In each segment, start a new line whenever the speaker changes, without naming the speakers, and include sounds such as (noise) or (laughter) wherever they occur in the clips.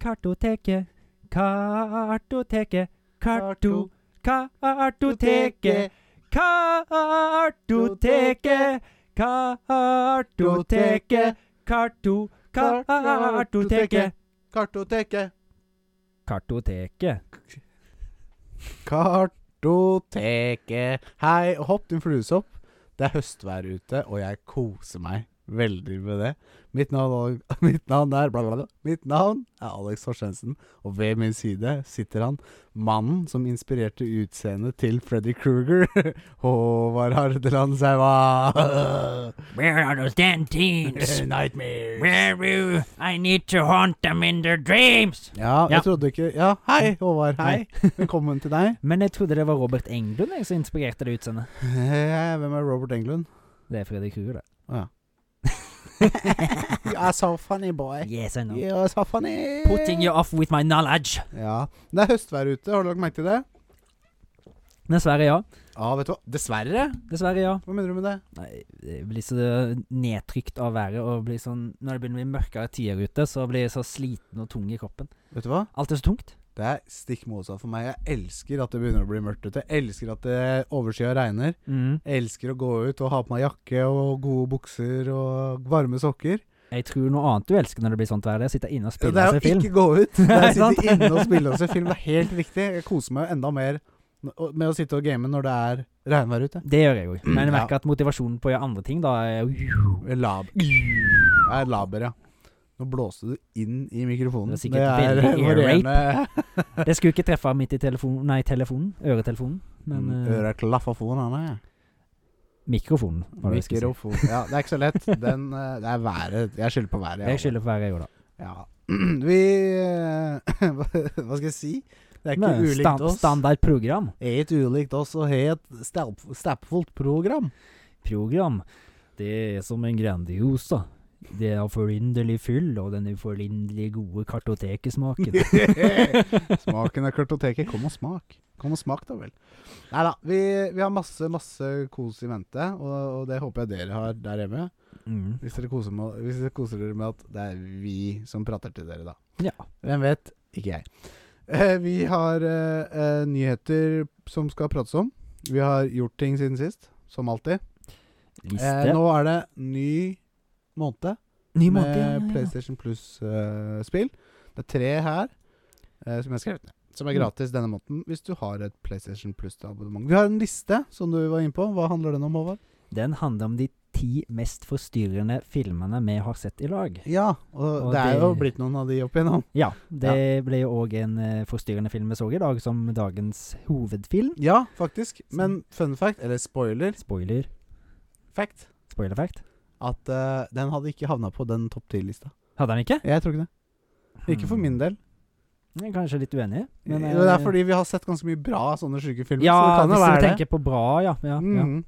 Kartoteket.
Kartoteket, kartoteket, karto,
Kartoteket.
kartoteket, kartoteket, kartoteket, karto, kartoteket.
Kartoteket.
Kartoteket.
Kartoteket. Hei, hopp din fluesopp. Det er høstvær ute, og jeg koser meg veldig med det. Mitt navn, (laughs) mitt navn er bla, bla, bla. Mitt navn er Alex Horsensen, og ved min side sitter han, mannen som inspirerte utseendet til Freddy Kruger, (laughs) Håvard Hardeland (laughs) Saua.
Where are those (laughs) dentines?
Nightmares.
Where you? I need to haunt them in their dreams.
Ja, jeg
Ja.
trodde ikke Ja, hei, Håvard. Hei. Velkommen til deg.
Men jeg trodde det var Robert Englund jeg, som inspirerte det utseendet.
Eh, Hvem er Robert Englund?
Det er Fredrik Hugo, det.
Å ja. You are so funny, boy.
(laughs) Yes, I know.
You are so funny.
Putting you off with my knowledge.
Ja. Det er høstvær ute, har du lagt merke til det?
Dessverre, ja.
Ja, vet du hva. Dessverre.
Dessverre, ja.
Hva mener du med det?
Nei, jeg blir så nedtrykt av været og blir sånn Når det begynner å bli mørkere tider ute, så blir jeg så sliten og tung i kroppen.
Vet du hva?
Alt er så tungt.
Det er stikk motsatt for meg. Jeg elsker at det begynner å bli mørkt ute. Jeg elsker at det overskya regner. Jeg elsker å gå ut og ha på meg jakke og gode bukser og varme sokker.
Jeg tror noe annet du elsker når det blir sånt vær, det er å sitte inne og
Det
spille
er å
og se film.
ikke gå
(laughs)
ut. Det er
Nei,
å sitte
sant?
inne og spille
(laughs)
og se film. Det er helt riktig. Jeg koser meg jo enda mer n- og- med å sitte og game når det er regnvær ute.
Det gjør jeg òg. Men jeg
Ja.
merker at motivasjonen på å gjøre andre ting, da er jo
Lab.
(laughs)
Jeg er laber, ja. Nå blåste du inn i mikrofonen.
Det er sikkert veldig
(laughs)
ear
varierende
Det skulle ikke treffe midt i telefonen Nei, telefonen. Øretelefonen. Men
Mm,
eh,
Øreklaffafon,
mikrofonen, var det jeg skulle si.
Mikrofon. Ja, det er ikke så lett.
(laughs)
Den, eh, det er været. Jeg skylder på været.
Jeg skylder på været, jeg òg, da.
Ja. (clears throat) Vi eh, (laughs) Hva hva skal jeg si? Det er ikke
Men
ulikt
stan-
oss.
standard program.
Er ikke ulikt oss å ha et stapp- stappfullt program.
program. Det er som en Grandiosa. Det er forunderlig fyll og den uforlinderlig gode
(laughs)
kartotekesmaken.
Smaken av kartoteket. Kom og smak. Kom og smak, da vel. Nei da. Vi, vi har masse, masse kos i vente, og, og det håper jeg dere har der hjemme.
Mm.
Hvis dere, koser med, hvis dere koser dere med at det er vi som prater til dere, da.
Ja.
Hvem vet? Ikke jeg. Eh, vi har eh, eh, nyheter som skal prates om. Vi har gjort ting siden sist, som alltid. Eh,
Liste.
nå er det ny måned
Ny
med
måte. ja, ja, ja.
PlayStation Plus-spill. det er tre her eh, som jeg har skrevet ned. Som er
Mm.
gratis denne måneden hvis du har et PlayStation Plus-abonnement. Vi har en liste som du var inne på. Hva handler den om, Håvard?
Den handler om de ti mest forstyrrende filmene vi har sett i lag.
Ja, og,
Og
det er jo
det-
blitt noen av de opp igjennom.
Ja, det ble jo òg en eh, forstyrrende film vi så i dag, som dagens hovedfilm.
(laughs) Ja, faktisk. Men fun fact, eller spoiler
Spoiler.
fact,
Spoiler fact.
at eh, den hadde ikke havna på den topp 10-lista.
Hadde han ikke? Mm.
Jeg tror ikke det. Ikke for min del.
Jeg er kanskje litt uenig, men
Jo, det
eh,
er fordi vi har sett ganske mye bra sånne sjuke filmer.
Ja,
så det kan jo
hvis du
være det.
tenker på bra, ja. ja, ja.
Mhm.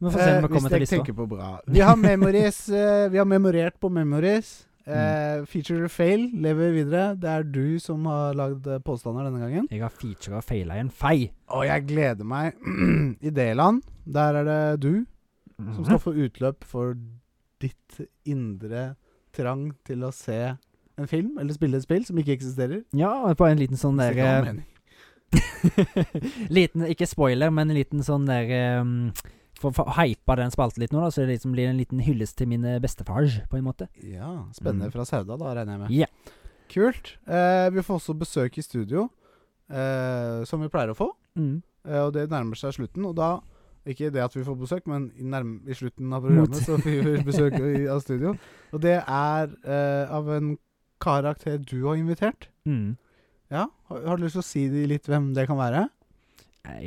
Vi får se
Eh,
når vi kommer til
Hvis
lista.
jeg tenker på bra. Vi har memories. (laughs) eh, vi har memorert på memories.
Mm.
Eh, feature or fail lever videre. Det er du som har lagd eh, påstander denne gangen.
Jeg har featura feila i en fei.
Og jeg gleder meg. (clears throat) I D-land, der er det du
Mhm.
som skal få utløp for ditt indre trang til å se en film, eller spille et spill som ikke eksisterer.
Ja, på en liten sånn
Hvis
der
det ikke har mening.
liten, Ikke spoiler, men en liten sånn der um, For å hype den spalten litt nå, da, så det liksom blir en liten hyllest til min eh, bestefar, på en måte.
Ja, spennende
Mm.
fra Sauda, da, regner jeg med.
Ja.
Kult. Eh, vi får også besøk i studio, eh, som vi pleier å få.
Mm.
Eh, og det nærmer seg slutten, og da ikke det at vi får besøk, men i, nærm i slutten av
Mot-
programmet så får vi besøk i, av studio. Og det er eh, av en karakter du har invitert.
Mm.
Ja, har, har du lyst til å si de litt hvem det kan være?
Nei,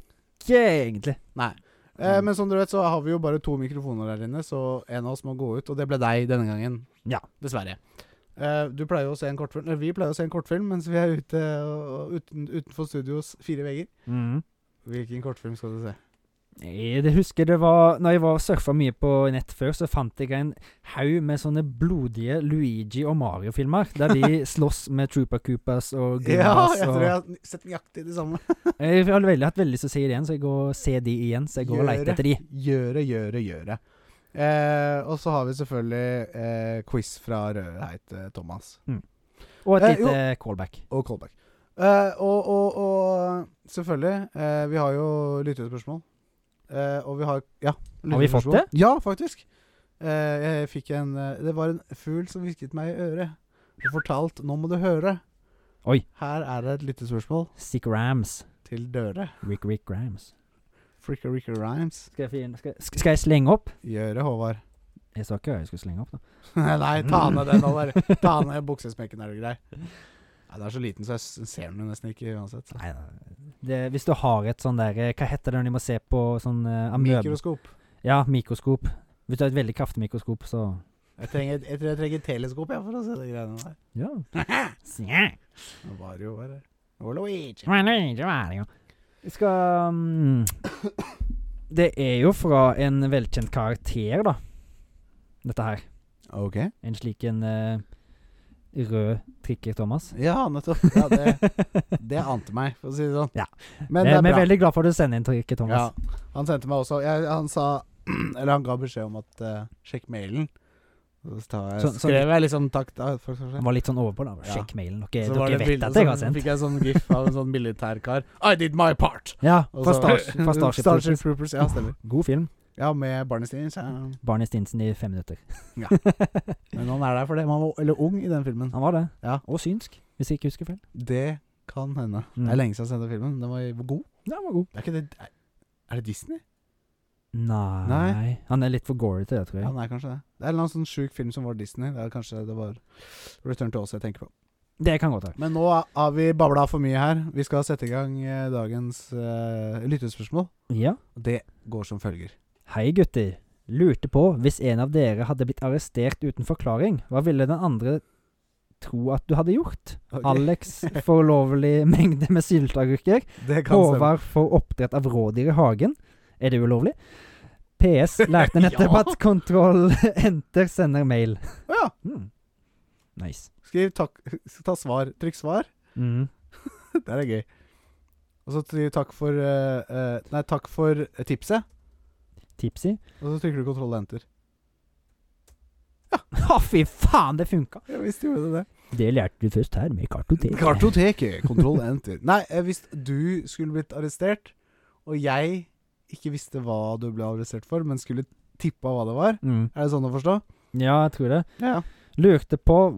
ikke egentlig.
Nei. Eh,
Mm.
men som dere vet, så har vi jo bare to mikrofoner her inne, så en av oss må gå ut. Og det ble deg denne gangen.
Ja.
Dessverre. Eh, du pleier jo å se en kortfilm Eller vi pleier å se en kortfilm mens vi er ute og, og uten, utenfor studios fire vegger.
Mm.
Hvilken kortfilm skal du se?
Nei, det husker det var Når jeg var og surfa mye på nett før, så fant jeg en haug med sånne blodige Luigi og Mario-filmer, der
(laughs)
de slåss med Trooper Coopers og
Ja,
Goombas.
jeg Altså- tror jeg
og,
har sett nøyaktig det samme.
jeg har veldig hatt veldig lyst til å se det igjen, så jeg går og ser de igjen. Så jeg går og
Gjøre.
leter etter de.
Gjøre, gjøre, gjøre. Eh, og så har vi selvfølgelig eh, quiz fra Rødheit eh, Thomas
Og et
Eh,
lite callback.
og Kolberg. Eh, og, og, og selvfølgelig, eh, vi har jo lyttespørsmål. Eh, og vi har Ja.
Har vi fått
lyttespørsmål. Ja, faktisk. Eh, jeg fikk en eh, Det var en fugl som hvisket meg i øret og fortalt 'Nå må du høre'.
Oi.
Her er det et lyttespørsmål
Sick Rams.
til døre.
Rick Rick Rams.
Fricka Ricka Rhymes.
Skal jeg, fin- skal, sk- skal jeg slenge opp?
Gjøre, Håvard.
Jeg sa ikke hva jeg skulle slenge opp, da.
(laughs) Nei, ta ned den, Håvard. Ta ned buksesmekken, er du grei. Nei, Den er så liten, så jeg s- ser den jo nesten ikke uansett. Så.
Nei, det, hvis du har et sånn der eh, Hva heter det når de må se på sånn uh,
Mikroskop.
Ja, mikroskop. Hvis du har et veldig kraftig mikroskop, så
Jeg, trenger, jeg tror jeg trenger teleskop jeg, for å se de greiene der.
Ja. (laughs)
Det var jo bare Det var Luigi.
Jeg skal (coughs) mm, Det er jo fra en velkjent karakter, da. Dette her.
Ok.
En slik en eh, rød trikker, Thomas.
Ja, nettopp. Ja,
(laughs)
det, det ante meg, for å si det sånn.
Ja.
Men
Eh,
det er
Vi er
bra.
veldig glad for at du sender inn trikker, Thomas.
Ja, han sendte meg også jeg, Han sa (clears throat) Eller han ga beskjed om at eh, Sjekk mailen. Og Så tar jeg,
Så- så-
skrev jeg liksom takk da, for, for,
Var litt sånn overpå, da.
Ja.
Sjekk mailen. Dere,
Så var
dere
det
vet
bilde
at jeg har
som-
sendt.
fikk jeg sånn gif av en sånn militær kar. I did my part!
Ja,
Og
fra,
så- (laughs)
Star, fra Starship. Troopers.
Troopers. Ja, stemmer.
God film.
Ja, med Barney Stinch. ja.
Barney Stinson i fem minutter.
Men han er der for det. men Han var eller ung i den filmen.
(laughs) Han var det.
Ja.
Og synsk, hvis jeg ikke husker feil.
Det kan hende.
Mm.
Det er lenge siden jeg har sett den filmen. Den var god.
Ja, han var god.
Er, ikke det, er- er det Disney?
Nei.
Nei.
Han er litt for gory til det, tror
Ja,
jeg.
nei, kanskje det. Det er en eller annen sånn sjuk film som var Disney. Det er kanskje det var Return to Oz jeg tenker på.
Det kan godt være.
Men nå har vi babla for mye her. Vi skal sette i gang eh, dagens eh, lyttespørsmål.
Ja.
Det går som følger.
Hei, gutter. Lurte på, hvis en av dere hadde blitt arrestert uten forklaring, hva ville den andre tro at du hadde gjort?
Ok.
Alex for ulovlig mengde med sylteagurker.
Det kan stemme.
Håvard for oppdrett av rådyr i hagen. Er det ulovlig? PS (laughs) lærte nettopp
Ja.
at kontroll (laughs) enter sender mail.
Å ja.
Hmm. Nice.
Skriv takk Ta svar. Trykk svar.
Mm.
Det er gøy. Og så skriv takk for eh, eh, Nei, takk for tipset.
Tipsy.
Og så trykker du kontroll og enter.
(laughs) Å, fy faen, det funka!
Ja visst gjorde det det.
Det lærte du først her, med kartoteket.
Kartoteket. Kontroll enter. Nei, eh, hvis du skulle blitt arrestert, og jeg ikke visste hva du ble arrestert for, men skulle tippa hva det var
Mm.
Er det sånn å forstå?
Ja, jeg tror det.
Ja, ja.
Lurte på,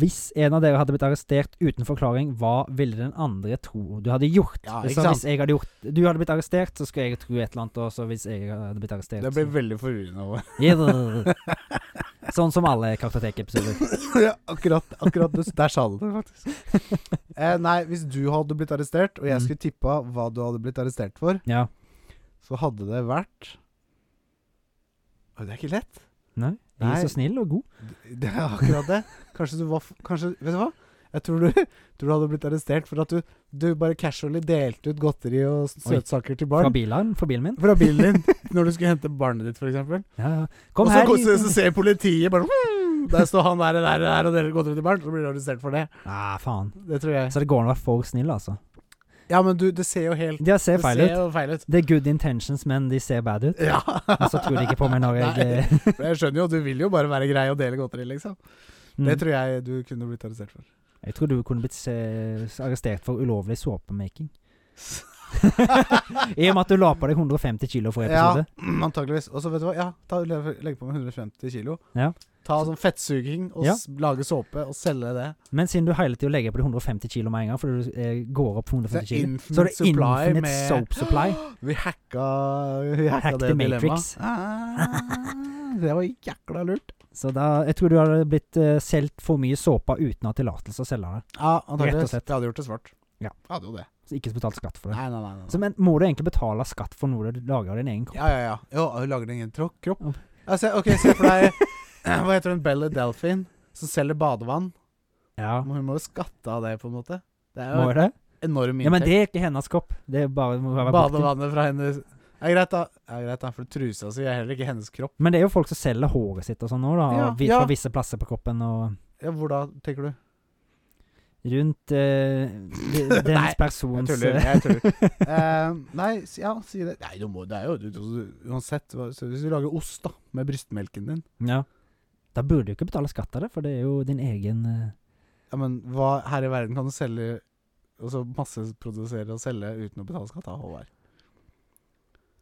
hvis en av dere hadde blitt arrestert uten forklaring, hva ville den andre tro du hadde gjort?
Ja,
Det
ikke
er sånn,
sant?
Hvis jeg hadde gjort, du hadde blitt arrestert, så skulle jeg tro et eller annet, og så hvis jeg hadde blitt arrestert
Det blir veldig forvirrende. over.
så- Yeah. Sånn som alle
(laughs)
kartotekepisoder.
ja, akkurat, akkurat det, der sa du det, faktisk. Eh, nei, hvis du hadde blitt arrestert, og jeg
Mm.
skulle tippa hva du hadde blitt arrestert for,
Ja.
så hadde det vært Å, Det er ikke lett.
Nei, jeg
Nei.
er så snill og god.
Det er akkurat det. Kanskje du var f- Kanskje Vet du hva? Jeg tror du, (laughs) tror du hadde blitt arrestert for at du, du bare casually delte ut godteri og s-
Oi.
søtsaker til
Fra
barn.
bilen, fra bilen min.
Fra bilen din. Når du skulle hente barnet ditt, f.eks.
Ja, ja.
Og
Kom
så,
her.
går- så,
liten-
så ser politiet bare "Mm, Der står han der, der, der og deler godteri til barn. Så blir du arrestert for det.
Ah, faen.
Det tror jeg.
Så det går an å være for snill, altså.
Ja, men du, det ser jo helt
De ser feil ut.
jo feil ut.
Det er good intentions, men de ser bad ut.
(laughs) Ja.
Og så Altså, tror de ikke på meg når jeg
(laughs)
eh,
Nei, for jeg skjønner jo, du vil jo bare være grei og dele godteri, liksom.
Mm.
Det tror jeg du kunne blitt arrestert for.
Jeg tror du kunne blitt eh, arrestert for
(laughs)
ulovlig såpemaking. (laughs) I og med at du la på deg 150 kilo for
Ja,
episode.
antakeligvis. Og så vet du hva, ja, ta, legg på med 150 kilo.
Ja.
Ta sånn fettsuging og
Ja.
s- lage såpe og selge det.
Men siden du hele tida legger på deg 150 kilo med en gang, fordi du eh, går opp 150
Så det er
kilo,
infinite
så er det
supply
infinite
med-
soap supply.
(gasps) Vi hacka, vi hacka det
Hack the
dilemmaet.
Matrix.
Ah, det var jækla lurt.
Så da, jeg tror du hadde blitt eh, solgt for mye såpe uten å ha tillatelse å selge det.
Ja,
Rett og
antakeligvis.
slett.
Jeg hadde gjort det svart.
Ja.
Jeg Hadde jo det.
Så ikke betalt skatt for det.
Nei, nei, nei. nei.
Så, men må du egentlig betale skatt for noe du lager av din egen kropp?
Ja, ja, ja. Jo, og hun lager din egen tro- kropp.
Ja.
Altså, ok, se for deg (clears throat) Hva heter hun? Bella Delphine, som selger badevann.
(laughs) Ja,
Hun må jo skatte av det, på en måte. Det er
må
jo
jeg det?
enorm
Ja, men
inntekt.
det er ikke hennes kropp. Det er bare må være brukt til.
Badevannet fra hennes Ja, greit, da. Ja, greit da For trusa si er heller ikke hennes kropp.
Men det er jo folk som selger håret sitt og sånn nå, da.
Ja,
og vi-
ja.
Fra visse plasser på kroppen og (laughs)
Ja, Hvor da, tenker du? (laughs)
rundt eh, de-
Nei,
dens persons
jeg tuller, jeg tuller. Eh, nei, si- ja, si det. Nei, du må, det er jo du, du, Uansett, hva- så hvis du lager ost da, med brystmelken din
Ja. Da burde du ikke betale skatt av det, for det er jo din egen eh,
ja, men hva her i verden kan du selge Altså masseprodusere og selge uten å betale skatt? Da, Håvard?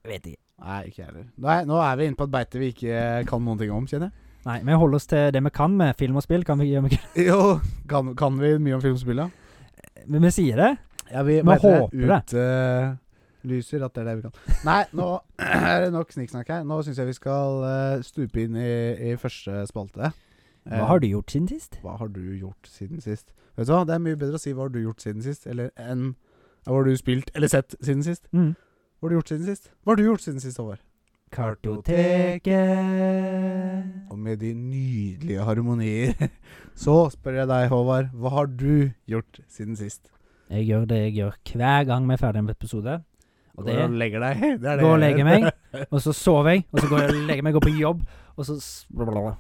Vet ikke.
Nei, ikke jeg heller. Nei, nå er vi inne på et beite vi ikke kan noen ting om, kjenner
Nei, vi holder oss til det vi kan med film og spill. Kan vi, gjør vi, ikke?
jeg. (laughs) Jo, kan, kan vi mye om filmspillet?
(laughs) Men vi sier det.
Ja, vi
Men
vet dere,
håper det.
Utelyser at det er det vi kan. Nei, nå (clears throat) er det nok snikksnakk her. Nå syns jeg vi skal eh, stupe inn i, i første spalte. Eh,
Hva har du gjort siden sist?
hva har du gjort siden sist? Vet du hva, Det er mye bedre å si 'hva har du gjort siden sist' eller enn 'hva har du spilt eller sett siden sist'?
Mm.
Hva har du gjort siden sist? Hva har du gjort siden sist, Håvard?
Kartoteket.
Og med de nydelige harmonier (laughs) så spør jeg deg, Håvard, hva har du gjort siden sist?
Jeg gjør det jeg gjør hver gang vi er ferdig med episode. Og det
Går og legger deg. (laughs) Det er det
går og
jeg
legger
gjør.
meg, og så sover jeg, og så går jeg og legger meg, går på jobb, og så s- blablabla.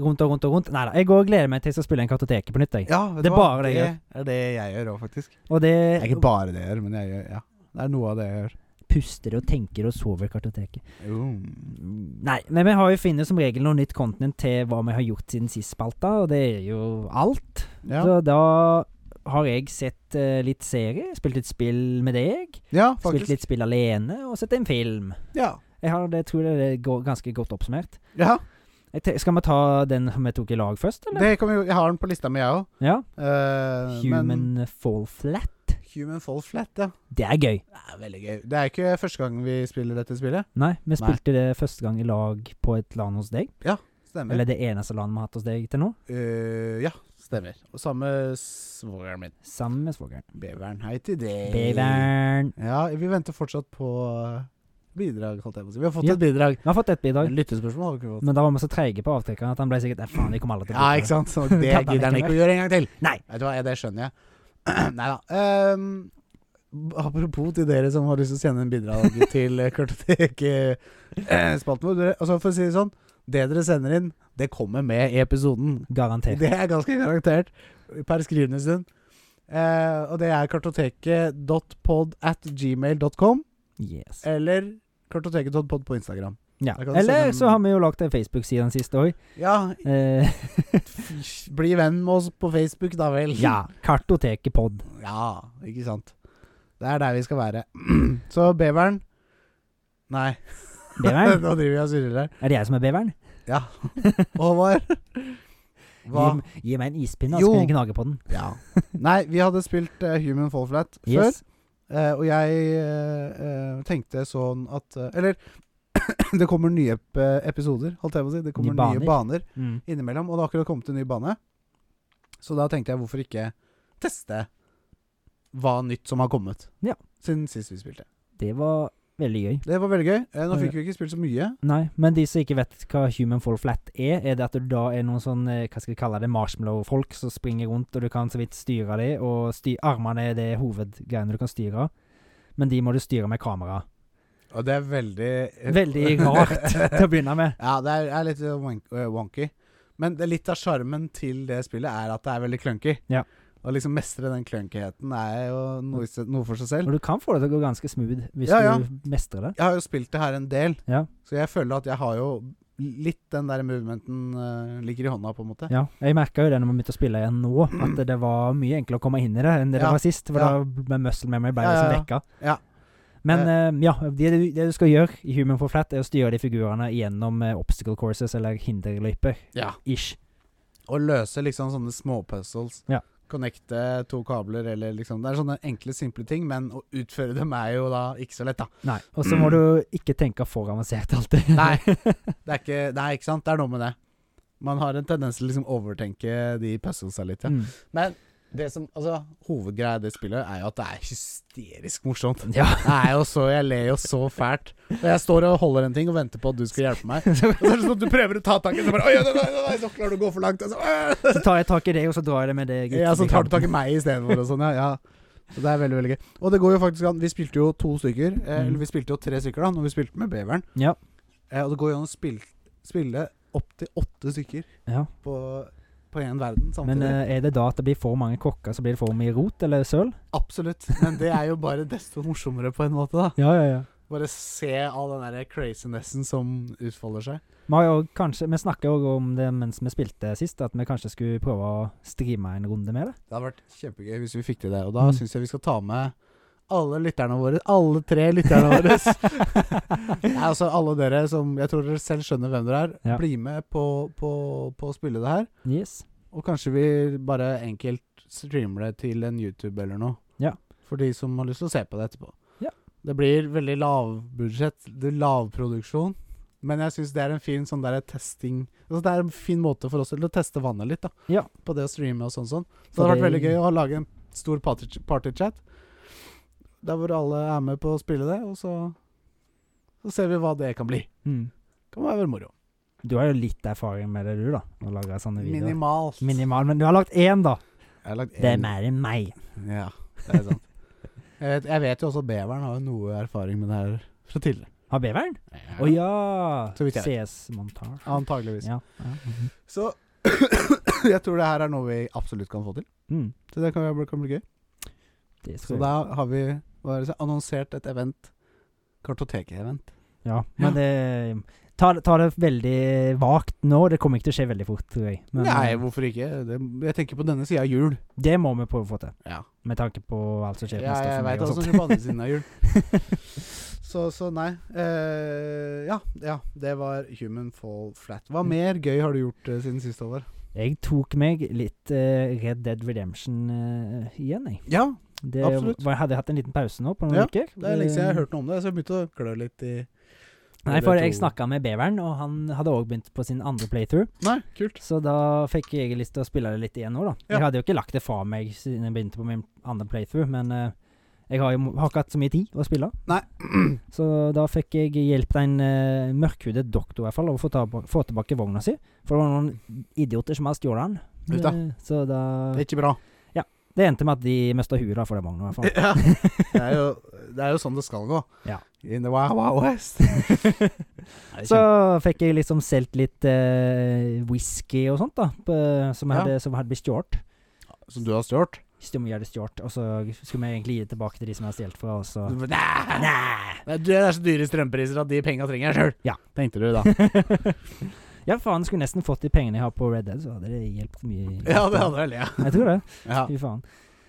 Rundt og rundt og rundt. Nei da, jeg går og gleder meg til jeg skal spille en kartoteket på nytt. Jeg.
(laughs) Ja, vet
Det
du
er
hva?
bare det jeg
Det er det jeg gjør òg, faktisk.
Og det
Det er ikke bare det jeg gjør, men jeg gjør, ja. Det er noe av det jeg gjør.
puster og tenker og sover kartoteket. Nei, men vi har jo finner som regel noe nytt content til hva vi har gjort siden sist spalta, og det er jo alt.
Ja.
Så da har jeg sett eh, litt serie, spilt litt spill med deg,
ja,
spilt
faktisk.
litt spill alene, og sett en film.
Ja.
Jeg har det, tror det er go- ganske godt oppsummert.
ja.
Jeg te skal vi ta den vi tok i lag først, eller?
Det kan vi, jo- jeg har den på lista mi, jeg òg.
Ja.
Eh, men
Human Fall Flat.
Human Fall Flat, ja.
Det er gøy.
Det er veldig gøy. Det er ikke første gang vi spiller dette spillet.
Nei,
Nei.
vi spilte det første gang i lag på et land hos deg.
Stemmer.
Eller det eneste landet vi har hatt hos deg til nå.
Eh, ja, stemmer. Og samme svogeren min.
Sammen med svogeren.
Beveren, hei til deg.
Bevern.
Ja, vi venter fortsatt på eh, bidrag, holdt jeg på å si. Vi har fått
Ja.
et bidrag.
Vi har fått ett bidrag,
Men Lyttespørsmål har vi ikke fått.
men da var vi så treige på avtrekkeren at han ble sikkert Nei, faen, de kommer aldri til å
Ja,
bruke
ikke sant?
(laughs)
Så det
Kan man
gidder han
ikke
ikke å gjøre en gang til.
Nei.
Vet du hva, ja, det skjønner jeg. (clears throat) Nei da. Ehm, apropos til dere som har lyst til å sende en
(laughs)
bidrag til eh, Kartotek-spalten vår. Dere, altså for å si det sånn, det dere sender inn, det kommer med i episoden.
det. Garantert.
Det er ganske garantert per skrivende stund. Eh, og det er kartoteket.pod at gmail.com
Yes.
eller kartoteket.pod på Instagram.
Ja.
Da kan du sende
Eller
en-
så har vi jo lagt en Facebook-side den siste òg.
Ja,
Eh,
bli venn med oss på Facebook, da vel. (laughs)
ja. Kartotekepod.
Ja, ikke sant. Det er der vi skal være. (clears throat) Så beveren Nei, (laughs)
Bevern?
nå driver jeg og surrer
(laughs)
her.
Er det jeg som er beveren?
Håvard? Hva?
Gi, gi meg en ispinne,
Jo.
så kan jeg gnage på den.
Ja. Nei, vi hadde spilt eh, Human Fall Flat før,
Yes.
eh, og jeg eh, eh, tenkte sånn at eh, Eller (clears throat) det kommer nye ep episoder, holdt jeg på å si. Det kommer
Nye
nye baner
baner. Mm.
innimellom, og det har akkurat kommet en ny bane. Så da tenkte jeg hvorfor ikke teste hva nytt som har kommet
Ja.
siden sist vi spilte.
Det var veldig gøy.
Det var veldig gøy. Eh, Nå fikk vi ikke spilt så mye.
Nei, men de som ikke vet hva human fall flat er, er det at du da er noen sånn, eh, hva skal vi kalle det, marshmallow-folk som springer rundt, og du kan så vidt styre de, og sty armene er det hovedgreiene du kan styre, men de må du styre med kamera.
Og det er veldig eh,
Veldig rart til å begynne med.
(laughs) ja, det er, er litt wonk- øh, wonky. Men det, litt av sjarmen til det spillet er at det er veldig clunky.
Ja.
Å liksom mestre den clunkyheten er jo noe, i se- noe for seg selv.
Og du kan få det til å gå ganske smooth hvis
Ja, ja.
du mestrer det.
Jeg har jo spilt det her en del,
Ja.
så jeg føler at jeg har jo litt den der movementen øh, ligger i hånda, på en måte.
Ja, jeg merka jo det når vi begynte å spille igjen nå, at det var mye enklere å komme inn i det enn det
Ja,
det var sist. For
ja.
da ble muscle memory ble
Ja, ja,
liksom
ja.
vekka.
Ja.
Men eh, ja, det, du- det du skal gjøre i Human for Flat, er å styre de figurene gjennom eh, obstacle courses eller hinderløyper.
Ja.
Ish.
Og løse liksom sånne småpuzzles.
Ja.
Connecte to kabler eller liksom Det er sånne enkle, simple ting, men å utføre dem er jo da ikke så lett, da.
Nei. Og så må du ikke tenke for avansert alltid.
Mm. (laughs) Nei, det er ikke, nei, ikke sant? Det er noe med det. Man har en tendens til å liksom overtenke de puzzlesa litt. Ja.
(laughs) Mm.
Men det som, altså, hovedgreia i det spillet er jo at det er hysterisk (laughs) morsomt.
Ja. (laughs)
Det er jo så, Jeg ler jo så fælt. Og jeg står og holder en ting og venter på at du skal hjelpe meg. Og så er det sånn at du prøver å ta tak i så bare Oi, nei, nei, nei, nå klarer du å gå for langt. Og så,
Så tar jeg tak i det, og så drar jeg det med deg. ut
ja, så
i
tar du tak
kanten.
i meg istedenfor og sånn, ja. ja. Så det er veldig, veldig gøy. Og det går jo faktisk an Vi spilte jo to stykker, eh,
Mm.
eller vi spilte jo tre stykker da, når vi spilte med Beveren.
Ja.
Eh, og det går jo an å spille, spille opptil åtte stykker
Ja.
på på én verden samtidig.
Men eh, er det da at det blir for mange kokker, så blir det for mye rot eller søl?
Absolutt. Men det er jo bare desto morsommere, på en måte. da
Ja, ja, ja.
Bare se all den der crazinessen som utfolder seg.
Vi, har jo kanskje, vi snakker jo om det mens vi spilte sist, at vi kanskje skulle prøve å streame en runde med det.
Det hadde vært kjempegøy hvis vi fikk til det. Og da
Mm.
synes syns jeg vi skal ta med alle lytterne våre. Alle tre lytterne våre. (laughs) Nei, altså alle dere som Jeg tror dere selv skjønner hvem dere er.
Ja.
Bli med på, på, på å spille det her.
(laughs) Yes.
Og kanskje vi bare enkelt streamer det til en YouTube eller noe.
Ja.
For de som har lyst til å se på det etterpå.
Ja.
Det blir veldig lavbudsjett, det er lavproduksjon. Men jeg syns det er en fin sånn der testing altså Det er en fin måte for oss til å teste vannet litt, da.
Ja.
På det å streame og sånn sånn. Så det
For
hadde vært veldig
det-
gøy å lage en stor party- partychat. Der hvor alle er med på å spille det, og så Så ser vi hva det kan bli.
Mm.
Kan være moro.
Du har jo litt erfaring med det, du, da? Å lage sånne videoer.
Minimalt.
Minimal. Men du har lagt én, da.
Jeg har lagt
Det er
en-
mer enn meg.
Ja, (laughs) det er sant. jeg, vet, jeg vet jo også at beveren har jo noe erfaring med det her fra tidligere.
Har beveren? Å ja!
Så vidt jeg
CS-montasje.
Antageligvis.
Ja. ja. mhm.
Så (coughs) jeg tror det her er noe vi absolutt kan få til.
Mm.
Så det kan, være- kan bli gøy.
Det
Så
skal
da har vi hva er det, så- annonsert et event. Kartoteket-event.
Ja, men det ta, det- ta det veldig vagt nå. Det kommer ikke til å skje veldig fort, tror jeg. Men
Nei,
eh,
hvorfor ikke? Det, jeg tenker på denne sida av jul.
det må vi prøve å få til,
Ja,
med tanke på alt som skjer.
ja
neste
jeg
formiddag
veit hva
og
som altså.
sånt.
skjer på andre siden av (laughs) jul. Så, så nei. Eh, ja, ja, det var Human Fall Flat. Hva mer gøy har du gjort eh, siden sist, Håvard?
Jeg tok meg litt eh, Red Dead Redemption eh, igjen, jeg.
Ja,
Det
Absolutt.
var, jeg hadde hatt en liten pause nå på noen
Ja,
uker.
Det er lenge siden jeg
Eh,
har hørt noe om det, så jeg begynte å klø litt i
Nei, for
Det er
jeg
to-
snakka med beveren, og han hadde òg begynt på sin andre playthrough.
Nei, kult.
Så da fikk jeg lyst til å spille det litt igjen nå, da.
Ja.
Jeg hadde jo ikke lagt det fra meg siden jeg begynte på min andre playthrough, men eh, jeg har jo har ikke hatt så mye tid å spille.
Nei.
(clears throat) Så da fikk jeg hjelp av en uh, mørkhudet doktor, i hvert fall, å få, ta, få tilbake vogna si. For det var noen idioter som hadde stjålet den.
Uff da.
Eh, så da
Det
det,
er ikke bra.
endte med at de mista huet da, for den vogna, i hvert fall.
(laughs) Ja. Det, er jo, det er jo sånn det skal gå.
Ja.
In the wild, wild
(laughs)
west. (laughs) eh,
Så fikk jeg liksom solgt litt eh, whisky og sånt, da, på, som,
Ja.
hadde, som hadde blitt stjålet.
Som du har stjålet?
Som vi hadde stjålet, og så skulle vi egentlig gi det tilbake til de som hadde stjålet fra oss.
(laughs)
og-
Nei. Nei, du, Det er så dyre strømpriser at de penga trenger jeg sjøl,
Ja.
tenkte du
(laughs)
da.
ja, faen, skulle nesten fått de pengene jeg har på Red Dead, så hadde det hjulpet mye.
Ja, det hadde vel, ja.
Jeg tror det.
Ja,
Fy faen.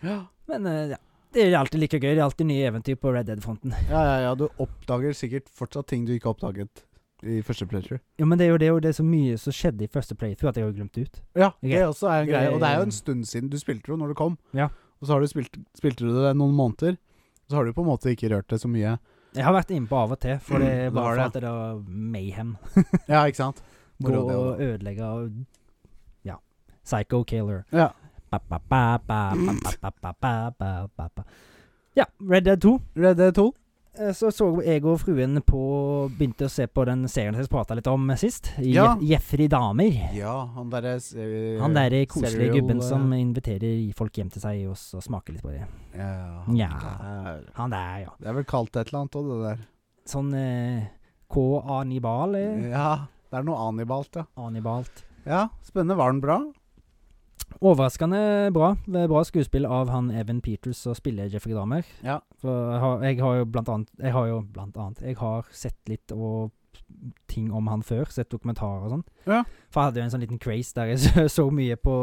ja,
Men eh, ja. Det er alltid like gøy. Det er alltid nye eventyr på Red Dead-fronten.
ja, ja du oppdager sikkert fortsatt ting du ikke oppdaget i første playthrough.
Jo, men det er jo det, er jo det er så mye som skjedde i første playthrough at jeg har glemt det ut.
Ja,
Ok.
det også er en greie. Og det er jo en
Det-
stund siden. Du spilte jo når du kom.
Ja.
Og så har du spilt, spilte du det noen måneder. Så har du på en måte ikke rørt det så mye.
Jeg har vært inne på av og til, for det
Mm,
er
det
bare for
har
at det er mayhem.
Ja, ikke
(laughs)
sant?
Gå
Moro det også, da.
og ødelegge og Ja. Psycho killer.
Ja.
Ba, ba, ba, ba, ba, ba, ba, ba, ba, ba, ba. Ja, Red Dead 2.
Red Dead 2.
Eh, Så så jeg og fruen på Begynte å se på den serien som jeg prata litt om sist. Je
Ja.
Jeffrey Dahmer.
Ja, han derre eh,
Han derre koselige
serial,
gubben
eh,
som inviterer folk hjem til seg og så smaker litt på det.
Ja.
Nja.
der.
Han der, ja.
Det er vel kalt et eller annet òg, det der.
Sånn eh, K.A. Nibal. Eh,
Ja. Det er noe anibalt, ja.
Anibalt.
Ja, Spennende. Var den bra?
Overraskende bra. Det er Bra skuespill av han Evan Peters som spiller Jeffrey Dahmer.
Ja.
For jeg har, jeg har jo blant annet Jeg har jo blant annet Jeg har sett litt og ting om han før. Sett dokumentarer og sånn.
Ja.
For jeg hadde jo en sånn liten craze der jeg (laughs) så, så mye på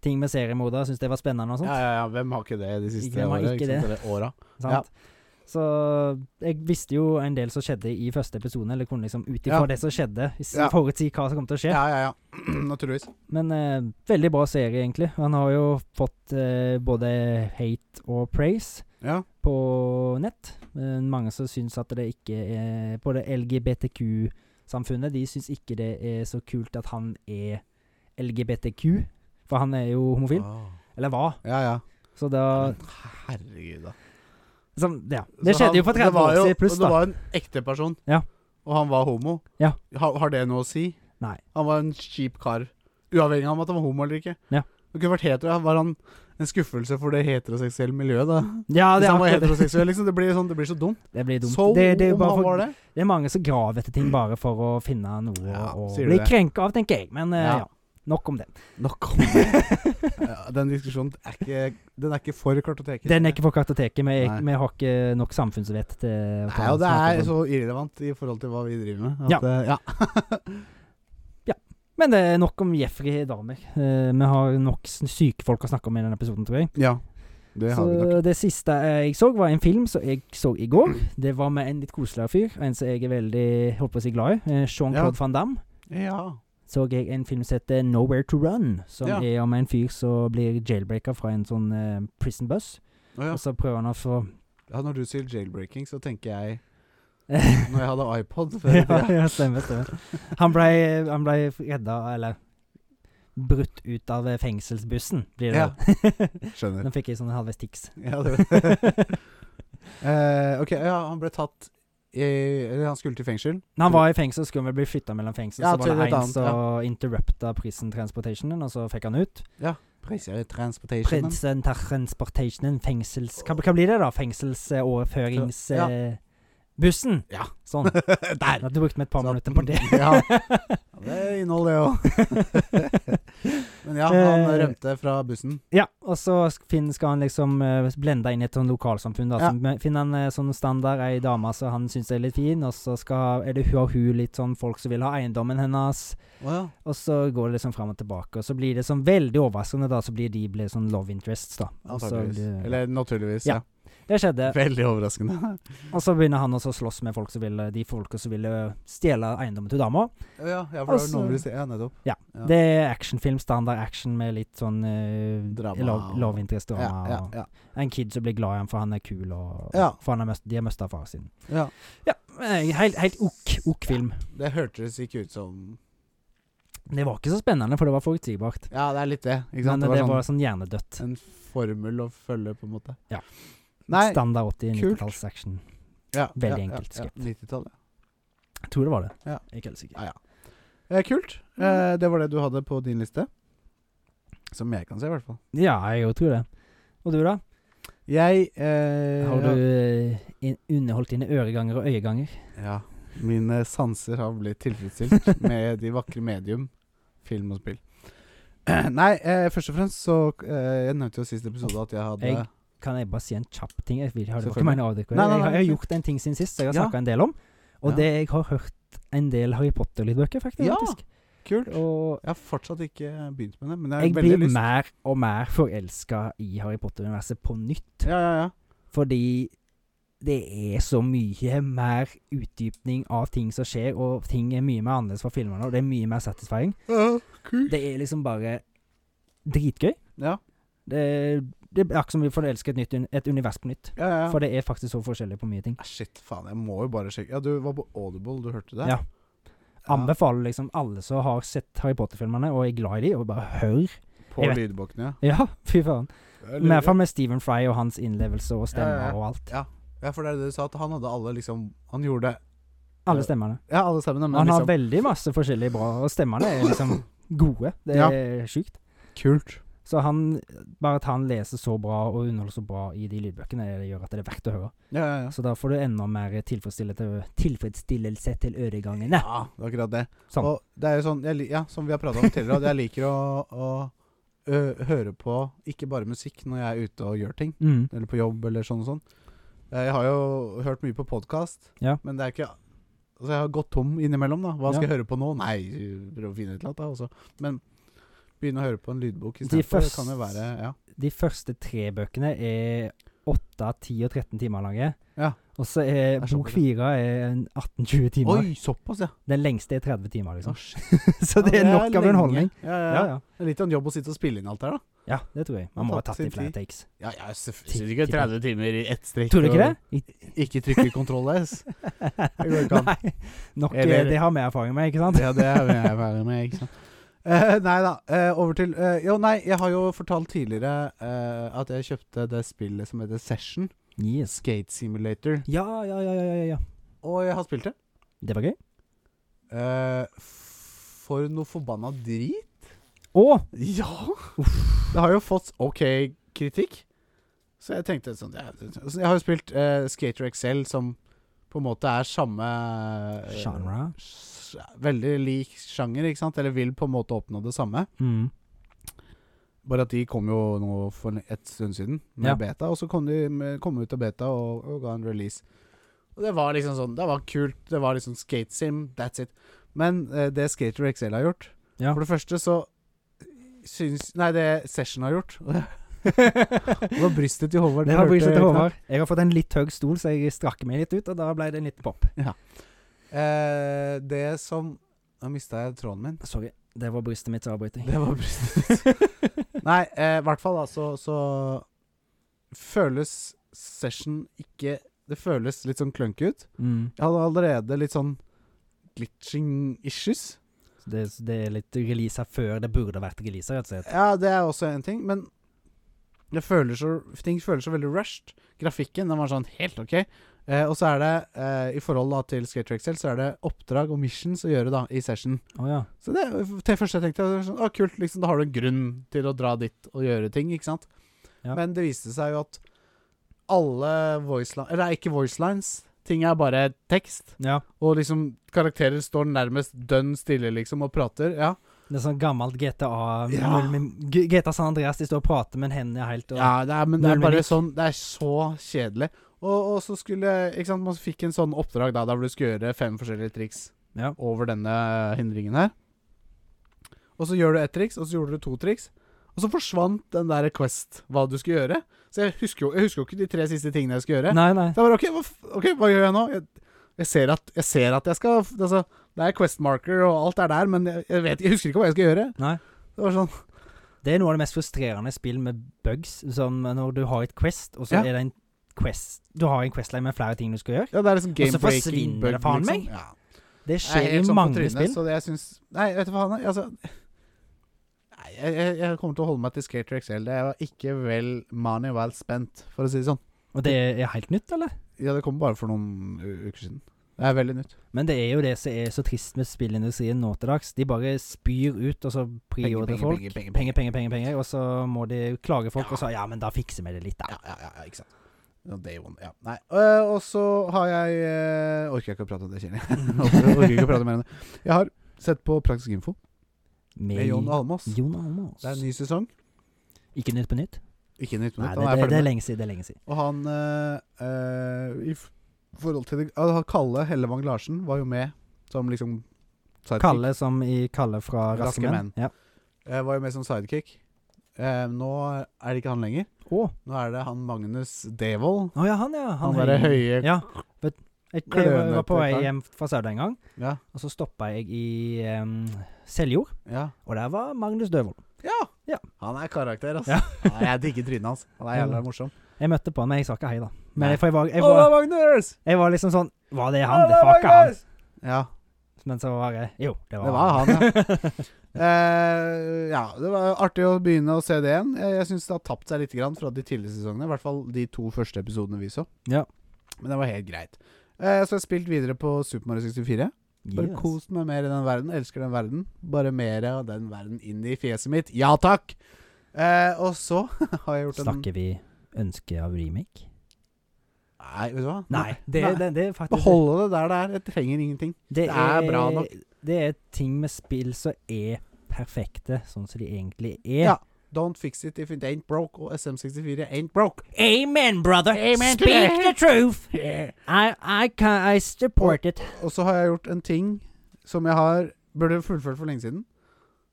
ting med seriemordere. Syntes det var spennende og sånt.
Ja, ja, ja. Hvem har ikke det de siste
Hvem har
åra?
ikke
Åra.
sant? Så jeg visste jo en del som skjedde i første episode, eller kunne liksom ut ifra
Ja.
det som skjedde, s-
Ja.
forutsi hva som kom til å skje.
Ja, ja, (clears throat) ja. Naturligvis.
Men eh, veldig bra serie, egentlig. Han har jo fått eh, både hate og praise
Ja.
på nett. Men mange som syns at det ikke er På det LGBTQ-samfunnet, de syns ikke det er så kult at han er LGBTQ. For han er jo homofil.
Ah.
Eller hva.
Ja, ja.
Så da
Men Herregud, da.
som, Ja.
Så
Det skjedde
han-
jo for
det
30
var
år
jo-
siden pluss,
og Det
da.
var en ekte person.
Ja.
Og han var homo.
Ja.
Ha, har det noe å si?
Nei.
Han var en kjip kar. Uavhengig av om at han var homo eller ikke.
Ja.
Det kunne vært hetero. Var han en skuffelse for det heteroseksuelle miljøet, da?
Ja, det
Hvis
er
han var
akkurat det.
heteroseksuell, liksom. Det blir, sånn, det blir så dumt.
Det blir dumt.
Så
det, det, er jo
om
bare
han
for,
var
det.
det.
er mange som graver etter ting bare for å finne noe
Ja,
å
sier du
bli
det?
krenka av, tenker jeg. Men eh,
Ja.
ja. Nok om det.
Nok om det. Ja, Den diskusjonen er ikke, den er ikke for kartoteket.
Den er ikke på kartoteket. Vi, er-
Nei.
vi har ikke nok samfunnsvett til å
Nei, og det
snakke
er
om.
så irrelevant i forhold til hva vi driver med.
Ja.
At, eh, ja.
Men det er nok om Jeffrey Dahmer. Eh, vi har nok s- syke folk å snakke om i denne episoden, tror jeg.
ja. Det har vi nok.
Så det siste jeg så, var en film som jeg så i går. Det var med en litt koseligere fyr. En som jeg er veldig holdt på å si glad i. eh, Jean-Claude
Ja.
van Damme.
Ja.
så jeg en film som heter Nowhere to Run, som
Ja.
er om en fyr som blir jailbreaker fra en sånn eh, prison bus,
Å, ja.
og så prøver han å få
ja. Når du sier jailbreaking, så tenker jeg
ja,
Når jeg hadde iPod før i tida.
ja, stemmer, stemmer. Han ble, han ble redda, eller brutt ut av eh, fengselsbussen, blir (laughs) det.
Ja.
vel.
Skjønner.
Nå fikk jeg sånne halvveis tics.
Ja, det (laughs) Eh, ok, ja, han ble tatt i, Eller han skulle til fengsel.
Når han var i fengsel, skulle han vel bli flytta mellom fengsel,
Ja,
så
til
var det
et
en
annet,
som interrupta prison transportationen, og så fikk han ut.
Priser transportation.
Prison transportationen, fengsels... Hva, hva blir det, da?
Ja.
Fengselsoverføringsbussen?
Ja.
Sånn.
(laughs) Der!
Nå har du brukt meg et par
Så-
minutter på det.
ja. Ja, Det er innhold, det òg.
(laughs)
Men ja, han
Eh.
rømte fra bussen.
Ja, og så sk- finn- skal han liksom eh, blende inn i et sånn lokalsamfunn. Da.
Ja.
Så me- finner han eh, sånn standard, ei dame som han syns er litt fin, og så skal, er det hun og hun litt sånn folk som vil ha eiendommen hennes,
Å ja.
og så går det liksom fram og tilbake. Og så blir det sånn veldig overraskende, da, så blir de blir sånn love interests, da. Og så
Antakeligvis.
blir-
Eller naturligvis.
Altså, Ja.
Ja.
det skjedde.
Veldig overraskende. (laughs)
Og så begynner han også å slåss med folk som vil, de folka som vil eh, stjele eiendommen til dama.
Å ja, ja, for det var
Altså-
noen ville si Ja, nettopp. Ja.
Det er actionfilm, standard action med litt sånn eh,
Drama
love,
og-
love interest
Ja,
drama.
ja,
og-
ja.
En kid som blir glad i ham, for han er kul, og
Ja.
for han er mest, de har mista faren sin.
ja.
Eh, Helt, helt ok, ok film.
Det hørtes ikke ut som
Det var ikke så spennende, for det var forutsigbart.
Ja, det er litt det. Ikke
Men
sant? Det
det
var
var
sånn
sånn hjernedødt.
en formel å følge, på en måte.
Ja.
Nei.
Standard 80-,
kult.
90-talls-action.
Ja,
Veldig
ja,
enkelt
Ja,
skrevet.
ja. 90-tallet.
Jeg tror det var det.
Ja.
Jeg er Ikke helt sikker.
Ja, ja. Eh, kult. Eh, det var det du hadde på din liste. Som jeg kan se, i hvert fall.
Ja, jeg jo tror det. Og du, da?
Jeg eh,
Har du eh, in underholdt dine øreganger og øyeganger?
Ja. Mine sanser har blitt tilfredsstilt
(laughs)
med de vakre medium film og spill. (clears throat) Nei, eh, først og fremst så eh, Jeg nevnte jo sist episode at jeg hadde
Jeg- Kan jeg bare si en kjapp ting? Jeg vil, har det var
Selvfølgelig.
ikke mine avdekk.
Nei, nei,
Jeg, har-
nei,
jeg har
nei.
gjort en ting siden sist som jeg har
Ja.
snakka en del om. Og
Ja.
det jeg har hørt en del Harry Potter-lydbøker, faktisk.
Ja.
faktisk.
Kult.
Og
Jeg har fortsatt ikke begynt med det, men jeg har
Jeg
veldig
blir
lyst.
mer og mer forelska i Harry Potter-universet på nytt.
Ja, ja, ja.
Fordi det er så mye mer utdypning av ting som skjer, og ting er mye mer annerledes fra filmene, og det er mye mer satisfying.
Ja, kult.
Det er liksom bare dritgøy.
Ja,
Det, det er akkurat som vi forelsker et, nytt, un- et univers på nytt.
ja, ja.
For det er faktisk så forskjellig på mye ting.
Ah, Shit, faen, jeg må jo bare sjekke Ja, du var på Audible, du hørte det?
Ja. Anbefaler liksom alle som har sett Harry Potter-filmene og er glad i dem, og bare hør. (laughs)
På
Jeg
lydbokene, ja.
Ja, fy faen.
Jeg
I hvert
lurer.
fall med Stephen Fry og hans innlevelse og
Ja, ja,
stemmer
ja.
og alt.
Ja, for det er det du sa, at han hadde alle liksom Han gjorde
Alle stemmene.
Ja, alle stemmene, men
Han har
liksom
veldig masse forskjellige bra, og stemmene er liksom
(laughs)
gode. Det
Ja.
er sjukt.
Kult.
Så han, bare at han leser så bra og underholder så bra i de lydbøkene, det gjør at det er verdt å høre.
Ja, ja, ja.
Så da får du enda mer tilfredsstillelse, tilfredsstillelse til øregangene.
Ja, det er akkurat det.
Sånn.
Og det er jo sånn jeg, li- Ja, som vi har prata om tidligere, at jeg liker å, å ø, høre på ikke bare musikk når jeg er ute og gjør ting,
Mm.
eller på jobb eller sånn og sånn. Eh, Jeg har jo hørt mye på podkast,
Ja.
men det er ikke Altså, jeg har gått tom innimellom, da. Hva skal
Ja.
jeg høre på nå? Nei, prøve å finne et eller annet, da. Også. Men begynne å høre på en lydbok
De
istedenfor. Det
først-
kan jo være Ja.
De første tre bøkene er 8, 10 og 13 timer lange.
Ja.
Og så er
Det er sånn
bok
det er.
4 er en 18-20 timer.
Oi, såpass, ja.
Den lengste er 30 timer,
Å,
liksom.
shit.
(laughs) Så det er
Ja,
nok av
lenge.
underholdning.
Ja, ja,
Ja,
ja.
ja.
Det er litt av en jobb å sitte og spille inn alt her, da.
ja, det tror jeg. Man må ha
Har tatt
tatt i
sin
flere
tid.
takes.
Ja, jeg
Ti-
sitter ikke
ti-
30 timer i ett strekk.
Tror du ikke det? I
og Ikke trykke kontroll
(laughs)
S. Det går ikke an.
Nei, nok, eh,
Eller-
det har vi erfaring med, ikke sant?
Ja, det er jeg være med, ikke sant. Eh, nei da, eh, over til eh, Jo, nei, jeg har jo fortalt tidligere eh, at jeg kjøpte det spillet som heter Session.
Yes.
Skate Simulator.
Ja, ja, ja, ja, ja, ja.
Og jeg har spilt det.
Det var gøy.
Eh, f- for noe forbanna drit.
Å,
Ja! Det har jo fått OK kritikk. Så jeg tenkte sånn ja, det- så Jeg har jo spilt eh, Skater XL, som på en måte er samme eh,
genre.
s- sj- veldig lik sjanger, ikke sant? Eller vil på en måte oppnå det samme.
Mm.
Bare at de kom jo nå for et stund siden med
Ja.
beta, og så kom de med, kom ut av beta og, og ga en release. Og det var liksom sånn, det var kult, det var liksom skatesim, that's it. Men eh, det Skater XL har gjort,
Ja.
for det første så syns, Nei, det Session har
(laughs)
gjort, det var brystet til Håvard.
Det var
du hørte
brystet til
knakk.
Håvard. Jeg har fått en litt høy stol, så jeg strakker meg litt ut, og da ble det en liten pop.
Eh, det som Nå mista jeg tråden min.
Sorry. Det var brystet mitt som avbrøt deg.
Det var brystet. Nei, eh, i hvert fall da, så, så føles session ikke Det føles litt sånn klønke ut.
(laughs) Mm.
Jeg hadde allerede litt sånn glitching issues.
Så Det, det er litt releaser før det burde vært releaser, rett og slett.
Ja, det er også en ting, men det føles så, ting føles så veldig rushed. Grafikken den var sånn helt OK. Eh, og så er det, eh, i forhold da til Skater XL, så er det oppdrag og missions å gjøre da i session.
Å ja.
Så det til først jeg tenkte jeg sånn, ah, kult, liksom, da har du en grunn til å dra dit og gjøre ting, ikke sant?
Ja.
Men det viste seg jo at alle voicelines, eller ikke voicelines, ting er bare tekst,
ja.
og liksom karakterer står nærmest dønn stille liksom og prater, ja.
Det er sånn gammelt GTA
Ja.
null mim- G- GTA San Andreas, de står og prater, men hendene er helt og,
Ja, det er, men det er
Null
bare
mimikk.
sånn Det er så kjedelig. Og, og så skulle Ikke sant, man fikk en sånn oppdrag da, der hvor du skulle gjøre fem forskjellige triks
Ja.
over denne hindringen her. Og så gjør du ett triks, og så gjorde du to triks. Og så forsvant den der Quest, hva du skulle gjøre. Så jeg husker jo, jeg husker jo ikke de tre siste tingene jeg skulle gjøre.
Nei, nei.
Så jeg bare OK, hva, f- ok, hva gjør jeg nå? Jeg, jeg, ser at, jeg ser at jeg skal altså, Det er Quest marker, og alt er der, men jeg, jeg, vet, jeg husker ikke hva jeg skal gjøre.
Nei.
Det var sånn
Det er noe av det mest frustrerende spill med bugs, som når du har et Quest, og så
Ja.
er det en Quest Du har en Questline med flere ting du skal gjøre.
Ja, det er liksom game breaking
forsvinner
bug, liksom.
det faen meg.
Ja.
Det
Jeg er
skjer
helt
i
sånn på
mange
trynet,
spill.
Så det jeg syns Nei, vet du hva, Hanne? Altså, nei, jeg, jeg, jeg kommer til å holde meg til Skater XL. Det var ikke vel money well spent, for å si det sånn.
Og det er helt nytt, eller?
Ja, det kom bare for noen u- uker siden. Det er veldig nytt.
Men det er jo det som er så trist med spillindustrien nå til dags. De bare spyr ut, og så priordrer folk.
penger, penger,
Penger, penger, penger, penger. Og så må de klage folk,
Ja.
og så Ja, men da fikser vi det litt, da.
Ja, ja, ja, ja, ikke sant. No, Day one, ja. Nei. Øh, og så har jeg øh, Orker jeg ikke å prate om det,
(laughs)
kjenner jeg. Orker orker ikke å prate mer om det. Jeg har sett på Praktisk info med Jon Almaas.
Jon Almaas.
Det er en ny sesong.
Ikke Nytt på Nytt?
Ikke nytt
Nei,
minutt.
det,
Han er
det,
ferdig
det
med
er lenge siden. Det er lenge siden.
Og han eh, eh, I f- forhold til det uh, Kalle Hellevang Larsen var jo med som liksom sidekick.
Kalle som i Kalle fra
Raske
Raske
Menn.
Menn. Ja.
Eh, var jo med som sidekick. Eh, nå er det ikke han lenger.
Å
Nå er det han Magnus Devold.
Å ja, han, ja.
Han, derre høye ja.
Ja. Vet, jeg, jeg var- var på vei
Klønete kar.
hjem fra Sauda en gang,
ja.
og så stoppa jeg i em, Seljord,
ja.
og der var Magnus Døvold. Ja.
Han er karakter, altså.
Ja.
Ja, jeg digger trynet hans. Han er jævla morsom.
Jeg møtte på han, men jeg sa ikke hei, da.
Nei.
Men jeg, for jeg var, jeg,
Halla,
var,
Magnus!
jeg var liksom sånn Var det han? Det var ikke han.
Ja,
Men så var jeg Jo, det var,
det var han, ja. Eh, ja, det var artig å begynne å se det igjen. Jeg, jeg syns det har tapt seg litt grann fra de tidligere sesongene. I hvert fall de to første episodene vi så.
Ja.
Men det var helt greit. Eh, så har jeg spilt videre på Super Mario 64. Bare
(laughs) Yes.
kost meg mer i den verden. Elsker den verden. Bare mer av den verden inn i fjeset mitt. Ja takk! Eh, og så (laughs) har jeg gjort en
Snakker vi ønske av remake?
Nei, vet du hva?
Nei, det,
Nei.
Det, det er faktisk
Beholde det der det er. Jeg trenger ingenting.
det
er bra nok.
Det er ting med spill som er perfekte, sånn som de egentlig
Ja.
er.
Don't fix it if it ain't broke. Og SM64 ain't broke.
Amen, brother!
Amen to
Speak the
that.
truth!
Yeah.
I, I, can, I support it.
Og så har jeg gjort en ting som jeg har burde fullført for lenge siden.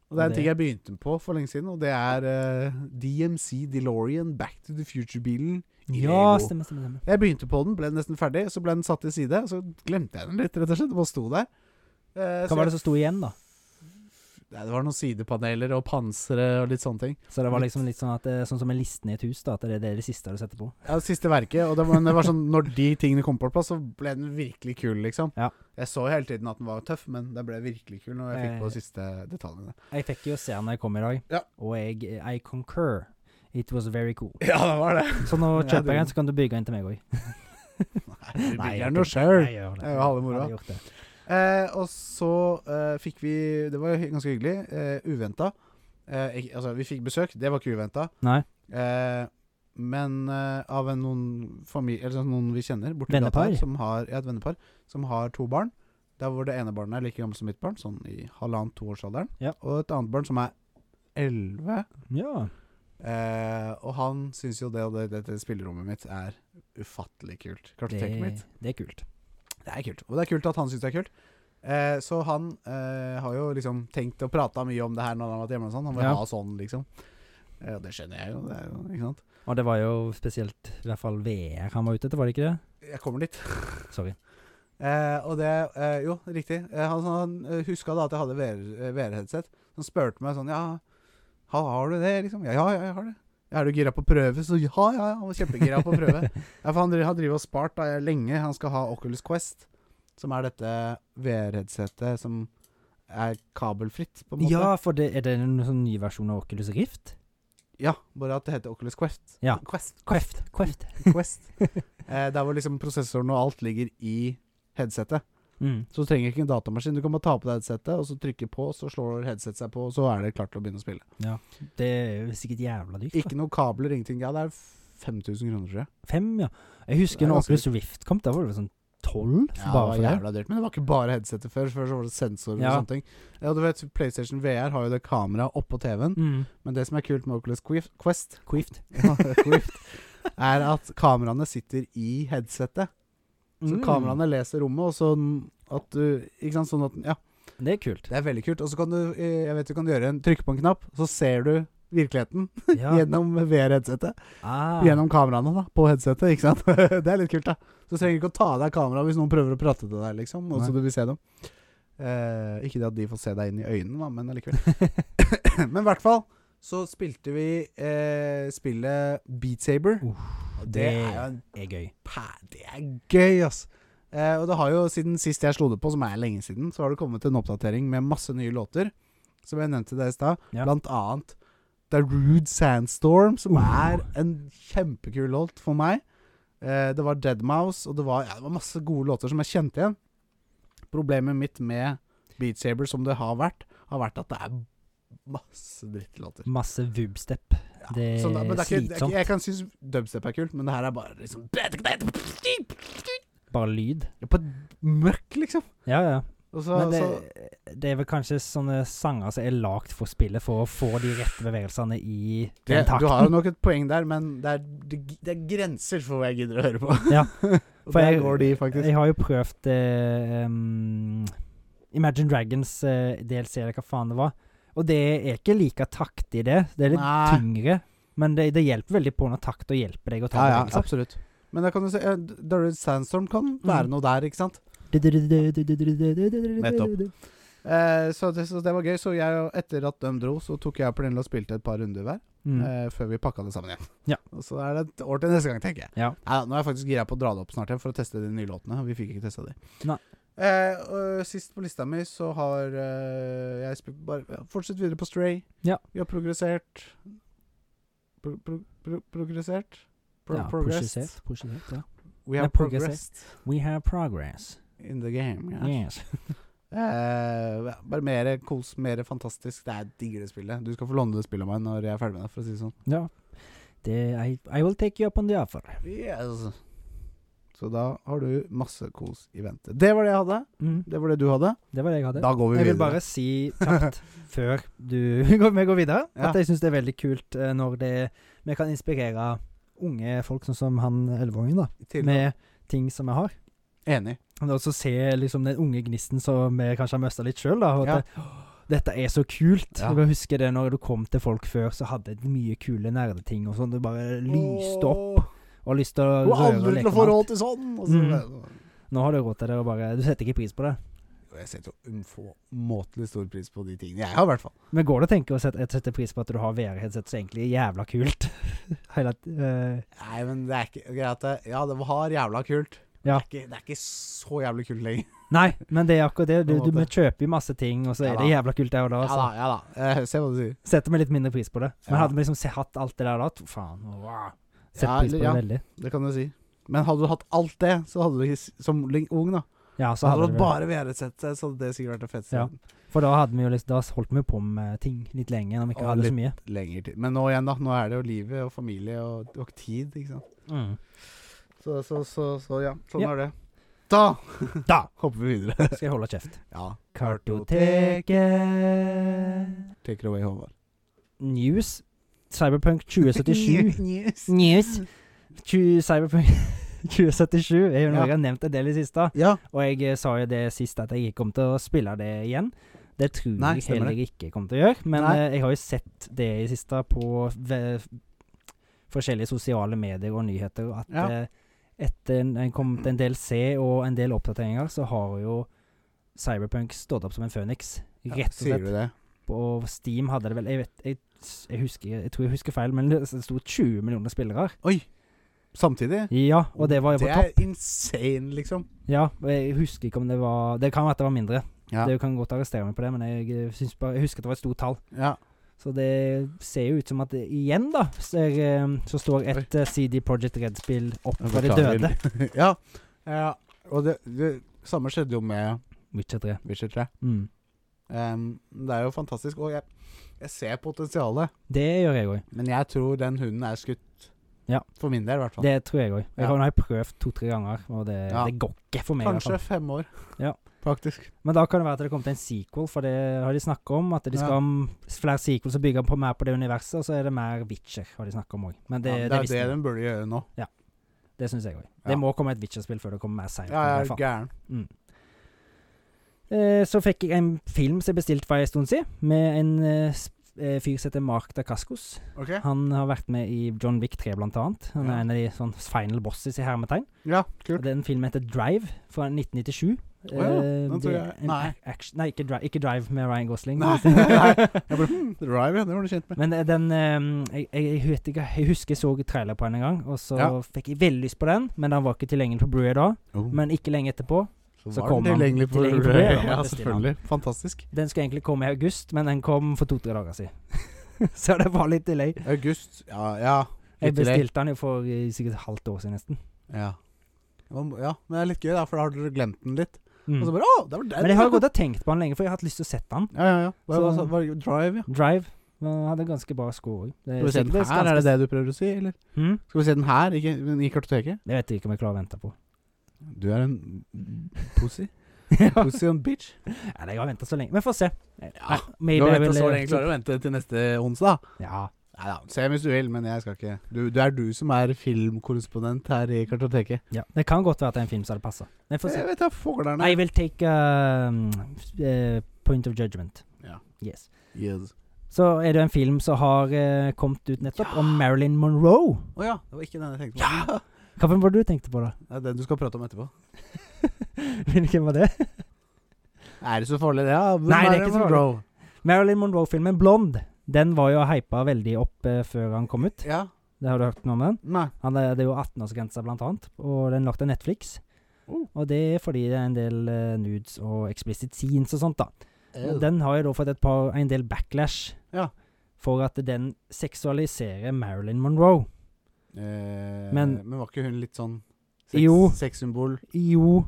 Og det er en
Det-
ting jeg begynte på for lenge siden, og det er eh, DMC DeLorean Back to the Future-bilen. i
Ja,
Lego.
stemmer, stemmer. stemmer.
Jeg begynte på den, ble nesten ferdig, så ble den satt til side. Så glemte jeg den litt, rett og slett. Den bare sto der. Eh, så
Hva var det som sto igjen, da?
jeg- Nei, det var noen sidepaneler og pansere og litt sånne ting.
Så det var liksom litt sånn at det, Sånn som en listen i et hus, da. At det, det er det siste du setter på.
Ja, det siste verket. Og det var, det var sånn, når de tingene kom på plass, så ble den virkelig kul, liksom.
Ja.
Jeg så hele tiden at den var tøff, men den ble virkelig kul når jeg fikk på
Eh.
de siste detaljene.
Jeg fikk jo se den da jeg kom i dag,
Ja.
og jeg I concur. It was very cool. (laughs)
Ja, det var det.
Så nå
(laughs) Ja,
kjøper
det-
jeg en, så kan du bygge en til meg òg.
Nei, du
Nei,
bygger
jeg
den jo
gjør
sjøl.
gjør
Det er jo halve moroa.
Hadde gjort det.
Eh, og så eh, fikk vi Det var jo hy- ganske hyggelig. Eh, uventa. Eh, ikke- altså, vi fikk besøk. Det var ikke uventa.
Nei.
Eh, men eh, av en, noen familie Eller sånn noen vi kjenner borti
Vennepar?
som har, ja, et vennepar som har to barn. Der hvor det ene barnet er like gammelt som mitt barn, sånn i halvannen-to årsalderen.
Ja.
Og et annet barn som er elleve.
Ja.
Eh, og han syns jo det og det, dette spillerommet mitt er ufattelig kult. Kartoteket mitt.
det er kult.
Det er kult. Og det er kult at han syns det er kult. Eh, så han eh, har jo liksom tenkt og prata mye om det her når han har vært hjemme og sånn. Han vil
Ja.
ha sånn, liksom. Eh, og det skjønner jeg jo, det er jo, ikke sant.
Og det var jo spesielt i hvert fall VR han var ute etter, var det ikke det?
Jeg kommer dit.
Sorry.
Eh, og det eh, Jo, riktig. Eh, han han huska da at jeg hadde VR eh, VR-headset. så han spurte meg sånn Ja, ha, har du det, liksom? Ja, ja, ja, jeg har det. Ja, Er du gira på å prøve? Så ja, ja, ja. Han var kjempegira på å prøve.
(laughs)
Ja, for han driver, har drevet og spart da, lenge. Han skal ha Oculus Quest, som er dette VR-headsetet som er kabelfritt, på en måte.
ja, for det, er det en sånn ny versjon av Oculus Rift?
Ja, bare at det heter Oculus Quest.
Ja.
Quest.
Queft. Queft. (laughs)
Quest. (laughs) eh, der hvor liksom prosessoren og alt ligger i headsetet.
Mm.
Så du trenger ikke en datamaskin. Du kan bare ta på deg headsetet, og så trykke på, så slår headsetet seg på, og så er det klart til å begynne å spille.
Det er jo sikkert jævla dyrt. da.
Ikke noe kabler, ingenting. Ja, det er 5000 kroner, tror jeg.
Fem, ja. Jeg
Det
husker
er
når
ganske
Oculus Rift kom, da var det vel sånn tolv?
Ja, det
bare for
var
det.
jævla dyrt. Men det var ikke bare headsetet før. Før så var det sensorer
Ja.
og sånne ting. Ja, du vet, PlayStation VR har jo det kameraet oppå TV-en,
Mm.
men det som er kult med Oculus Quif- Quest, (laughs)
Quift.
Quif, er at kameraene sitter i headsetet. Så
Mm.
kameraene leser rommet, og sånn at du Ikke sant, sånn at Ja,
Det er
(laughs)
kult.
det er veldig kult. Og så kan du eh, Jeg vet du kan gjøre en Trykke på en knapp, så ser du virkeligheten
Ja.
gjennom VR-headsetet.
Ah.
Gjennom kameraene, da, på headsetet, ikke sant. (laughs) det er litt kult, da. Så du trenger ikke å ta av deg kameraet hvis noen prøver å prate til deg, liksom, og
Nei.
så du vil se dem. Eh, ikke det at de får se deg inn i øynene, da, men allikevel.
(laughs)
(coughs) men i hvert fall så spilte vi eh, spillet Beat Saber.
Uff,
Og det
det
er jo en
er gøy.
Pæ, det er gøy, ass. Eh, og det har jo siden sist jeg slo det på, som er lenge siden, så har det kommet en oppdatering med masse nye låter. Som jeg nevnte der i stad.
Ja.
Blant annet Darude Sandstorm, som
Uh.
er en kjempekul låt for meg. Eh, det var Deadmouse, og det var, ja, det var masse gode låter som jeg kjente igjen. Problemet mitt med Beat Saber, som det har vært, har vært at det er masse drittlåter.
Masse vubstep.
Ja,
Det er
sånn da, men det er ikke, det er
Eh, slitsomt.
ikke, jeg kan synes dubstep er kult, men det her er bare liksom
Bare lyd.
På mørk, liksom.
Ja, ja.
Og så,
Men det,
så,
det er vel kanskje sånne sanger som er lagt for spillet for å få de rette bevegelsene i
det,
den takten.
du har jo nok et poeng der, men det er, det, det er grenser for hva jeg gidder å høre på. (laughs)
Ja,
og
for
der
jeg-
går de, faktisk.
Jeg har jo prøvd eh, um, Imagine Dragons eh, DLC, eller hva faen det var. Og det er ikke like taktig, det. Det er litt
Nei.
tyngre. Men det, det hjelper veldig på når takta hjelper deg å ta
Ja, ja,
bevegelser.
absolutt. Mhm. Men da kan du se eh, Darude Sandstorm kan være
Mm.
noe der, ikke sant?
liksom.
Nettopp. Eh, så, det, så det var gøy. Så jeg, og- etter at de dro, så tok jeg og Pernille og spilte et par runder hver.
Mm.
eh, før vi pakka det sammen igjen.
Ja.
Og så er det et år til neste gang, tenker jeg.
Ja.
Neida, nå er jeg faktisk gira på å dra det opp snart igjen for å teste de nye låtene. Vi fikk ikke testa de.
Nei.
Eh, og sist på lista mi så har eh, jeg spilt bare ja, Fortsett videre på Stray.
Ja.
Vi har progressert pro, pro, pro, Progressert? Pro,
Ja,
progressed.
progressert, progressert, ja.
We have
Nei, progressert.
progressed
We have progress.
in the game. Ja.
Yes.
Eh, ja, bare mer kos, mer fantastisk. Det er digger det spillet. Du skal få låne det spillet av meg når jeg er ferdig med det, for å si det sånn.
Ja. Det, I, I will take you up on the offer.
Yes. Så da har du masse kos i vente. Det var det jeg hadde.
Mm.
Det var det du hadde.
Det var det jeg hadde.
Da går vi
Jeg vil
videre.
bare si kjapt, (laughs) før du (laughs) går, vi går videre,
Ja.
at jeg syns det er veldig kult eh, når det vi kan inspirere unge folk, sånn som han elleveåringen, da,
Til-
med ting som vi har.
Enig.
Og også se liksom den unge gnisten som vi kanskje har mista litt sjøl, da. Og at
Ja.
det, «Åh, dette er så kult.
Ja.
Jeg bare husker det når du kom til folk før, så hadde de mye kule nerdeting og sånn. Det bare lyste opp
Åh,
og har lyst til å
Du har
røre og
aldri til
leke
å få
med alt. Mm.
råd til sånn! Og så,
Nå har du råd til det, og bare Du setter ikke pris på det.
Og Jeg setter jo umåtelig stor pris på de tingene jeg har, i hvert fall.
Men går det å tenke å sette, sette pris på at du har VR-headset som egentlig er jævla kult? (laughs) Hele, t- eh,
Nei, men det er ikke greit det. Ja, det var jævla kult.
Ja.
Det, er ikke, det er ikke så jævlig kult lenger.
nei, men det er akkurat det. Du,
På en
du, vi
måte.
kjøper jo masse ting, og så
Ja
er det jævla kult der og da.
Ja
Så
da, ja da. Eh, se hva du sier.
setter vi litt mindre pris på det. Men
Ja.
hadde vi liksom se- hatt alt det der da, t- faen wow. Sett
Ja,
pris på
ja.
det veldig.
Det kan du si. Men hadde du hatt alt det, så hadde du ikke s- Som ling- ung, da.
Ja, så
Hadde du hatt
hadde vi,
bare VR-headset, så hadde det sikkert vært det feteste.
Ja. for da hadde vi jo liksom, da holdt vi jo på med ting litt lenge når vi
Og
ikke hadde
litt-
så mye.
lenger tid. Men nå igjen, da. Nå er det jo livet og familie og, og tid, ikke sant.
Mm.
Så, så, så, så ja, sånn
Ja.
er det. Da
(laughs) Da
(laughs) hopper vi videre.
skal jeg
(laughs)
holde kjeft.
Ja.
Kartoteket.
Take it away, Håvard.
News.
(laughs)
Cyberpunk 2077.
News.
News. Tju- Cyberpunk (laughs) 2077 er jo noe
Ja.
jeg har nevnt en del i det siste.
Ja.
Og jeg eh, sa jo det sist at jeg ikke kom til å spille det igjen. Det tror
Nei,
jeg
stemmer
heller jeg ikke kommer til å gjøre. Men
Nei.
eh, jeg har jo sett det i det siste på ve- forskjellige sosiale medier og nyheter at
Ja.
eh, etter en, en kom til en del C og en del oppdateringer, så har jo Cyberpunk stått opp som en føniks. Rett og
Sier
slett.
du det?
På Steam hadde det vel Jeg, vet, jeg, jeg, husker, jeg tror jeg husker feil, men det sto 20 millioner spillere.
Oi! Samtidig?
Ja, og det var jo på
det
topp.
er insane, liksom.
Ja, og jeg husker ikke om det var Det kan være at det var mindre.
Ja.
Det kan godt arrestere meg på det, men jeg, eh, syns bare, jeg husker at det var et stort tall.
Ja.
Så det ser jo ut som at det, igjen, da, så, er, eh, så står et eh, CD Project Red-spill opp
Jeg
fra de
beklager.
døde.
(laughs) ja. ja. Og det, det samme skjedde jo med
Witcher 3.
Witcher 3.
Mm.
Em, det er jo fantastisk. Og jeg, jeg ser potensialet,
Det gjør jeg òg.
men jeg tror den hunden er skutt.
Ja.
For min del, i hvert fall.
Det tror jeg òg. Jeg
Ja.
har- nå har jeg prøvd to-tre ganger, og det,
Ja.
det går ikke for meg. i hvert fall.
Kanskje fem år,
Ja.
faktisk.
Men da kan det være at det kommer til en sequel, for det har de snakka om. At de skal
Ja.
ha m- flere sequels og bygge på mer på det universet, og så er det mer Witcher, har de snakka om òg. Men det,
ja,
det,
det er
visste
det
jeg.
den burde gjøre nå.
Det syns jeg òg.
Ja.
Det må komme et Witcher-spill før det kommer mer Cyberpunk.
Ja,
i
jeg
hvert
er
fall.
gæren.
Eh, så fikk jeg en film som jeg bestilte for en stund siden, med en eh, sp- eh, fyr som heter Mark Dacascos.
OK?
Han har vært med i John Wick 3, blant annet. Han
Ja.
er en av de sånn final bosses i hermetegn.
Ja,
Og
kult.
Den filmen heter Drive, fra 1997.
Å ja,
Eh,
den tror
det
jeg-
er en
nei.
ac- action- nei ikke, drive, ikke Drive med Ryan Gosling. (laughs)
Nei, (laughs) nei. Jeg bare, hmm, Drive, ja. Det var du kjent med.
Men eh, den eh, jeg, jeg, vet ikke, jeg husker jeg så trailer på den en gang, og så
Ja.
fikk jeg veldig lyst på den, men den var ikke tilgjengelig på Brewer da. Men ikke lenge etterpå så
Oh, var
kom
den
han
tilgjengelig på (laughs)
tilgjengelig på Blu-ray,
Blu-ray.
da,
Ja,
måtte bestille han.
selvfølgelig. Fantastisk.
Den skulle egentlig komme i august, men den kom for to-tre dager siden. (laughs) så det var litt delay.
August. Ja, ja.
Jeg
Litt delay.
bestilte den jo for eh, sikkert et halvt år siden, nesten.
Ja. Man må- ja, men det er litt gøy, da, for da har dere glemt den litt.
Mm.
Og så bare Å, det var den!
Men jeg har gått og tenkt på den lenge, for jeg har hatt lyst til å sette den.
Ja, ja, ja. Hva, hva,
Så- Eh,
hva, drive, ja.
Drive den hadde ganske bra score òg.
Skal vi se den her, er det det du prøver å si, eller?
Hmm?
Skal vi se den her, ikke men i kartoteket?
Jeg vet ikke om jeg klarer å vente på. (laughs)
Du er en pussy.
ja.
Pussy on bitch.
Nei, jeg har venta så lenge. Men få se.
Ja,
Nei,
Du
maybe
har
jeg
ventet
vil-
så lenge, klarer du å vente til neste onsdag?
Ja.
Nei da, se hvis du vil, men jeg skal ikke du, Det er du som er filmkorrespondent her i kartoteket.
ja. Det kan godt være at det er en film som hadde passa. Men få se.
Jeg vet da fogler'n
I will take um, eh, point of judgment.
Ja.
Yes.
Yes.
så er det en film som har eh, kommet ut nettopp, om Marilyn Monroe.
Å ja, det var ikke den jeg tenkte på.
Hvilken var det du tenkte på,
(laughs)
da?
Det er den du skal prate om etterpå.
Hvilken var det?
Er det så farlig, det? Ja?
Nei, det er ikke så farlig.
farlig.
Marilyn Monroe-filmen 'Blond'. Den var jo hypa veldig opp eh, før han kom ut.
Ja.
Det har du hørt noe om den?
Nei.
Han er, det er jo 18-årsgrensa, blant annet, og den lagt av Netflix.
Oh.
Og det er fordi det er en del eh, nudes og explicit scenes og sånt, da. Men
Den,
Den har jo da fått et par, en del backlash
Ja.
for at den seksualiserer Marilyn Monroe.
eh, men,
Men-
var ikke hun litt sånn sex,
Jo.
sexsymbol?
Jo,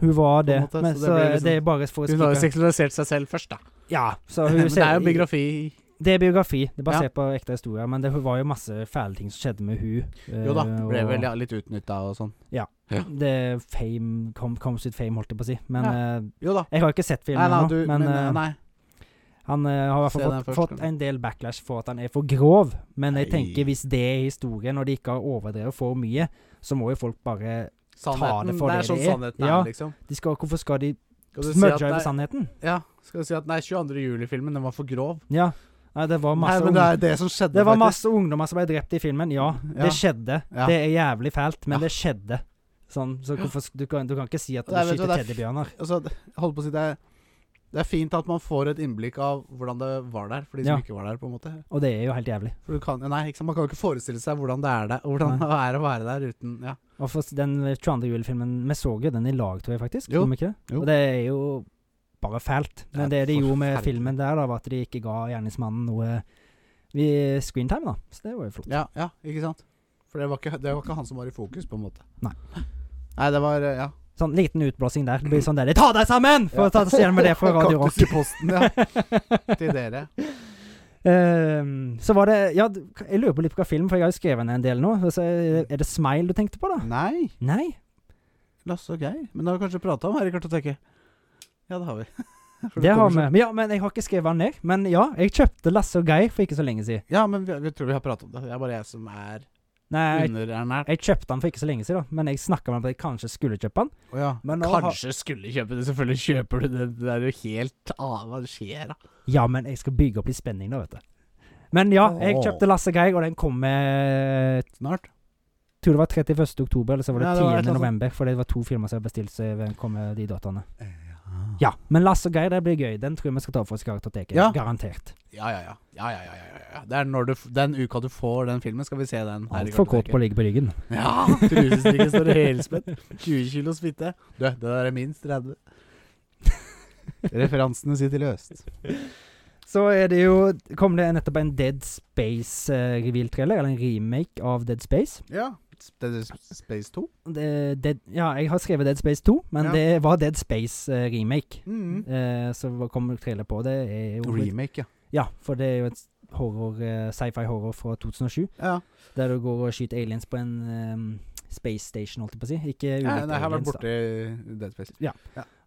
hun var det,
måte,
men
så
så,
det blir liksom-
det er bare for å
Hun har jo
skrike-
seksualisert seg selv først, da.
Ja,
(laughs)
så hun
Men det er
ser-
jo biografi.
Det er biografi. Det er
Ja.
basert på ekte historier. Men det var jo masse fæle ting som skjedde med hun. eh,
Jo da, ble
og
vel ja, litt utnytta og sånn.
Det fame kom, kom sitt fame, holdt jeg på å si. Men eh,
Jo da.
jeg har ikke sett
Nei,
filmen
nei,
nå.
du,
men
men, eh,
eh,
nei.
han eh, har i hvert
Se
fall
den
fått,
først,
fått
kanskje.
en del backlash for at han er for grov. Men jeg
Nei.
tenker hvis det er historien, og de ikke har overdrevet for mye, så må jo folk bare
Sannheten.
det for
det er
det
sånn
det er.
sannheten
Ja.
er, liksom.
de skal, Hvorfor skal de
Skal du si
smudge
at
over
nei,
sannheten?
ja, skal du si at nei, 22. juli-filmen, den var for grov?
Ja. Nei, det var
Nei,
masse
men det
ungdom-
er det som skjedde,
Det var
faktisk.
masse ungdommer som ble drept i filmen. Ja,
Ja.
det skjedde.
Ja.
Det er jævlig fælt, men
Ja.
det skjedde. Sånn, så hvorfor, sk- du, kan, du kan ikke si at du
Nei, vet du,
skyter
det er f-
teddybjørner.
Altså, det- jeg holder på å si det er, det er fint at man får et innblikk av hvordan det var der, for de som
Ja.
ikke var der, på en måte.
Og det er jo helt jævlig.
For du kan, nei, ikke sant? Man kan jo ikke forestille seg hvordan det er der, hvordan det er å være der uten Ja.
Og for s- den 22. juli-filmen Vi så jo den i lag, tror jeg faktisk.
Jo.
Gjorde vi ikke det?
Jo.
Og det er jo bare fælt. Men
Det
det,
er
de gjorde med
forferdelig.
filmen der, da, var at de ikke ga gjerningsmannen noe vi screentime, da. Så det var jo flott.
Ja, ja, ikke sant? For det var ikke, det var ikke han som var i fokus, på en måte.
Nei.
Nei, det var eh, Ja.
Sånn liten utblåsing der. Det blir sånn der Ta deg sammen! For å ta oss igjen med
(laughs)
det fra Radio Rock.
Kaktus i posten, ja. Til dere.
Ehm, så var det Ja, du- jeg lurer Altså, på litt på hva film, for jeg har jo skrevet ned en del nå. Så er det 'Smile' du tenkte på, da?
Nei.
Nei?
Lasse og Geir. Men det har vi kanskje prata om her i Kartoteket? Ja, det har vi. (laughs) For
Det har
kommer
vi.
så-
Men, ja, men jeg har ikke skrevet den ned. Men ja, jeg kjøpte Lasse og Geir for ikke så lenge siden.
Ja, men vi, vi tror vi har prata om det. Det er bare jeg som er Mm.
Nei, jeg,
underernært.
jeg kjøpte den for ikke så lenge siden, da. Men jeg snakka med ham at jeg kanskje skulle kjøpe den.
Å ja.
Men nå har-
Kanskje skulle kjøpe det. Selvfølgelig kjøper du det. Det er jo helt annet hva det skjer, da.
Ja, men jeg skal bygge opp litt spenning nå, vet du. Men ja, jeg
Åh.
kjøpte Lasse og Geir, og den kom med
Snart.
tror det var 31. oktober, eller så var det
Ja, det var et
10.
eller annet.
november. For det var to filmer som jeg bestilte, så jeg kom med eh, de dataene.
Ja.
Ja, men Lasse og Geir, det blir gøy. Den tror jeg vi skal ta for oss i Karakterteket.
Ja.
Garantert.
Ja, ja, ja. ja, ja, ja, ja, ja. Det er når du, f- den uka du får den filmen, skal vi se den. her i
Altfor kort på å
kartoteket.
ligge på ryggen.
Ja! Trusestrikken står helspenn. 20 kilos fitte. Du, det der er minst
(laughs)
30. Referansene sitter løst.
Så er det jo Kom det nettopp en Dead Space-reveal-trailer, eller en remake av Dead Space?
Ja. Space 2.
Det, Dead, ja, jeg har skrevet Dead Space 2, men
Ja.
det var Dead Space-remake.
Mm.
Eh, Så kom trailer på det. Er jo
Remake, ja.
Ja, for det er jo et horror, eh, sci-fi horror fra 2007.
ja.
Der du går og skyter aliens på en ehm, space station, holdt jeg på å si. Ikke
ja
ulike
nei, jeg har vært
aliens, da.
borti Dead Space.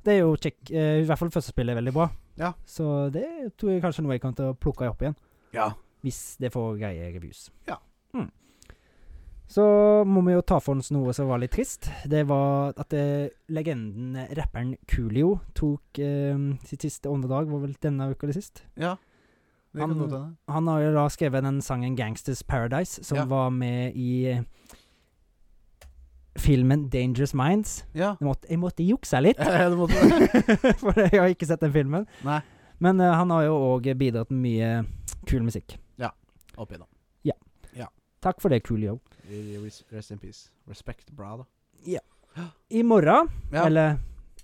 Det er jo kjekk. eh, I hvert fall første spillet er veldig bra.
Ja.
Så det tror jeg kanskje er noe jeg kommer til å plukke opp igjen.
Ja.
Hvis det får greie reviews.
Ja.
Mm. Så må vi jo ta for oss noe som var litt trist. Det var at eh, legenden eh, rapperen Coolio tok ehm, sitt siste åndedag, var vel denne uka eller sist?
ja. Det
Han-
kan godt hende.
Han har jo da skrevet den sangen 'Gangsters Paradise', som
Ja.
var med i eh, filmen 'Dangerous Minds'.
Ja.
Jeg måtte, jeg måtte jukse litt,
(laughs)
(laughs)
Ja, det måtte
for jeg har ikke sett den filmen.
(laughs) Nei.
Men eh, han har jo òg bidratt med mye kul musikk.
Opp igjen, da.
Takk for det, Coolio.
Rest in peace. Respect, bra, da.
I morgen,
Ja.
eller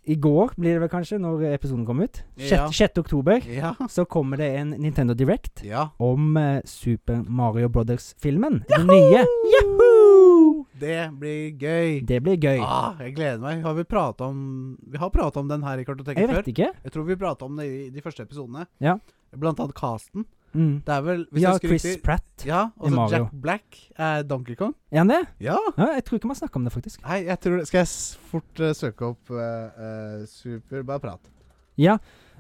i går blir det vel kanskje, når episoden kommer ut, 6.
Ja.
oktober,
Ja.
så kommer det en Nintendo Direct
ja.
om eh, Super Mario Brothers-filmen. Den nye. Yahoo!
Det blir gøy.
Det blir gøy.
Ah, jeg gleder meg. Har vi prata om Vi har prata om den her i
jeg
Kartoteket
vet
før.
ikke.
Jeg tror vi prata om det i de første episodene.
Ja.
Blant annet casten.
Mm.
Det er vel hvis
Vi
jeg
har
husker
Chris
riktig-
Pratt.
Ja, og så
Mario.
Jack Black er Donkey Kong.
Er han det?
Ja!
Ja, jeg tror ikke vi har snakka om det, faktisk.
Hei, jeg tror Skal jeg s- fort eh, søke opp eh, eh, Super Bare prat.
Ja,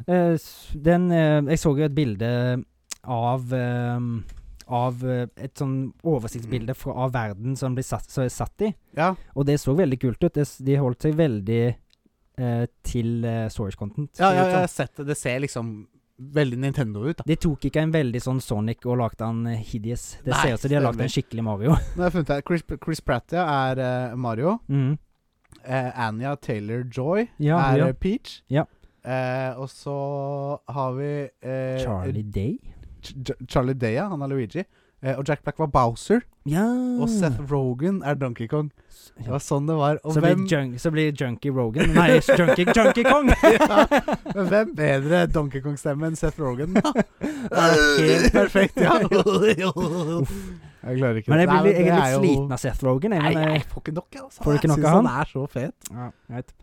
eh, s- den eh, Jeg så jo et bilde av eh, Av eh, et sånn oversiktsbilde fra, av verden som blir satt, som er satt i.
Ja.
Og det så veldig kult ut. Det, s- de holdt seg veldig eh, til eh, source content.
Ja,
ser det
ja,
ut
jeg
som.
har sett det. Det ser liksom veldig Nintendo ut, da.
De tok ikke en veldig sånn Sonic og lagde han eh, hideous. Det
Nei,
ser ut som de har lagd
stemmer.
en skikkelig Mario. (laughs)
Nå har jeg funnet her. Chris, Chris Pratt ja, er eh, Mario.
mm.
Eh, Anja Taylor Joy
Ja,
er
ja.
eh, Peach.
Ja.
Eh, og så har vi eh,
Charlie Day.
Ch Ch- Charlie Day, ja. Han er Luigi. Eh, og Jack Black var Bowser.
Ja.
Og Seth Rogan er Donkey Kong. Det var sånn det var. Og
Så blir,
hvem,
junk, så blir Junkie Rogan Nei, Junkie, junkie Kong!
(laughs) ja, men hvem bedre Donkey Kong-stemme enn Seth Rogan? da? Helt perfekt,
(laughs)
ja. Jeg klarer ikke
(laughs) Men jeg, blir,
Nei,
litt- jeg er litt
det jo-
sliten av Seth Rogan. Jeg,
Nei,
men,
jeg
jeg,
får ikke nok, altså.
Får du ikke nok
jeg
av
syns han er så fet.
ja, greit.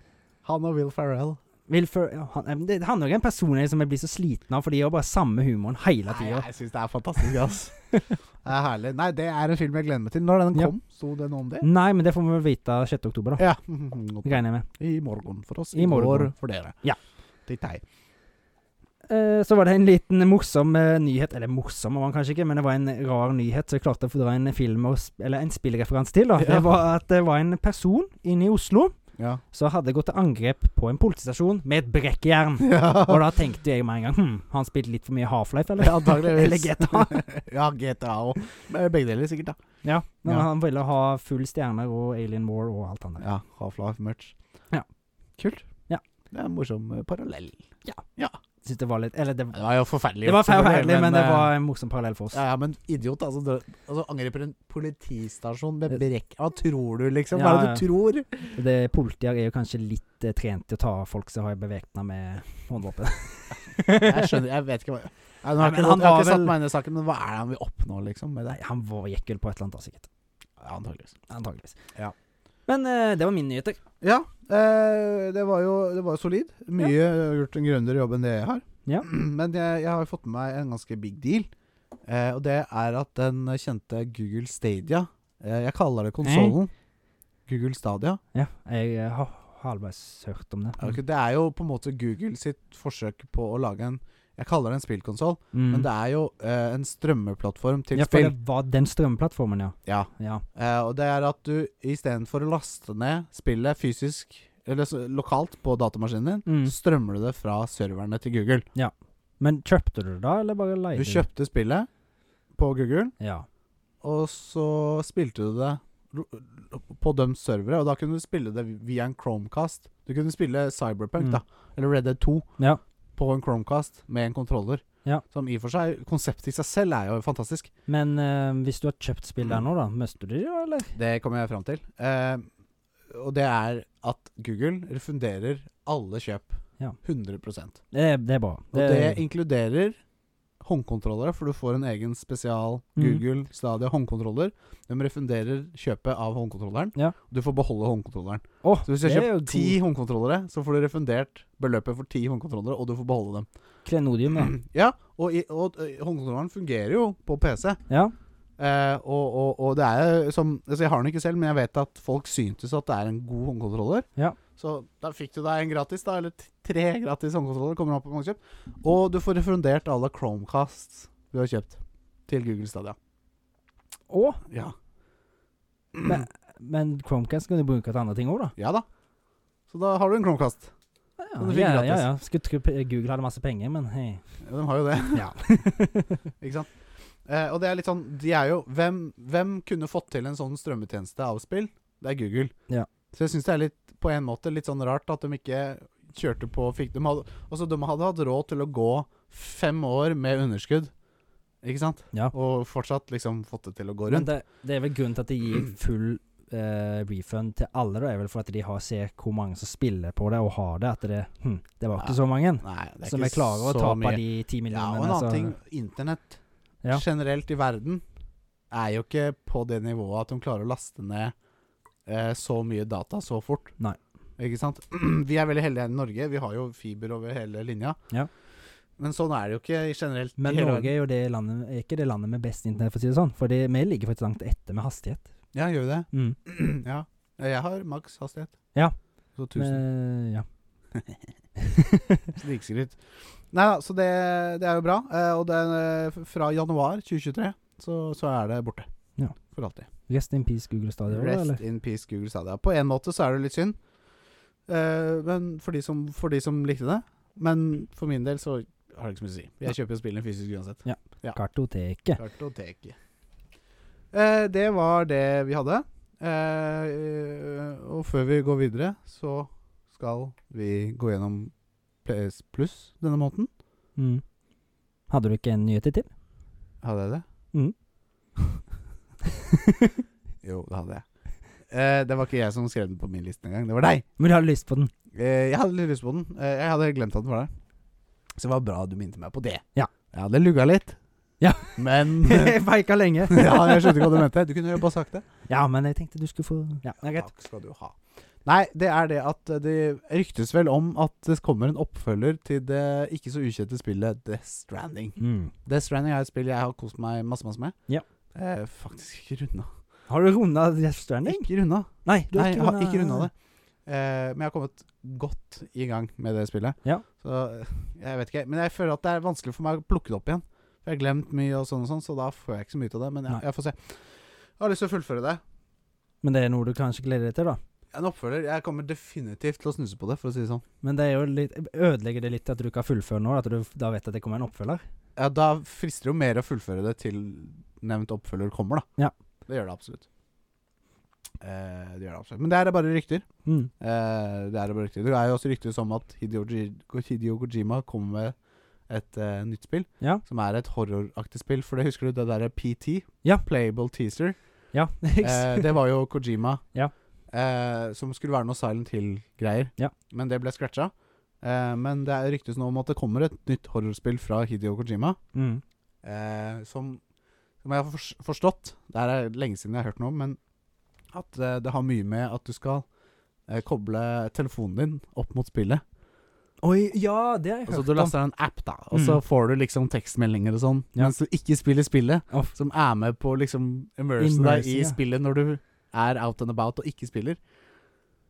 Han og Will Ferrell.
Vil for, ja, han, eh, men det handler jo om en personlighet som jeg blir så sliten av, for de gjør bare samme humoren hele
Nei,
tida.
jeg syns det er fantastisk, ass. (laughs) Det er herlig. Nei, det er en film jeg gleder meg til. Når den
Ja.
kom, sto det noe om det?
Nei, men det får vi vel vite 6. oktober, da. (laughs)
Ja.
Regner jeg med.
I morgen for oss.
I morgen.
går for dere.
Ja.
Til deg.
Eh, så var det en liten morsom eh, nyhet Eller morsom var den kanskje ikke, men det var en rar nyhet som jeg klarte å få dra en film og, sp- eller en spillreferanse til. da
Ja.
Det var at det var en person inne i Oslo
Ja.
som hadde gått til angrep på en politistasjon med et brekkjern. Og (laughs)
ja.
da tenkte jeg med en gang Hm, har han spilt litt for mye Half-Life, eller?
Antakeligvis.
Eller GTA.
(laughs) ja, GTA òg. Begge deler, sikkert. da
Ja, men
Ja.
han ville ha full stjerner og Alien War og alt annet.
Ja, Half-Life-merch.
Ja.
Kult.
Ja.
Det er en morsom eh, parallell.
Synes det var litt Eller det,
Det var jo forferdelig.
det var
gjort, selvfølgelig,
forferdelig, men det
eh,
var en morsom parallell for oss.
ja, ja, men idiot, altså. dra- altså angriper en politistasjon med brekk Hva tror du, liksom? Hva
Eh. Ja,
er det du tror?
Det Politier er jo kanskje litt eh, trent til å ta folk som har bevæpna med håndvåpen.
(laughs) Jeg skjønner, jeg vet ikke hva Nei, nå
Nei,
har jeg
men
ikke,
han
jeg har
var
ikke satt
vel-
meg inn i saken, men hva er det han vil oppnå, liksom? Med det?
Nei, (laughs) han var gikk vel på et eller annet, da, sikkert.
Ja, antageligvis.
Antageligvis.
Ja.
Men eh, det var mine nyheter.
Ja, eh, det var jo det var jo solid. Mye jeg har gjort en grundigere jobb enn det jeg har.
Ja.
(clears throat) Men jeg, jeg har jo fått med meg en ganske big deal. Eh, og det er at den kjente Google Stadia eh, Jeg kaller det konsollen. Google Stadia.
Ja, jeg eh, har halvveis hørt om det.
Ok, Det er jo på en måte Google sitt forsøk på å lage en Jeg kaller det en spillkonsoll,
Mm.
men det er jo eh, en strømmeplattform til
ja, for
spill.
det var den strømplattformen, ja.
Ja.
ja.
Eh, og det er at du istedenfor å laste ned spillet fysisk, eller så, lokalt, på datamaskinen din,
Mm.
så strømmer du det fra serverne til Google.
Men kjøpte du det da, eller bare leide
Du kjøpte spillet på Google,
Ja.
og så spilte du det lo- lo- på dømt servere, og da kunne du spille det via en Chromecast. Du kunne spille Cyberpunk,
Mm.
da, eller Red Dead 2,
Ja.
på en Chromecast med en kontroller.
Ja.
Som i og for seg Konseptet i seg selv er jo fantastisk.
Men eh, hvis du har kjøpt spill
Mm.
der nå, da, mister du det, da, eller?
Det kommer jeg fram til. Eh, og det er at Google refunderer alle kjøp.
Ja.
100
Det, er- det er bra.
Og det inkluderer håndkontrollere, for du får en egen spesial
Mhm.
Google Stadia håndkontroller. De refunderer kjøpet av håndkontrolleren.
Ja.
og Du får beholde håndkontrolleren.
Åh,
Så hvis du
det
har
er jo
kjøpt ti håndkontrollere, så får du refundert beløpet for ti håndkontrollere, og du får beholde dem.
god Klenodium, ja.
Ja, og, i, og eh, håndkontrolleren fungerer jo på PC.
ja.
Eh, og, og, og det er jo som altså Jeg har den ikke selv, men jeg vet at folk syntes at det er en god håndkontroller.
Ja.
Så da fikk du deg en gratis, da. Eller t- tre gratis håndkontroller. Kommer an på hvor mange du kjøpt. Og du får refundert alle Chromecasts du har kjøpt til Google Stadia.
Å,
Ja,
men, men Chromecast kan du bruke til andre ting òg, da.
ja da. Så da har du en Chromecast.
Ja,
Og du fikk
ja, ja,
gratis.
ja. Skulle tro pe- Google hadde masse penger, men hei.
Ja, De har jo det, (laughs)
Ja. (laughs)
ikke sant. Eh, og det er litt sånn De er jo hvem, hvem kunne fått til en sånn strømmetjeneste av spill? Det er Google.
Ja.
Så jeg syns det er litt på en måte litt sånn rart at de ikke kjørte på fikk, de, hadde, altså, de hadde hatt råd til å gå fem år med underskudd, ikke sant?
Ja.
Og fortsatt liksom fått det til å gå
Men
rundt.
det, det er vel grunnen til at de gir full eh, refund til alle, da, er vel for at de har ser hvor mange som spiller på det og har det, at det, hm, det var ikke
Ja.
så mange
Nei, det er
som
ikke
er klarer å
så
tape
mye.
de
Ja, og
ti
en
millionene. altså.
annen
så-
ting. Internett
Ja.
generelt i verden er jo ikke på det nivået at de klarer å laste ned eh, så mye data så fort.
Nei.
Ikke sant? (clears throat) Vi er veldig heldige her i Norge. Vi har jo fiber over hele linja.
Ja.
Men sånn er det jo ikke generelt. i
Men
hele
Norge
verden.
er jo det landet, er ikke det landet med best internett, for å si det sånn. For det, vi ligger faktisk langt etter med hastighet.
Ja, gjør vi det? (clears throat)
Mm.
ja. Jeg har maks hastighet.
Ja.
Så 1000.
Men, ja.
(laughs) Snikskryt. Nei da, så det, det er jo bra. Eh, og det, er, eh, fra januar 2023 så, så er det borte.
Ja.
For alltid.
Rest in peace, Google Stadia.
Rest
Eller?
in peace, Google Stadia. På en måte så er det litt synd, Eh, men for de, som, for de som likte det. Men for min del så har det ikke så mye å si. Jeg kjøper jo spillene fysisk uansett. ja.
Kartoteket.
Kartoteket. Eh, det var det vi hadde. Eh, og før vi går videre, så skal vi gå gjennom PS Pluss denne måneden.
Mm. Hadde du ikke en nyhet til?
Hadde jeg det?
Mm.
(laughs) jo, det hadde jeg. Eh, det var ikke jeg som skrev den på min liste engang. Det var deg!
Men du hadde lyst på den.
Eh, jeg hadde litt lyst på den. Eh, jeg hadde glemt at den var der. Så det var bra du minte meg på det.
Ja.
Jeg hadde lugga litt.
Ja.
(laughs) Men
(laughs) Jeg feika lenge.
(laughs) Ja, jeg skjønte ikke hva du mente. Du kunne jo bare sagt det.
Ja, men jeg tenkte du skulle få Ja, det er greit.
Takk skal du ha. Nei, det er det at eh, det ryktes vel om at det kommer en oppfølger til det ikke så ukjente spillet Death Stranding.
Mm.
Death Stranding er et spill jeg har kost meg masse, masse med.
Ja.
Eh, faktisk ikke runda.
Har du runda Death Stranding?
Ikke runda.
Nei, du
Nei, jeg har ikke runda
rundet
det. Eh, men jeg har kommet godt i gang med det spillet.
Ja.
Så eh, jeg vet ikke. Men jeg føler at det er vanskelig for meg å plukke det opp igjen. For jeg har glemt mye, og sånn og sånn, så da får jeg ikke så mye ut av det. Men
Nei.
jeg, jeg får se. Jeg har lyst til å fullføre det.
Men det er noe du kanskje gleder deg til, da.
En oppfølger. Jeg kommer definitivt til å snuse på det, for å si det sånn.
Men det er jo litt Ødelegger det litt at du ikke har fullført nå? At du da vet at det kommer en oppfølger?
Ja, da frister det jo mer å fullføre det til nevnt oppfølger kommer, da.
Ja.
Det gjør det absolutt. Eh, det gjør det absolutt. Men det her er bare rykter.
Mm.
Eh, det er det bare riktig. Det er jo også rykter som at Hideo, Ji- Hideo Kojima kommer med et eh, nytt spill,
Ja.
som er et horroraktig spill. For det husker du det derre PT?
Ja.
Playable teaser.
Ja. (laughs)
Eh, det var jo Kojima,
Ja.
eh, som skulle være noe Silent Hill-greier.
Ja.
Men det ble scratcha. Eh, men det er ryktes nå om at det kommer et nytt horrorspill fra Hideo Kojima,
mm.
eh, som, som jeg har fors- forstått Det her er lenge siden jeg har hørt noe om, men at eh, det har mye med at du skal eh, koble telefonen din opp mot spillet.
Oi, ja, det har jeg
Altså
hørt
Du laster en app, da, og så
Mm.
får du liksom tekstmeldinger og sånn.
Ja.
Mens du ikke spiller spillet,
Å, f-
som er med på liksom immersion deg
Immersion,
i
ja.
spillet når du er out and about og ikke spiller.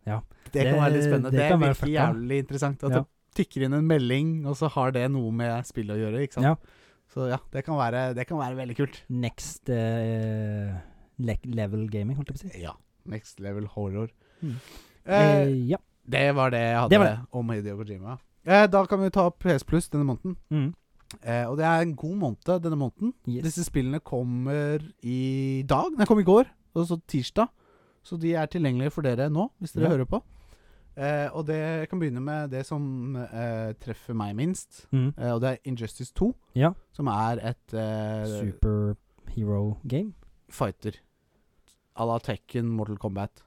Ja.
Det kan være litt
Det-
spennende.
det
Det,
kan være
virker
fucka.
jævlig interessant. At
Ja.
det tikker inn en melding, og så har det noe med spillet å gjøre. ikke sant?
Ja.
Så ja, det kan, være, det kan være veldig kult.
Next eh, le level gaming, holdt jeg på å si.
Ja. Next level horror.
Mm.
Eh,
Eh, ja.
det var det jeg hadde
det var det.
om Hideo Kojima. Eh, da kan vi ta opp PS Pluss denne måneden.
Mm.
Eh, og det er en god måned denne måneden.
Yes.
Disse spillene kommer i dag. Nei, kom i går, og så tirsdag. Så de er tilgjengelige for dere nå, hvis dere
Ja.
hører på. Eh, og det jeg kan begynne med det som eh, treffer meg minst.
Mm.
Eh, og det er Injustice 2,
Ja.
som er et eh,
Superhero game.
fighter. À la Tekken, Mortal Kombat.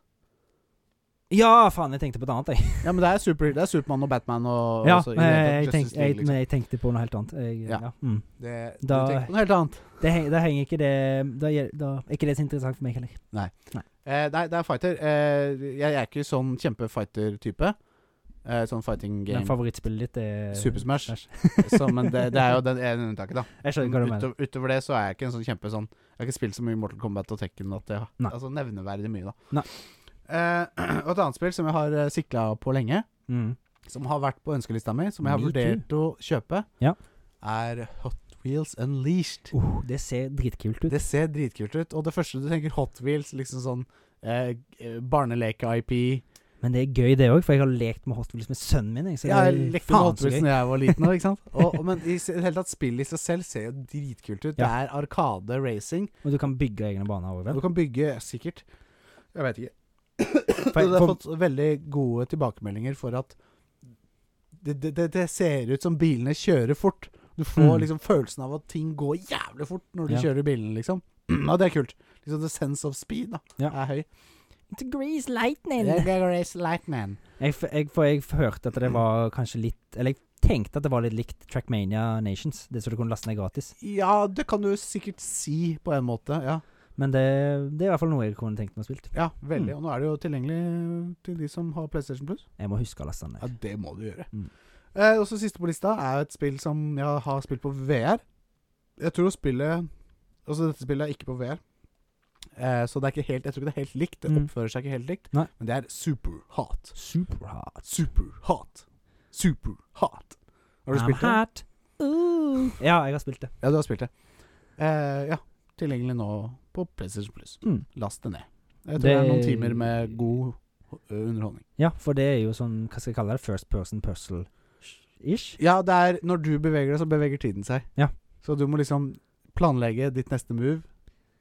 Ja, faen, jeg tenkte på et annet, jeg.
Ja, men det er, super, det er Supermann og Batman og
(laughs) Ja,
og så-
men jeg,
Justice
tenkte, jeg,
League, liksom.
men jeg tenkte på noe helt annet. Jeg, ja.
Ja.
Mm.
det,
da-
Du tenker på noe helt annet.
Det, heng, det henger ikke det da, gjel- da er ikke det så interessant for meg heller.
Eh, nei, det er fighter. Eh, jeg er ikke sånn kjempefighter-type. Eh, sånn fighting
Men
game.
favorittspillet ditt er
Super
(laughs)
Smash. Så, men det, det er jo den ene unntaket, da.
Jeg (laughs) skjønner hva du mener.
Utover, utover det så er jeg ikke en sånn kjempe sånn Jeg har ikke spilt så mye Mortal Kombat og Tekken at jeg
Nei.
Altså nevneverdig mye, da.
Nei.
Eh, (clears throat) og et annet spill som jeg har eh, sikla på lenge,
Mm.
som har vært på ønskelista mi, som jeg har
Me
vurdert å kjøpe,
Ja.
er Hot Wheels Unleashed.
Oh, det ser dritkult ut.
Det ser dritkult ut, og det første du tenker Hot Wheels, liksom sånn eh, eh, barneleke-IP.
Men det er gøy, det òg, for jeg har lekt med Hot Wheels med sønnen min. Jeg, så
Ja,
det er
jeg lekte med
faen
Hot
så
Wheels
gøy.
da jeg var liten. også,
(laughs)
Ikke sant? Og, og, men i s- det hele tatt spillet i seg selv ser jo dritkult ut. Det
Ja.
er Arkade Racing.
Og du kan bygge egne baner òg,
Du
vel?
kan bygge sikkert Jeg vet ikke.
For,
Men
jeg-
det har
for,
fått veldig gode tilbakemeldinger for at det, det, det, det ser ut som bilene kjører fort. Du får
Mm.
liksom følelsen av at ting går jævlig fort når du
Ja.
kjører bilene, liksom. (clears throat) Ja, det er kult. Liksom The sense of speed da
Ja.
er høy.
to grease lightning.
Jeg, jeg, race lightning.
Jeg, f- jeg, for jeg f- hørte at det var kanskje litt Eller jeg tenkte at det var litt likt Trackmania Nations. Det som du kunne laste ned gratis.
Ja, det kan du sikkert si på en måte. Ja,
Men det, det er i hvert fall noe jeg kunne tenkt meg å spille.
ja veldig.
Mm.
Og nå er det jo tilgjengelig til de som har PlayStation Plus.
Jeg må huske å laste den
Ja,
ned.
det må du gjøre.
Mm.
Eh, også siste på lista er et spill som jeg har spilt på VR. Jeg tror spillet Altså, dette spillet er ikke på VR. Eh, så det er ikke helt, jeg tror ikke det er helt likt. Det
Mm.
oppfører seg ikke helt likt.
Nei.
Men det er superhot.
Superhot.
Superhot. Superhot. Har du
I'm
spilt det?
hot. Ooh. Ja, jeg har spilt det.
Ja, du har spilt det. Eh, ja. Tilgjengelig nå på PlayStation Plus.
Mm.
Last det ned. Jeg tror det,
Det-
er noen timer med god eh, underholdning.
Ja, for det er jo sånn Hva skal jeg kalle det? First person puzzle-ish?
Ja, det er når du beveger deg, så beveger tiden seg.
Ja.
Så du må liksom planlegge ditt neste move.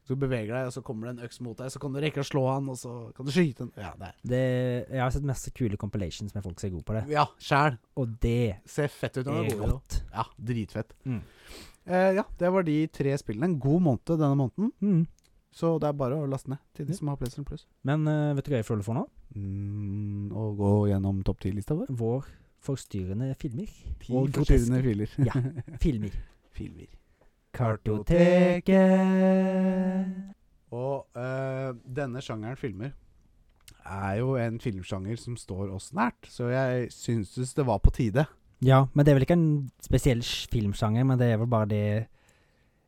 Så du beveger deg, og så kommer det en øks mot deg. Så kan du rekke å slå han, og så kan du skyte han. Ja, det er.
Det, jeg har sett masse kule compilations med folk som er gode på det,
Ja, sjæl.
og det
Ser fett ut. når du
er
går i det.
rått.
Ja, dritfett.
Mm.
Eh, ja, det var de tre spillene. En god måned denne måneden,
Mm.
så det er bare å laste ned til de
Ja.
som har PlayStation Plus.
Men eh, vet du hva jeg føler for nå?
Mm, og gå gjennom topp ti-lista vår.
Vår forstyrrende filmer.
Og
groteske
forstyrrende filer.
Ja. filmer.
Filmer.
Kartoteket.
Og eh, denne sjangeren filmer er jo en filmsjanger som står oss nært, så jeg syntes det var på tide.
Ja, men det er vel ikke en spesiell sj- filmsjanger, men det er vel bare det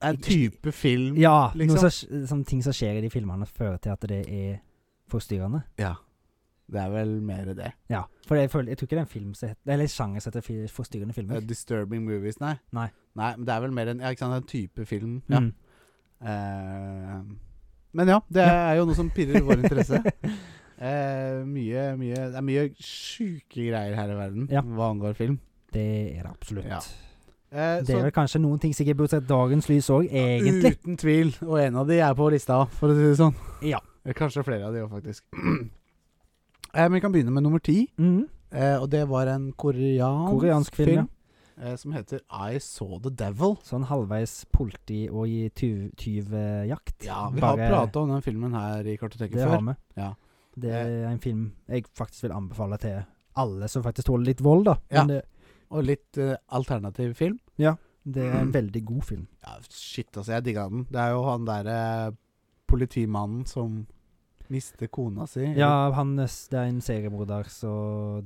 En type film
Ja,
Liksom.
noe som, sj- som ting som skjer i de filmene fører til at det er forstyrrende.
Ja. Det er vel mer det.
Ja, for jeg, føler, jeg tror ikke det er en film som heter Eller en sjanger som heter fi- forstyrrende
Eh,
filmer.
disturbing movies, nei.
Nei.
men det er vel mer en, ja, ikke sant, en type film. Ja.
Mm.
Eh, men ja, det er jo noe som pirrer vår interesse. Eh, mye, mye Det er mye sjuke greier her i verden
Ja.
hva angår film.
Det er (laughs) det absolutt.
Ja. Eh,
Det er
så-
vel kanskje noen ting som ikke burde sett dagens lys òg, egentlig.
Uten tvil. Og en av de er på lista, for å si det sånn.
Ja.
Eller Kanskje flere av de òg, faktisk. (clears throat) eh, men vi kan begynne med nummer ti.
Mm.
Eh, og det var en koreansk,
Koreansk film, ja.
eh, som heter I Saw The Devil.
Sånn halvveis politi og i tyv- tyvjakt.
Ja, Vi
Bare-
har prata om den filmen her i Kartoteket
Det har
før.
vi.
Ja. Eh.
Det er en film jeg faktisk vil anbefale til alle som faktisk tåler litt vold, da.
Ja.
Men det,
Og litt eh, alternativ film.
det er
(clears throat)
en veldig god film.
Ja, shit, altså. Jeg digga den. Det er jo han derre eh, politimannen som mister kona si.
Ja, han, eh, s- det er en seriemorder, så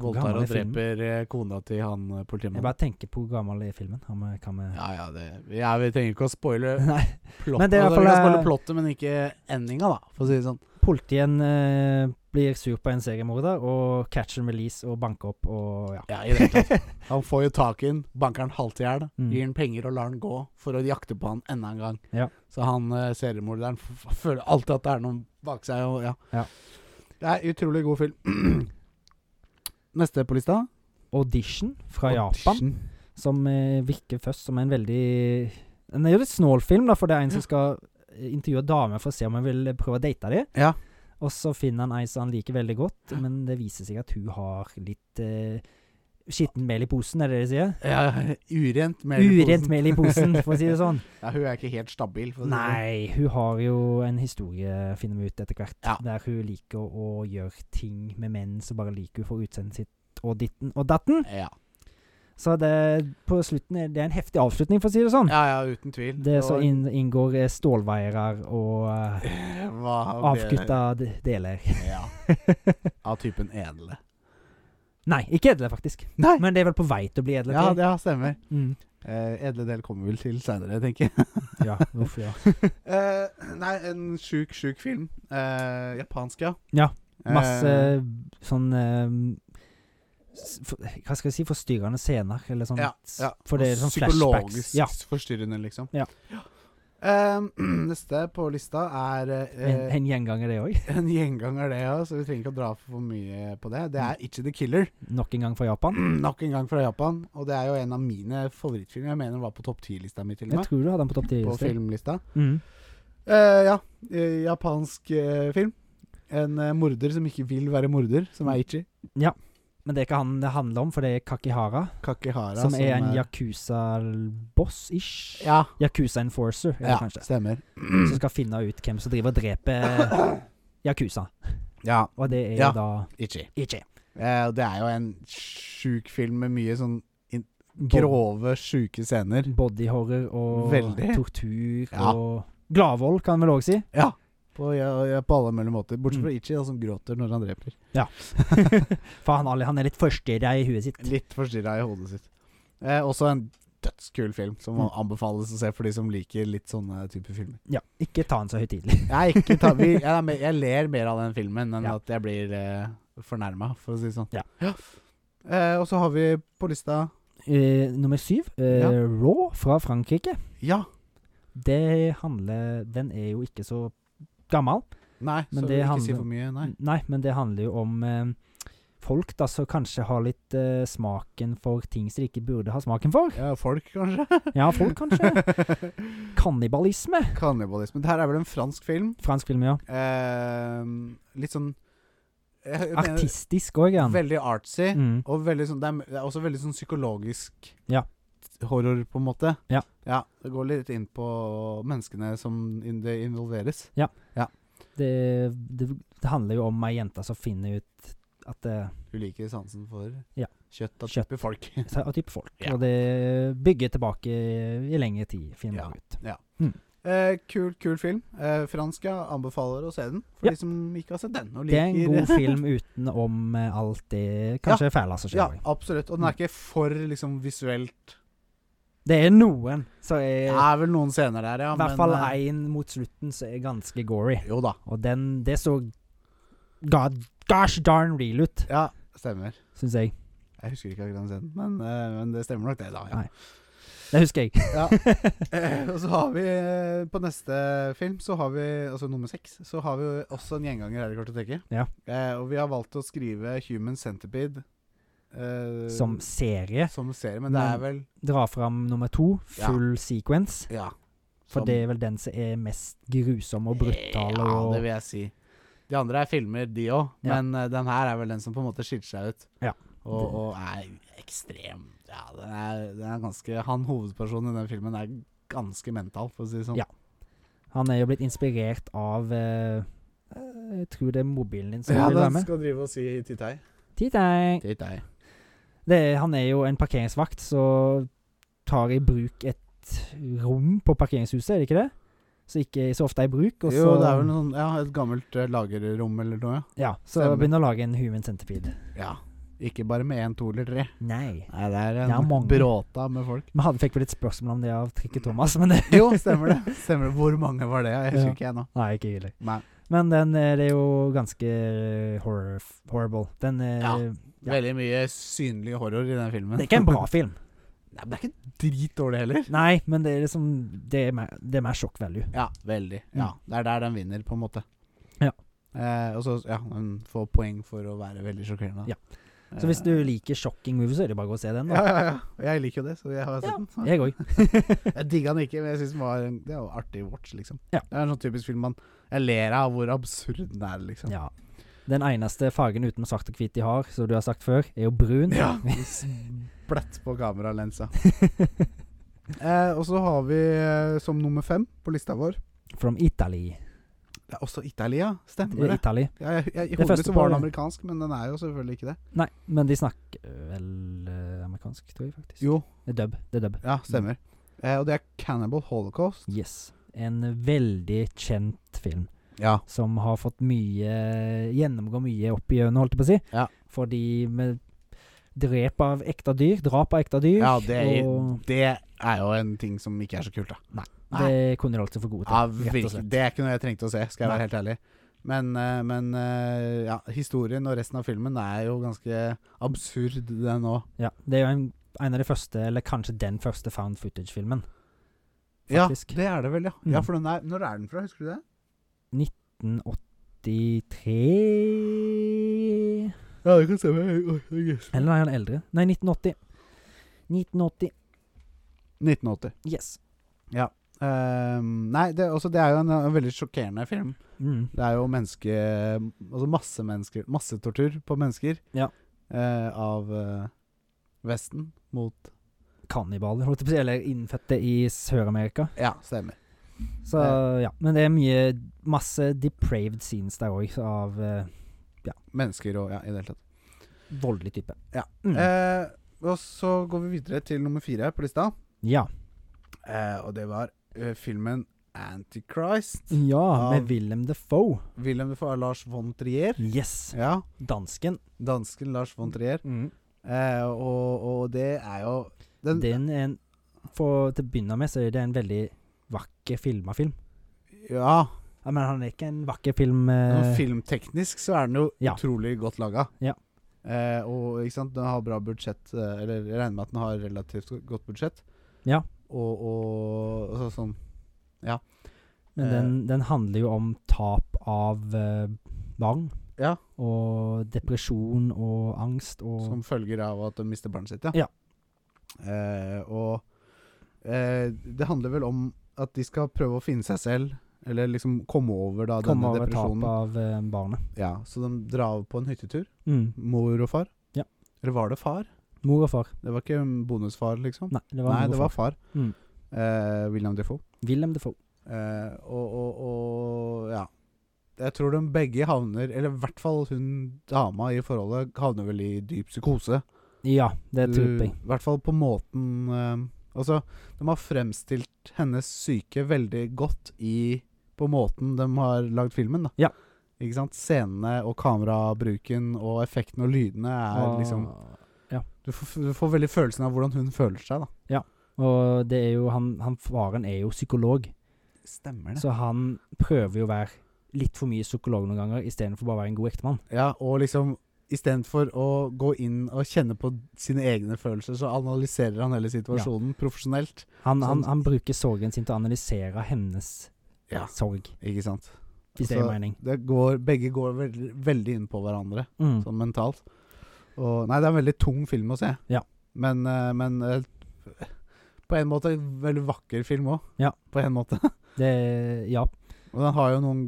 Voldtar
gammel
og
er filmen?
dreper eh, kona til han eh,
Jeg
politimannen.
bare tenker på hvor gammel er filmen. Har vi, kan vi
Ja, ja, det, ja, vi trenger ikke å spoile
(laughs) Nei.
plottet.
(laughs) Men det er i
altså,
hvert
vi kan
fall,
spoile
eh,
plottet, men ikke endinga, da, for å si det sånn.
Politien eh, blir sur på en seriemorder og catch and release og banker opp og ja.
Ja, i det hele tatt. (laughs) Han får jo tak i den, banker han halvt i hjel,
Mm.
gir han penger og lar han gå for å jakte på han enda en gang.
Ja.
Så han eh, seriemorderen f f- føler alltid at det er noen bak seg. Og, ja.
Ja.
Det er utrolig god film. (clears throat) Neste på lista
(laughs) Audition fra Japan,
Audition.
som eh, virker først som en veldig Den er jo litt snål film, da, for det er en som skal eh, intervjue damer for å se om hun vil eh, prøve å date dem.
Ja.
Og så finner han ei som han liker veldig godt, men det viser seg at hun har litt eh, skittent mel i posen, er det det de sier?
ja. Urent mel i
Urent
posen.
mel i posen, for å si det sånn.
Ja, hun er ikke helt stabil. For å si det sånn.
Nei, hun har jo en historie, finner vi ut etter hvert,
Ja.
der hun liker å gjøre ting med menn som bare liker hun for utseendet sitt og ditten og datten.
sånn. Ja.
Så det, på slutten er det er en heftig avslutning, for å si det sånn.
ja, ja, uten tvil.
Det så
Og-
inn, inngår eh, stålvaiere og eh,
Hva
avkutta d- deler.
Ja. Av typen edle.
Nei, ikke edle, faktisk.
Nei!
Men det er vel på vei til å bli edle.
Ja,
tror jeg.
det ja, stemmer.
Mm.
Eh, edle del kommer vi vel til seinere, tenker jeg.
Ja, uff,
(laughs)
ja.
Eh, nei, en sjuk, sjuk film. Eh, japansk, ja.
Ja, Masse
Eh,
sånn eh, s- for, Hva skal jeg si Forstyrrende scener, eller sånn.
ja, ja.
For det er sånn flashbacks.
Psykologisk
Ja,
forstyrrende, liksom.
Ja.
Eh, (clears throat) neste på lista er eh,
en, en gjenganger, det òg.
en gjenganger, det, ja. Så vi trenger ikke å dra for mye på det. Det er Itchy the Killer.
Nok en gang fra Japan.
Nok en gang fra Japan. Og det er jo en av mine favorittfilmer. Jeg mener den var på topp ti-lista mi, til og
Jeg
med.
tror du hadde den på topp
På
10.
filmlista.
Mm.
Eh, ja. eh, Japansk eh, film. En eh, morder som ikke vil være morder, som er Ichi.
Men det er ikke han det handler om, for det er Kakihara,
Kakihara.
som er en Yakuza-boss-ish.
eh, Ja,
Yakuza Enforcer, er det
ja
kanskje.
stemmer.
(clears throat) Som skal finne ut hvem som driver og
(coughs)
dreper Yakuza.
Ja,
Og det er
Ja.
da
Ichi.
Ichi.
Eh, og det er jo en sjuk film med mye sånn
Bod
grove, sjuke scener.
bodyhorror og
Veldig.
tortur
Ja.
og Gladvold, kan en vel òg si. (laughs)
Ja. På, ja, ja, på alle mulige måter. Bortsett
Mm.
fra Ichi, da, som gråter når han dreper.
For han, Ali, han er litt forstyrra i huet sitt.
Litt forstyrra i hodet sitt. Eh, også en dødskul film som
Mm.
anbefales å se for de som liker litt sånne type filmer.
Ja, ikke ta han så høytidelig.
Jeg, er ikke ta, vi, jeg, er mer- jeg ler mer av den filmen enn
Ja.
at jeg blir eh, fornærma, for å si det sånn.
Ja.
Eh, og så har vi på lista
Eh, nummer syv, eh,
Ja.
Raw fra Frankrike.
Ja!
Det handler Den er jo ikke så gammel.
Nei,
Men
så
det
vil ikke
handler-
si for mye. Nei.
men det handler jo om eh, folk da som kanskje har litt eh, smaken for ting som de ikke burde ha smaken for.
Ja, folk, kanskje?
Mm. (laughs) Ja, folk kanskje. Kannibalisme.
(laughs) Kannibalisme. Det her er vel en fransk film.
Fransk film, ja.
Eh, litt sånn jeg mener-
Artistisk òg, ja.
Veldig artsy.
Mm.
Og veldig sånn, det, er, det er også veldig sånn psykologisk
Ja.
horror, på en måte.
Ja.
Det går litt inn på menneskene som in det involveres.
Det, det, det handler jo om ei jente som finner ut at eh,
Du liker sansen for
Ja.
kjøtt av
Kjøtt.
type folk. (laughs)
så- av type folk.
Ja.
Og det bygger tilbake i lengre tid, finner
Ja.
man ut.
Eh, kul, kul film. Eh, fransk, ja. Anbefaler å se den. For
Ja.
de som ikke har sett den. Og
Det er
liker (laughs)
en god film utenom eh, alt det kanskje fæle som skjer.
Ja, absolutt. Og den er ikke for liksom visuelt
Det er noen som er
Det
I
er vel noen scener der, ja.
Eh, hvert fall
eh,
én mot slutten som er ganske gory.
Jo da.
Og den Det så god, gosh darn real ut,
Ja, stemmer.
syns jeg.
Jeg husker ikke akkurat den scenen, men, eh, men det stemmer nok det, da. Ja.
Nei. Det husker jeg.
Ja. Eh, (laughs) og så har vi eh, på neste film, så har vi altså nummer seks, så har vi jo også en gjenganger her i kartoteket.
Ja.
Eh, og vi har valgt å skrive Human Centipede eh,
Som serie
som serie, men det
Men-
er vel
drar fram nummer to,
Ja.
full sequence.
Ja.
For
som-
det er vel den som er mest grusom og brutal.
Ja,
Og,
det vil jeg si. De andre er filmer, de òg,
Ja.
men eh, den her er vel den som på en måte skiller seg ut.
Ja.
Og, og er ekstrem. Ja, den er, den er ganske Han hovedpersonen i den filmen er ganske mental, for å si det sånn.
Ja. han er jo blitt inspirert av eh, eh, Jeg tror det er mobilen din som vil være med.
skal drive og si til deg.
Tittang.
Til deg.
Det er, han er jo en parkeringsvakt som tar i bruk et rom på parkeringshuset, er det ikke det? Som ikke er så ofte er i bruk. Og så,
Jo, det er vel noe sånn, ja, et gammelt eh, lagerrom eller noe,
ja, så
Stemmer.
begynner å lage en human centipede.
ja. ja. Ikke bare med én, to eller tre.
Nei.
Nei, det er
Det er
en
mange.
bråta med (laughs) folk.
Vi hadde, fikk vel et spørsmål om det av Trikke Thomas, men det (laughs)
Jo, stemmer det. Stemmer det. Hvor mange var det? Jeg husker
Ja.
ikke jeg nå.
Nei, ikke hyggelig.
Nei.
Men den er det er jo ganske eh, horror, horrible. Den er,
Ja.
Ja.
Veldig mye synlig horror i den filmen.
Det er ikke en bra film.
(laughs) Nei, men det er ikke dritdårlig heller.
Nei, men det er liksom Det er mer, det er mer shock value.
Ja, veldig. Ja, Det er der den vinner, på en måte.
Mm. Ja.
Eh, og så ja, den får poeng for å være veldig sjokkerende.
Ja. Så hvis du liker shocking movies, så er det bare å gå og se den.
Eh. ja,
da
ja, ja. Jeg liker jo det, så jeg har sett den.
Jeg òg.
Jeg digga den ikke, men jeg synes den var en, det var en artig watch, liksom.
Ja.
Det er en sånn typisk film man Jeg ler av hvor absurd den er, liksom.
Ja. Den eneste fargen utenom svart og hvit de har, som du har sagt før, er jo brun.
Ja. Blett på kameralensa. eh, og så har vi eh, som nummer fem på lista vår
(laughs) From Italy.
Det er også Italia,
Det
stemmer
er
det?
Italy.
Ja, jeg, jeg, I
Det
hodet
første
mitt så var den
på-
amerikansk, men den er jo selvfølgelig ikke det.
Nei, men de snakker vel eh, amerikansk, tror jeg faktisk.
Jo,
Det er dub. Det er dub.
ja, stemmer. Eh, og det er Cannibal Holocaust.
Yes. En veldig kjent film
Ja.
som har fått mye Gjennomgå mye opp i øynene, holdt jeg på å si.
Ja.
Fordi med drep av ekte dyr, drap av ekte dyr,
ja det, er,
og
det er jo en ting som ikke er så kult, da.
det kunne de holdt seg for gode til.
Ja,
rett og
virkelig.
slett.
Det er ikke noe jeg trengte å se, skal jeg
Nei.
være helt ærlig. Men, eh, men eh, ja, historien og resten av filmen er jo ganske absurd, den òg.
Ja, det er jo en, en av de første, eller kanskje den første found footage-filmen.
Ja,
Faktisk.
det er det vel, ja.
Mm.
ja for den er, når er den fra, husker du det?
1983
Ja, det kan stemme.
Eller nei, han er eldre. Nei, 1980. 1980.
1980.
Yes.
Ehm, nei, det, også, det er jo en, en veldig sjokkerende film.
Mm.
Det er jo menneske Altså masse mennesker Massetortur på mennesker
Ja.
eh, av eh, Vesten mot
Kannibaler, holdt jeg på å si. Eller innfødte i Sør-Amerika.
Ja, stemmer.
Så ja. Men det er mye masse depraved scenes der òg, av eh,
Mennesker og Ja, i det hele tatt.
voldelig type.
Ja.
Mm.
Eh, og så går vi videre til nummer fire på lista.
ja.
Eh, og det var eh, filmen Antichrist.
ja.
av-
Med Willem Defoe.
William Defoe er Lars von Trier.
Yes.
Ja,
Dansken.
dansken Lars von Trier. Eh, og, og det er jo den,
Den er en for, Til å begynne med så er det en veldig vakker filma film.
Ja,
Ja, men han er ikke en vakker film eh,
sånn filmteknisk så er den jo
ja.
utrolig godt laga.
Ja.
Eh, og ikke sant, den har bra budsjett, eh, eller jeg regner med at den har relativt godt budsjett.
Ja.
Og, og, og så, sånn Eh.
Men den, den handler jo om tap av eh, barn.
Ja.
Og depresjon og angst og
Som følger av at de mister barnet sitt,
Ja.
Eh, og eh, det handler vel om at de skal prøve å finne seg selv, eller liksom komme over da denne
komme over tap
depresjonen.
av eh, barnet.
Ja, så de drar på en hyttetur,
Mm.
mor og far.
Ja.
Eller var det far?
Mor og far.
Det var ikke bonusfar, liksom.
Nei, det var
Nei,
mor
det
og
var
far.
far.
Mm.
Eh, William Defoe.
Willem Defoe.
Eh, og, og, og ja. Jeg tror de begge havner, eller i hvert fall hun dama i forholdet, havner vel i dyp psykose.
Ja, det tror
Du-
jeg.
I hvert fall på måten eh, Altså, de har fremstilt hennes syke veldig godt i På måten de har lagd filmen, da.
Ja.
Ikke sant? Scenene og kamerabruken og effekten og lydene er
Og-
liksom du får, du får veldig følelsen av hvordan hun føler seg, da.
Og det er jo han, han faren er jo psykolog,
Stemmer
så han prøver jo å være litt for mye psykolog noen ganger, istedenfor bare å være en god ektemann.
Ja, og liksom Istedenfor å gå inn og kjenne på sine egne følelser, så analyserer han hele situasjonen profesjonelt.
Han, han,
Sånn-
han bruker sorgen sin til å analysere hennes
Ja. Altså
sorg,
Ikke sant?
hvis det
Så
gir mening.
Det går, begge går veldig, veldig inn på hverandre.
Mm.
sånn mentalt. Og, nei, det er en veldig tung film å se.
Ja.
Men, eh, men eh, på en måte en veldig vakker film òg.
Ja.
På en måte. (laughs)
Det Ja.
Og den har jo noen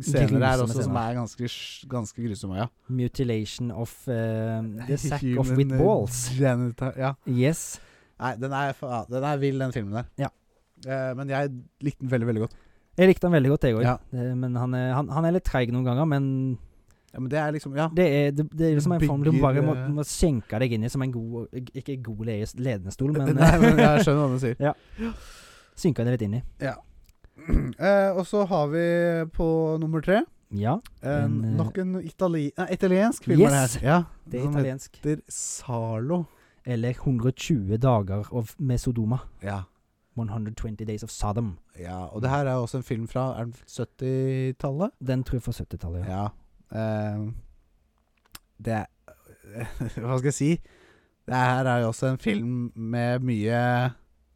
scener her
Grusomme
også som
scener.
er ganske, sj- ganske grusomme. Ja.
Mutilation of eh, the sack of
Human,
with
eh,
balls.
Genital, ja.
Yes.
Nei, den er, fa- den er vill, den filmen der.
Ja.
Eh, men jeg likte den veldig, veldig godt.
Jeg likte han veldig godt, jeg òg.
Ja.
Men han er, han, han er litt treig noen ganger. Men
Ja, men det er liksom Ja.
det er, det, det er liksom en form du
Bygger,
bare må,
eh,
må skjenke deg inn i som en god Ikke god le- ledestol, men
(laughs) Nei,
(laughs)
men jeg skjønner hva du sier. (clears throat)
synke deg litt inn i.
Eh, og så har vi på nummer tre
Ja,
en,
En, eh,
nok en itali nei, italiensk film. er
Yes!
det her. Ja,
det er
som
italiensk.
heter Zalo.
Eller 120 dager av, med Sodoma,
Ja.
120 Days of Sodom.
Ja, og det her er også en film fra er den 70-tallet.
Den tror jeg fra 70-tallet. Ja.
Ja. eh, det er (laughs) Hva skal jeg si? Det her er jo også en film med mye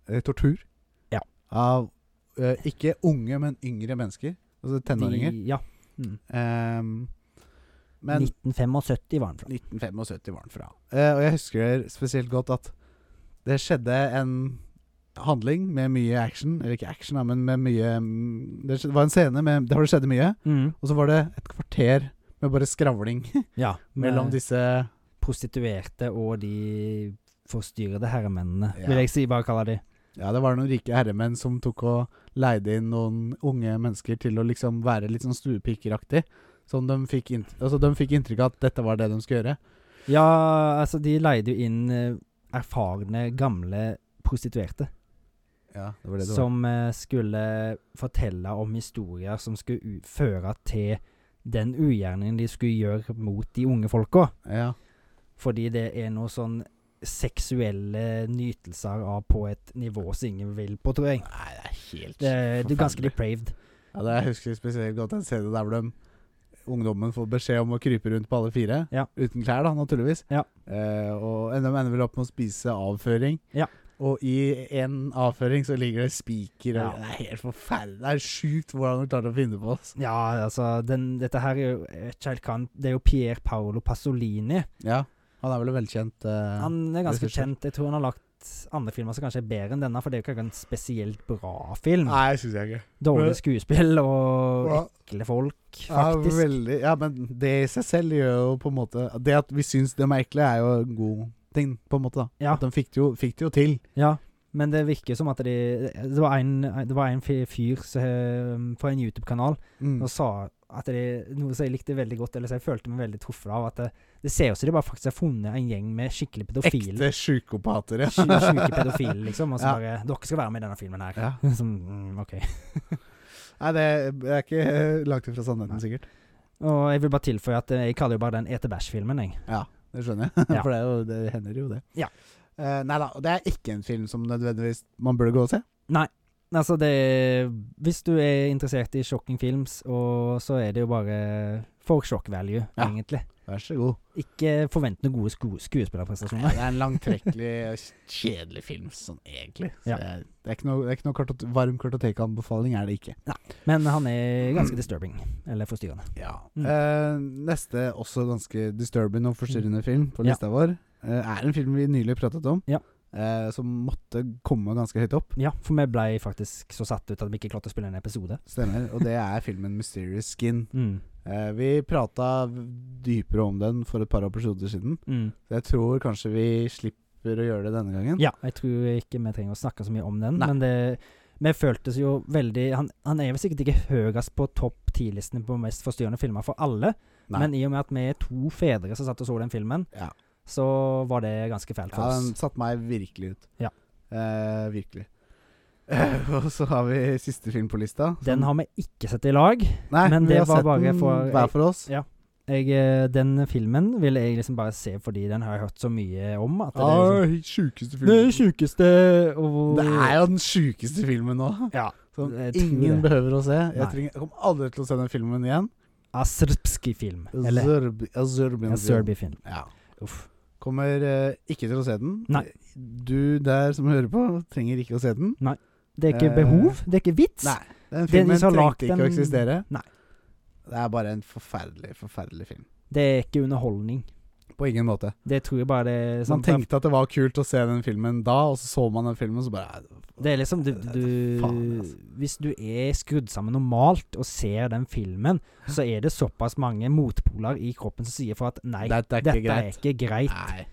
eh, tortur.
Ja.
Av eh, ikke unge, men yngre mennesker. Altså tenåringer.
De, ja. Mm.
Ehm, men
1975 var den fra.
1975 var den fra. Eh, og jeg husker spesielt godt at det skjedde en handling med mye action. Eller ikke action, da, men med mye mm, Det skjedde- var en scene med, der hvor det skjedde mye.
Mm.
Og så var det et kvarter med bare skravling (laughs)
Ja. med
mellom disse
Prostituerte og de forstyrrede herremennene,
Ja.
vil jeg si, bare kaller de.
Ja, det var noen rike herremenn som tok og leide inn noen unge mennesker til å liksom være litt sånn stuepikeraktig. Som de fikk, int altså, de fikk inntrykk av at dette var det de skulle gjøre.
Ja, altså, de leide jo inn eh, erfarne, gamle prostituerte.
Ja, det var
som eh, skulle fortelle om historier som skulle u- føre til den ugjerningen de skulle gjøre mot de unge folka.
Ja.
Fordi det er noe sånn seksuelle nytelser av på et nivå som ingen vil på, tror jeg.
Nei, det er helt
Det, det er ganske
forferdelig.
depraved.
Ja, det jeg husker spesielt godt en scene der hvor de Ungdommen får beskjed om å krype rundt på alle fire.
Ja.
Uten klær, da, naturligvis.
Ja.
Eh, og de ender vel opp med å spise avføring.
Ja.
Og i en avføring så ligger det spiker og
Ja.
Det er helt forferdelig. Det er sjukt hvordan de klarte å finne på oss.
Ja, altså, den, dette her er jo jeg vet ikke helt hva han- Det er jo Pier Paolo Pasolini.
Ja. Han er vel en velkjent eh,
Han er ganske
regissør.
kjent. Jeg tror han har lagt andre filmer som kanskje er bedre enn denne, for det er jo ikke akkurat en spesielt bra film.
Nei, syns jeg ikke.
Dårlig skuespill og
Ja.
ekle folk,
Ja,
faktisk.
veldig, ja, men det i seg selv gjør jo på en måte Det at vi syns de er ekle, er jo en god ting, på en måte. da
Ja.
At De fikk det jo, fikk det jo til.
Ja, men det virker som at de Det var en, det var en fyr fyr som, eh, på en YouTube-kanal
Mm.
og sa at de, noe som jeg likte veldig godt, eller som jeg følte meg veldig truffet av, at det, det ser ut som de bare faktisk har funnet en gjeng med skikkelig pedofile.
Ekte psykopater, ja.
sju- Sjuke pedofile, liksom. Og så
Ja.
bare Dere skal være med i denne filmen her. (laughs)
ja.
Som, mm, ok.
Nei, det er ikke eh, langt ifra sannheten,
Nei.
sikkert.
Og jeg vil bare tilføye at eh, jeg kaller jo bare den Ete Bæsj-filmen, jeg.
Det skjønner jeg, (laughs)
Ja.
for det, er jo, det hender jo det.
Ja.
Eh, nei da, og det er ikke en film som nødvendigvis man burde gå og se.
Altså, det Hvis du er interessert i shocking films, og så er det jo bare for shock value,
Ja.
egentlig.
Vær så god.
Ikke forvent noen gode sko skuespillerprestasjoner.
det er en langtrekkelig, kjedelig film, sånn egentlig. Så
Ja.
jeg- det er ikke noe, det er ikke noe kartot varm kartotekanbefaling, er det ikke.
Men
(clears throat)
han er ganske disturbing. Eller forstyrrende.
Ja.
Mm.
Eh, neste også ganske disturbing og forstyrrende film på
Mm. Ja.
lista vår, eh, er en film vi nylig pratet om,
Ja.
eh, som måtte komme ganske høyt opp.
Ja, for vi ble faktisk så satt ut at vi ikke klarte å spille en episode.
Stemmer. Og det er filmen 'Mysterious Skin'.
Mm.
Eh, vi prata dypere om den for et par episoder siden.
Mm.
Så jeg tror kanskje vi slipper å gjøre det denne gangen.
Ja, jeg tror ikke vi trenger å snakke så mye om den,
Nei.
men det vi føltes jo veldig han, han er vel sikkert ikke høyest på topp ti-listene på mest forstyrrende filmer for alle,
Nei.
men i og med at vi er to fedre som satt og så den filmen,
Ja.
så var det ganske fælt for
Ja, den
oss.
satte meg virkelig ut.
Ja.
Eh, virkelig. Eh, og så har vi siste film på lista. som-
Den har vi ikke sett i lag.
Nei,
men
vi
det
har
var
sett
bare
den
for-
hver for oss.
Ja. Jeg, eh, den filmen ville jeg liksom bare se fordi den har jeg hørt så mye om. At det, er liksom,
Ai, sjukeste
det er
filmen.
sjukeste og
Det er jo den sjukeste filmen nå.
Ja.
Som
Jeg tror
ingen
det.
behøver å se. Jeg,
Nei.
trenger, jeg kommer aldri til å se den filmen igjen.
Aserbski-film. Eller
Azerbi- Azerbian film.
Aserbi-film.
Ja.
Uff.
Kommer eh, ikke til å se den.
Nei.
Du der som hører på, trenger ikke å se den.
Det er ikke
Eh,
behov, det er ikke vits.
Nei. Den
Det er de
filmen
som har lagd
trengte ikke å
den-
eksistere.
Nei.
Det er bare en forferdelig, forferdelig film.
Det er ikke underholdning.
På ingen måte.
Det tror jeg bare det er sånn-
Man tenkte at det var kult å se den filmen da, og så så man den filmen, og så bare "Nei,
Det er liksom du, du
Faen, altså.
Hvis du er skrudd sammen normalt og ser den filmen, så er det såpass mange motpoler i kroppen som sier for at nei,
Dette er
dette
ikke greit.
er ikke greit.
Nei,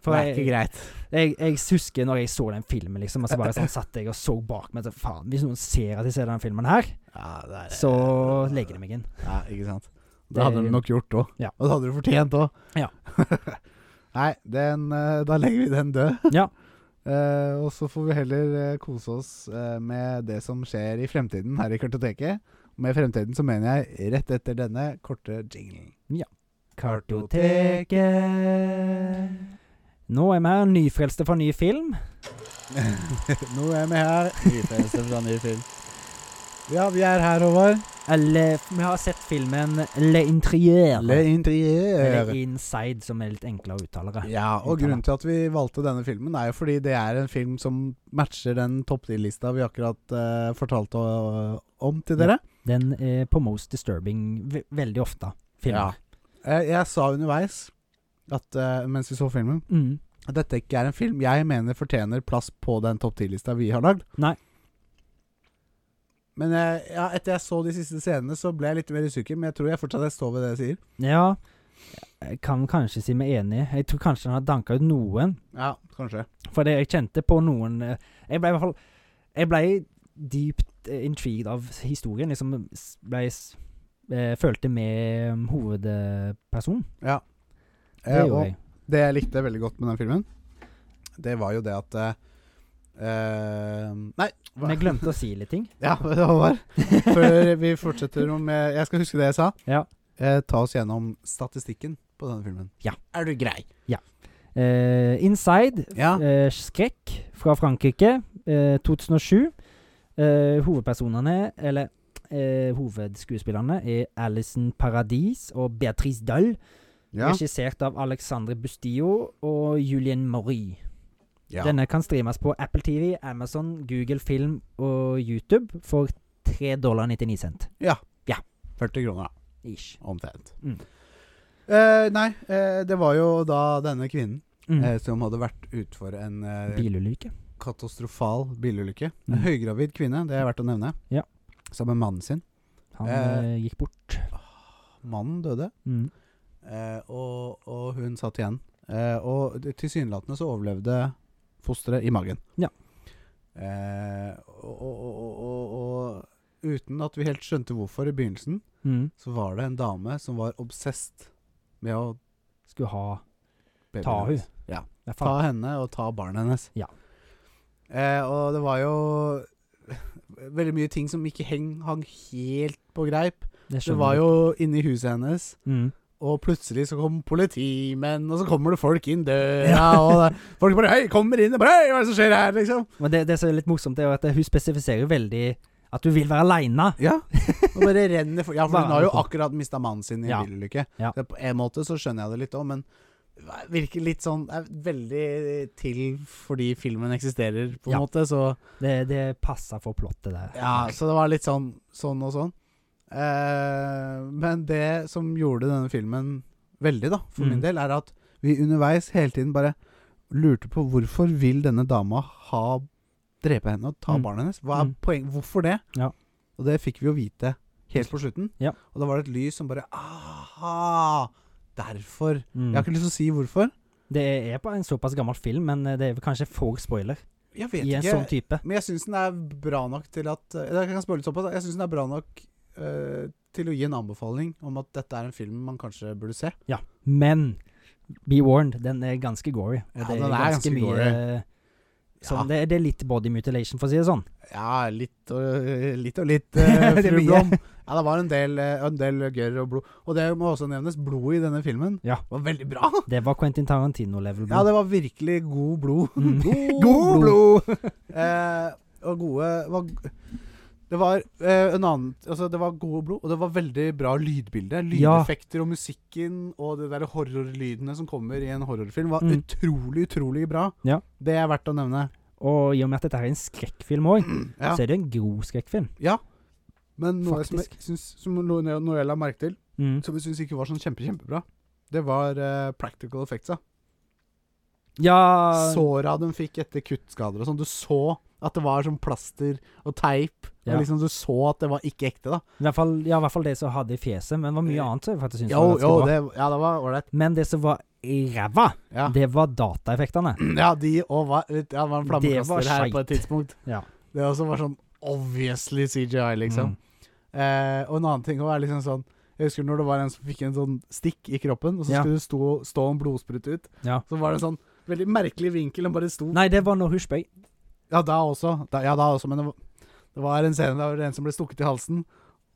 For
det er ikke
jeg,
greit.
jeg, jeg husker når jeg så den filmen, liksom, og så
(laughs)
bare sånn satt jeg og så bak meg så, Faen, hvis noen ser at jeg ser den filmen her,
Ja, det er,
så legger de meg inn.
Ja, ikke sant. Det
Det-
hadde de nok gjort òg.
Ja.
Og det hadde du fortjent òg.
Ja.
(laughs) Nei, den, eh, da legger vi den død.
(laughs) Ja.
Eh, og så får vi heller eh, kose oss eh, med det som skjer i fremtiden her i Kartoteket. Med fremtiden så mener jeg rett etter denne korte jinglen.
Kartoteket. Nå er vi her, nyfrelste fra ny film.
(laughs) Nå er vi her. Nyfrelste fra ny film. Ja, vi er her, Håvard.
Eller vi har sett filmen Le Intrier.
Le
eller
Interieur.
Inside, som er litt enklere å uttale. det.
Ja, og grunnen til at vi valgte denne filmen, er jo fordi det er en film som matcher den topptillista vi akkurat eh, fortalte eh, om til dere.
Den er på Most Disturbing ve veldig ofte.
Ja.
Filmen.
Eh, jeg sa underveis at eh, mens vi så filmen
Mm.
at dette ikke er en film jeg mener fortjener plass på den topp 10-lista vi har lagd.
Nei.
Men jeg, ja, etter jeg så de siste scenene, så ble jeg litt mer usikker, men jeg tror jeg fortsatt jeg står ved det jeg sier.
ja. Jeg kan kanskje si meg enig. Jeg tror kanskje den har danka ut noen.
Ja, kanskje.
For det jeg kjente på noen eh, Jeg ble i hvert fall Jeg ble dypt eh, intrigued av historien. Liksom s- ble s- eh, Følte med eh, hovedpersonen. Det
Eh, og
gjorde jeg.
det jeg likte veldig godt med den filmen, det var jo det at eh, eh, Nei, hva-
Men jeg glemte å si litt ting.
Ja, (laughs) Håvard. Før vi fortsetter om eh, Jeg skal huske det jeg sa.
Ja.
Eh, ta oss gjennom statistikken på denne filmen.
Ja.
Er du grei?
Eh, Inside,
Ja.
eh, skrekk fra Frankrike, eh, 2007. Eh, hovedpersonene, eller eh, hovedskuespillerne, er Alison Paradis og Beatrice Dahl.
Ja.
Regissert av Alexandre Bustillo og Julien Maury.
ja.
Denne kan streames på Apple TV, Amazon, Google Film og YouTube for 3 dollar 99 cent.
40 kroner, da.
Ish.
Omtrent.
Mm.
Eh, nei, eh, det var jo da denne kvinnen
Mm.
eh, som hadde vært utfor en eh,
Bilulykke.
katastrofal bilulykke.
Mm.
En høygravid kvinne, det er verdt å nevne.
Ja.
Sammen med mannen sin.
Han
Eh.
eh, gikk bort.
Mannen døde,
Mm.
eh, og, og hun satt igjen. Eh, og det- tilsynelatende så overlevde fosteret i magen.
Ja.
Eh, og, og, og, og, og uten at vi helt skjønte hvorfor i begynnelsen,
Mm.
så var det en dame som var obsesst med å
Skulle ha
babyen
Ta hun.
hennes. Ja.
Det er
Ta
faen-
henne og ta barnet hennes.
Ja.
Eh, og det var jo veldig mye ting som ikke heng, hang helt på greip. Det
skjønner
var
jeg.
jo inni huset hennes,
mm.
og plutselig så kom politimenn, og så kommer det folk inn døra,
Ja.
og det, folk bare Hei, kommer inn, og bare Hei, hva er det som skjer her,
(laughs)
liksom?
Men det, det som er litt morsomt, er jo at hun spesifiserer jo veldig at du vil være aleine.
Ja. Og bare renner for Ja, for hun har jo
Bare-
akkurat mista mannen sin i en
Ja.
bilulykke.
Ja.
Så På en måte så skjønner jeg det litt òg, men det virker litt sånn det er Veldig til fordi filmen eksisterer, på en
Ja.
måte, så
Det, det passer for plottet der.
Ja, så det var litt sånn sånn og sånn. Eh, men det som gjorde denne filmen veldig, da, for min
Mm.
del, er at vi underveis hele tiden bare lurte på hvorfor vil denne dama ha drepe henne og ta
Mm.
barnet hennes? Hva er
Mm.
poeng? Hvorfor det?
Ja.
Og det fikk vi jo vite helt på slutten.
Ja.
Og da var det et lys som bare Aha! Derfor.
Mm.
Jeg har ikke lyst til å si hvorfor.
Det er på en såpass gammel film, men eh, det er vel kanskje for spoiler
Jeg vet
i en
ikke.
sånn type.
Men jeg syns den er bra nok til at eh, Jeg kan spørre litt såpass. da. Jeg synes den er bra nok eh, til å gi en anbefaling om at dette er en film man kanskje burde se.
Men be warned, den er ganske gory.
Ja, den er ganske gory.
Sånn,
ja.
det, det er litt body mutilation, for å si det sånn.
(laughs) ja, litt og litt, og litt eh,
(laughs) Det er
fru
mye.
Blom. Ja, det var en del, eh, en del gørr og blod. Og det må også nevnes, blodet i denne filmen
Ja.
var veldig bra.
Det var Quentin Tarantino-level.
Ja, det var virkelig god blod.
Mm.
God,
God
(laughs) Eh, og gode var, Det var eh, en annen Altså, det var gode blod, og det var veldig bra lydbilde.
Ja.
Lydeffekter og musikken og de der horrorlydene som kommer i en horrorfilm, var
Mm.
utrolig, utrolig bra.
Ja.
Det er verdt å nevne.
Og i og med at dette her er en skrekkfilm òg,
(clears throat) Ja.
så er det en grov skrekkfilm.
Men noe som jeg,
Faktisk.
syns, som noe, noe jeg la merke til,
Mm.
som jeg syns ikke var sånn kjempe, kjempebra, det var eh, practical effects. da.
Ja
Såra de fikk etter kuttskader og sånn. Du så at det var sånn plaster og teip.
Ja.
Og liksom Du så at det var ikke ekte, da.
i, hvert fall, ja, I hvert fall det som hadde i fjeset, men det var mye
Eh,
annet som jeg faktisk syntes var
Jo,
ganske
jo,
bra.
det, ja, det var ålreit.
Men det som var i ræva,
Ja.
det var dataeffektene.
(clears throat) ja, de og var, ja, det var en
Det var
flammekaster her på
skeit.
et tidspunkt.
Ja.
Det også var sånn obviously CGI, liksom.
Mm.
Eh, og en annen ting også er liksom sånn Jeg husker når det var en som fikk en sånn stikk i kroppen, og så
Ja.
skulle det stå, stå en blodsprut ut.
Ja.
Så var det en sånn veldig merkelig vinkel. Den bare sto
Nei, det var når hun spøy.
Ja, da også. Da, ja, da også, men det var, det var en scene der det var en som ble stukket i halsen.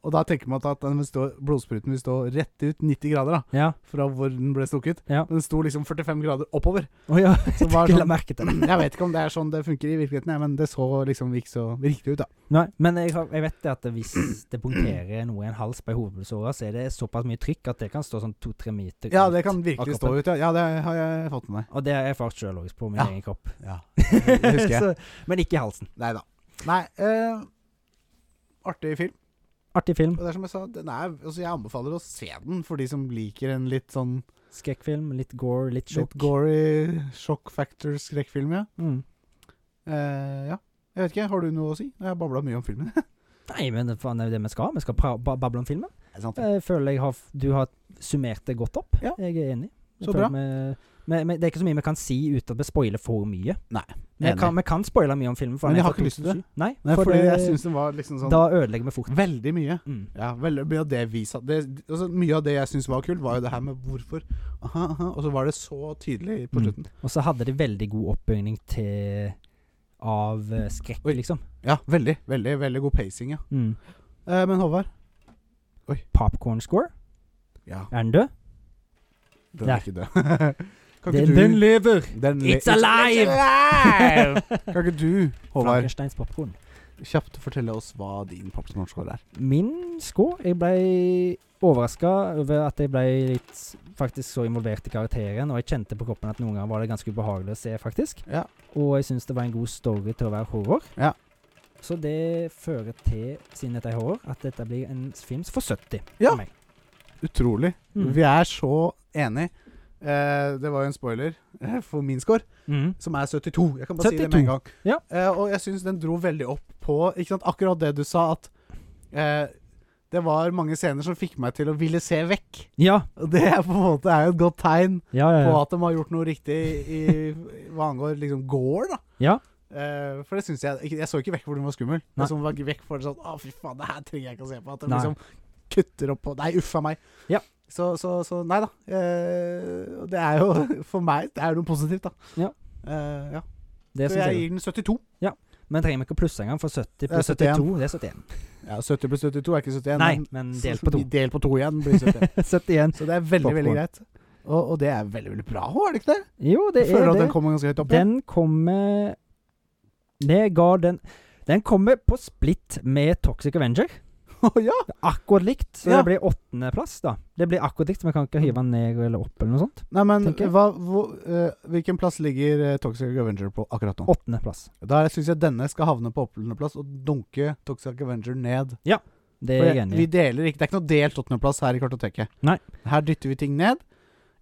Og da tenker man at den vil stå, blodspruten vil stå rett ut 90 grader da,
Ja.
fra hvor den ble stukket.
Ja.
Men den sto liksom 45 grader oppover.
Å (laughs) ja,
Så var
jeg
det
la merke til
(clears throat)
det.
sånn, jeg vet ikke om det er sånn det funker i virkeligheten, jeg, men det så liksom ikke så riktig ut. da.
Nei, men jeg, har, jeg vet det at hvis det punkterer noe i en hals på ei hovedpulsåre, så er det såpass mye trykk at det kan stå sånn to-tre meter
Ja,
ut
det kan
av
virkelig stå
kroppen.
ut. Ja, ja det har jeg fått (laughs) med meg.
Og det har jeg erfart sjøl òg, på min
Ja.
egen kropp.
Ja, det (laughs) husker jeg.
(laughs) så, men ikke i halsen.
Nei da. Nei, eh, artig film.
Artig film.
Og det er som jeg sa, den er, altså jeg anbefaler å se den for de som liker en litt sånn
Skrekkfilm. Litt gore, litt sjokk.
litt gory shock factor-skrekkfilm, ja.
Mm.
Eh, ja. Jeg vet ikke, har du noe å si? Jeg har babla mye om filmen. (laughs)
Nei, men faen, det er jo det vi skal. Vi skal pra ba bable om filmen.
Er sant,
Jeg Eh, føler jeg har, du har summert det godt opp.
Ja.
Jeg er enig. Jeg
Så bra.
føler vi- Men, men det er ikke så mye vi kan si uten at vi spoiler for mye.
Nei,
Vi
enig.
kan, vi kan spoile mye om filmen. For
Men jeg
den er
har
fra
ikke lyst til det.
2007. Nei,
Nei,
for
fordi
det-
jeg syns den var liksom sånn
Da ødelegger vi fort.
Veldig mye.
Mm.
Ja, veldig mye av det vi sa det, altså, Mye av det jeg syns var kult, var jo det her med hvorfor. Aha, aha, og så var det så tydelig på
Mm.
slutten.
Og så hadde de veldig god oppbygning til av eh, skrekk,
Oi.
liksom.
Ja, veldig. Veldig veldig god pacing, ja.
Mm.
Eh, men Håvard,
Popcorn score.
ja,
Er den død?
den
Der.
er ikke død. (laughs) kan ikke
Den,
du
den lever!
den le-
It's alive! (laughs)
Kan ikke du, Håvard,
Frankensteins popkorn.
kjapt fortelle oss hva din popkornscore er?
Min score Jeg ble overraska over at jeg ble litt s- faktisk så involvert i karakteren, og jeg kjente på kroppen at noen ganger var det ganske ubehagelig å se, faktisk.
Ja.
Og jeg syns det var en god story til å være horror.
Ja.
Så det fører til, siden dette er horror, at dette blir en film for 70
Ja.
for meg.
Utrolig.
Mm.
Vi er så enig. Eh, det var jo en spoiler eh, for min score,
Mm.
som er 72. Jeg kan bare si det med en gang.
Ja.
Eh, og jeg syns den dro veldig opp på ikke sant, akkurat det du sa, at eh, det var mange scener som fikk meg til å ville se vekk.
Ja.
Og det er på en måte er jo et godt tegn
Ja, ja,
på
ja.
at de har gjort noe riktig i hva angår liksom gård, da.
ja.
Eh, for det syns jeg ikke- Jeg så ikke vekk hvor den var skummel.
Nei.
Jeg så var vekk for det sånn Å, fy faen, det her trenger jeg ikke å se på. At de
Nei.
liksom kutter opp på Nei, uff a meg.
Ja.
Så, så, så nei da. Eh, og det er jo (laughs) for meg Det er jo noe positivt, da.
Ja.
Eh, ja.
Det
Så
syns
jeg
jeg.
gir den 72.
Men trenger vi ikke å plusse engang, for 70
er
pluss
71.
72, det er 71.
Ja, 70 pluss 72 er ikke 71.
Nei,
men
men delt (laughs) på to.
Mm, Del på to igjen blir 71.
71.
(laughs) Så det er veldig, veldig
Popcorn.
greit. Og, og det er veldig, veldig bra òg, er det ikke det?
Jo, det
jeg
er
føler at
det.
den kommer ganske høyt opp. ja.
Den kommer Det ga den Den kommer på splitt med Toxic Avenger.
Å, (laughs) ja.
Akkurat likt, så
Ja.
det blir åttendeplass, da. Det blir akkurat likt, så vi kan ikke hive den ned eller opp eller noe sånt.
Nei, men
Tenker jeg.
hva, hvor, eh, hvilken plass ligger eh, Toxic Avenger på akkurat nå?
Åttendeplass.
Da syns jeg denne skal havne på åttendeplass og dunke Toxic Avenger ned.
Det
For
er jeg
jeg,
enig
vi
i.
deler ikke, Det er ikke noe delt åttendeplass her i kartoteket.
Nei.
Her dytter vi ting ned.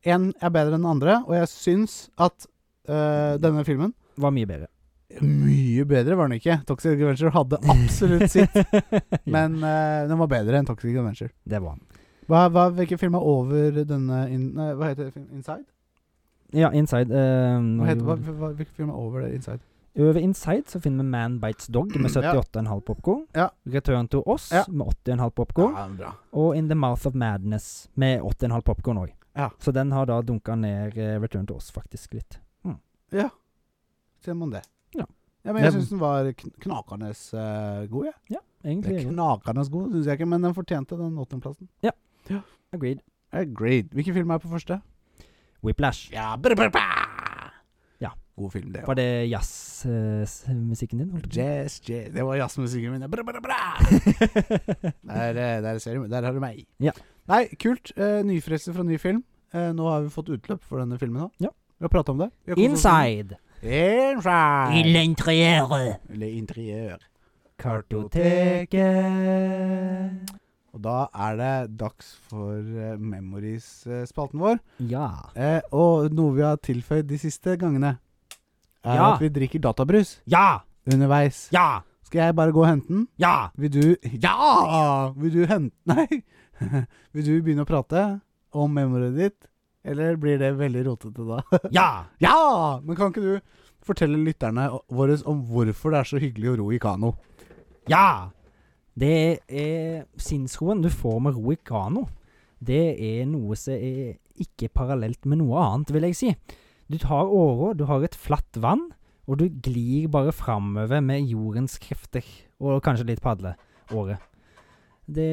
Én er bedre enn den andre, og jeg syns at eh, denne filmen
Var mye bedre.
Mye bedre var den ikke. Toxic Avenger
(laughs)
hadde (laughs) absolutt sitt, men eh, den var bedre enn Toxic Avenger.
Det var han.
Hva, hva, hvilken film er over denne in, nei, Hva heter det? film? Inside?
Ja, Inside eh,
Hva heter, hva, hva, hvilken film er over det? Inside?
Over Inside så finner vi Man Bites Dog med
Ja.
78,5 popkorn.
Ja.
Return to Oss
Ja.
med 80,5 popkorn.
Ja, bra.
Og In the Mouth of Madness med 80,5 popkorn òg.
Ja.
Så den har da dunka ned eh, Return to Oss faktisk litt.
Ser man det.
Ja.
Ja, men jeg
Det-
syns den var kn knakende eh, god, jeg.
Egentlig
Det er
er det-
knakende god, syns jeg ikke, men den fortjente den åttendeplassen.
Agreed.
Agreed. Hvilken film er på første?
Whiplash.
Ja, brr, brr, brr.
Ja.
God film, det
Var
òg.
det jazzmusikken din? holdt jeg
Jazz, jazz. Det var jazzmusikken min. Brr, brr, brr.
(laughs) på å si?
Der, eh, der, ser du, der har du meg.
Ja.
Nei, kult. Eh, Nyfrelser fra ny film. Eh, nå har vi fått utløp for denne filmen òg.
Ja.
Vi har prata om det. Vi har koset oss med
Inside.
den. Inside.
l'interiøret.
Eller interiør.
Kartoteket.
Og da er det dags for eh, Memories-spalten vår.
Ja.
Eh, og noe vi har tilføyd de siste gangene, er
Ja.
at vi drikker databrus
Ja!
underveis.
Ja!
Skal jeg bare gå og hente den?
Ja!
Vil du Ja! Vil du hente (laughs) Nei! Vil du begynne å prate om memoryet ditt, eller blir det veldig rotete da? (laughs)
Ja!
ja! Men kan ikke du fortelle lytterne våre om hvorfor det er så hyggelig å ro i kano?
Ja! Det er sinnsroen du får med ro i kano. Det er noe som er ikke parallelt med noe annet, vil jeg si. Du tar åra, du har et flatt vann, og du glir bare framover med jordens krefter, og kanskje litt padleåre. det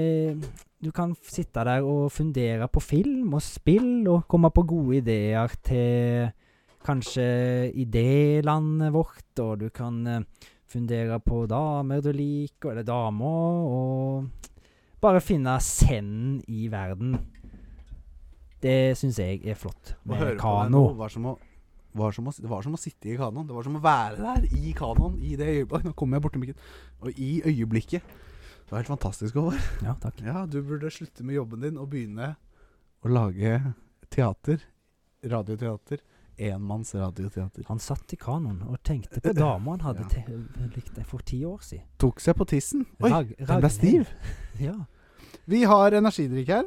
Du kan f- sitte der og fundere på film og spill, og komme på gode ideer til kanskje idélandet vårt, og du kan eh, fundere på damer du liker, eller damer, og bare finne senden i verden. Det syns jeg er flott
Å
med
høre på deg nå
kano.
var som å var som å, det var som å sitte i kanoen. Det var som å være der i kanoen i det øyeblikket. Nå kommer jeg borti mikken. Og i øyeblikket. Det var helt fantastisk, Håvard.
Ja, takk.
Ja, du burde slutte med jobben din og begynne å lage teater. Radioteater. Enmanns radioteater.
Han satt i kanoen og tenkte på dama han hadde
Ja.
til- likt for ti år siden.
Tok seg på tissen. Oi,
Rag-
den ble
Ragnhild.
stiv.
(laughs) Ja.
Vi har energidrikk her.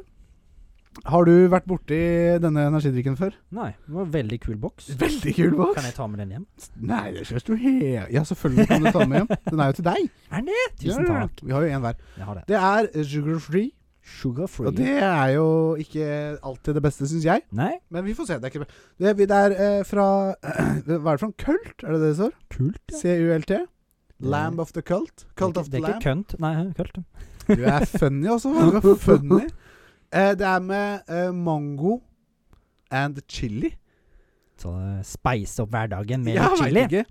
Har du vært borti denne energidrikken før?
Nei, det var en veldig kul boks.
Veldig kul
Kan
boks.
jeg ta med den hjem?
Nei, det kjøres jo helt Ja, selvfølgelig kan du ta den med hjem. Den er jo til (laughs) deg.
Tusen
Ja,
takk.
Vi har jo en hver.
Jeg har det.
Det er sugar free.
Sugar free.
Og det er jo ikke alltid det beste, syns jeg.
Nei,
Men vi får se. Det er, ikke... det er, det er eh, fra (clears throat) Hva er det for noe? Kult? Er det det det står?
kult. ja.
C-U-L-T? Lamb of the Cult? Cult
det er
of the
ikke, det er
Lamb?
ikke kønt. Nei, kult.
Du er funny også. hva? Du er
(laughs)
funny. Eh, det er med eh, mango and chili.
Så eh, spice opp hverdagen med
Jeg
litt
vet
chili.
ikke.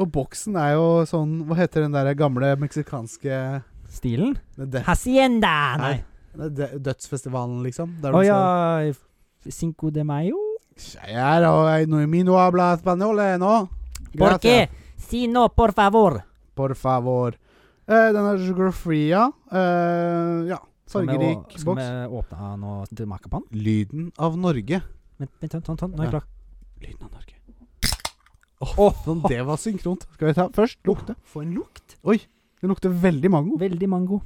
Og boksen er jo sånn Hva heter den der gamle meksikanske
Stilen.
den dø-
Hacienda! Nei.
den dø- Dødsfestivalen, liksom? Der
Å
du
ja.
sa-
Cinco de mayo.
Jeg er og jeg- no i min habla español, eh, nå.
Por
Gracias.
qué? Si no, por favor.
Por favor. Eh, den er sugar free, ja. Eh, ja.
Skal vi å-
Fargerik
Skal vi
boks.
åpne den og smake på den?
Lyden av Norge.
Vent, vent, vent, vent, vent, nå er jeg klar.
Lyden av Norge. sånn, det var synkront. Skal vi ta først lukte?
For en lukt!
Oi, det lukter veldig mango.
Veldig mango.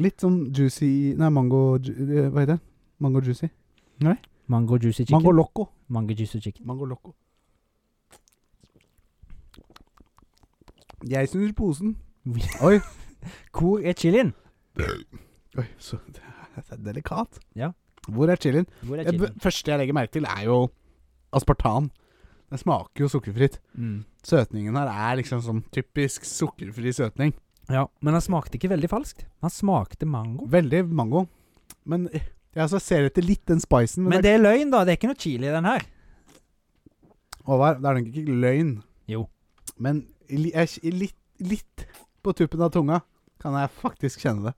Litt sånn juicy Nei, mango ju- eh, Hva heter den? Mango juicy.
Mango juicy chicken.
Mango
Mango,
loco.
juicy chicken. (laughs)
Mango loco. Jeg snur posen. Oi.
Hvor er chilien?
Oi, så (laughs) det er, det er delikat.
Ja.
Hvor er chilien?
Hvor er
Jeg, b-
chilien?
første jeg legger merke til, er jo aspartan. Den smaker jo sukkerfritt.
Mm.
Søtningen her er liksom som typisk sukkerfri søtning.
Ja, men han smakte ikke veldig falskt. Han smakte mango.
Veldig mango. Men eh, jeg altså ser etter litt den spicen. Men,
Men det er løgn, da. Det er ikke noe chili i den her.
det, Håvard, det er nok ikke løgn.
Jo.
Men i li- jeg, i litt, litt på tuppen av tunga kan jeg faktisk kjenne det.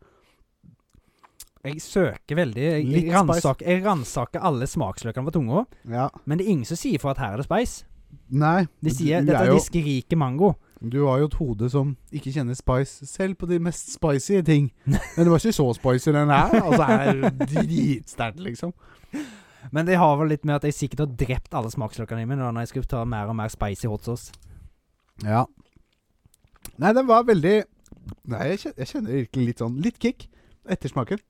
Jeg søker veldig. Jeg,
Litt
jeg, ransaker, jeg ransaker alle smaksløkene på tunga.
Ja.
Men det er ingen som sier for at her er det spice.
Nei,
De sier
du,
dette
er
er
jo,
diskrike mango.
du har jo et hode som ikke kjenner spice selv på de mest spicy ting.
(laughs)
Men det var ikke så spicy den her. Altså, den er dritsterk, liksom.
Men det har vel litt med at jeg sikkert har drept alle smaksløkene mine da, når jeg skulle ta mer og mer spicy hot sauce.
Ja. Nei, den var veldig Nei, jeg kjenner, jeg kjenner virkelig litt sånn Litt kick. Ettersmaken.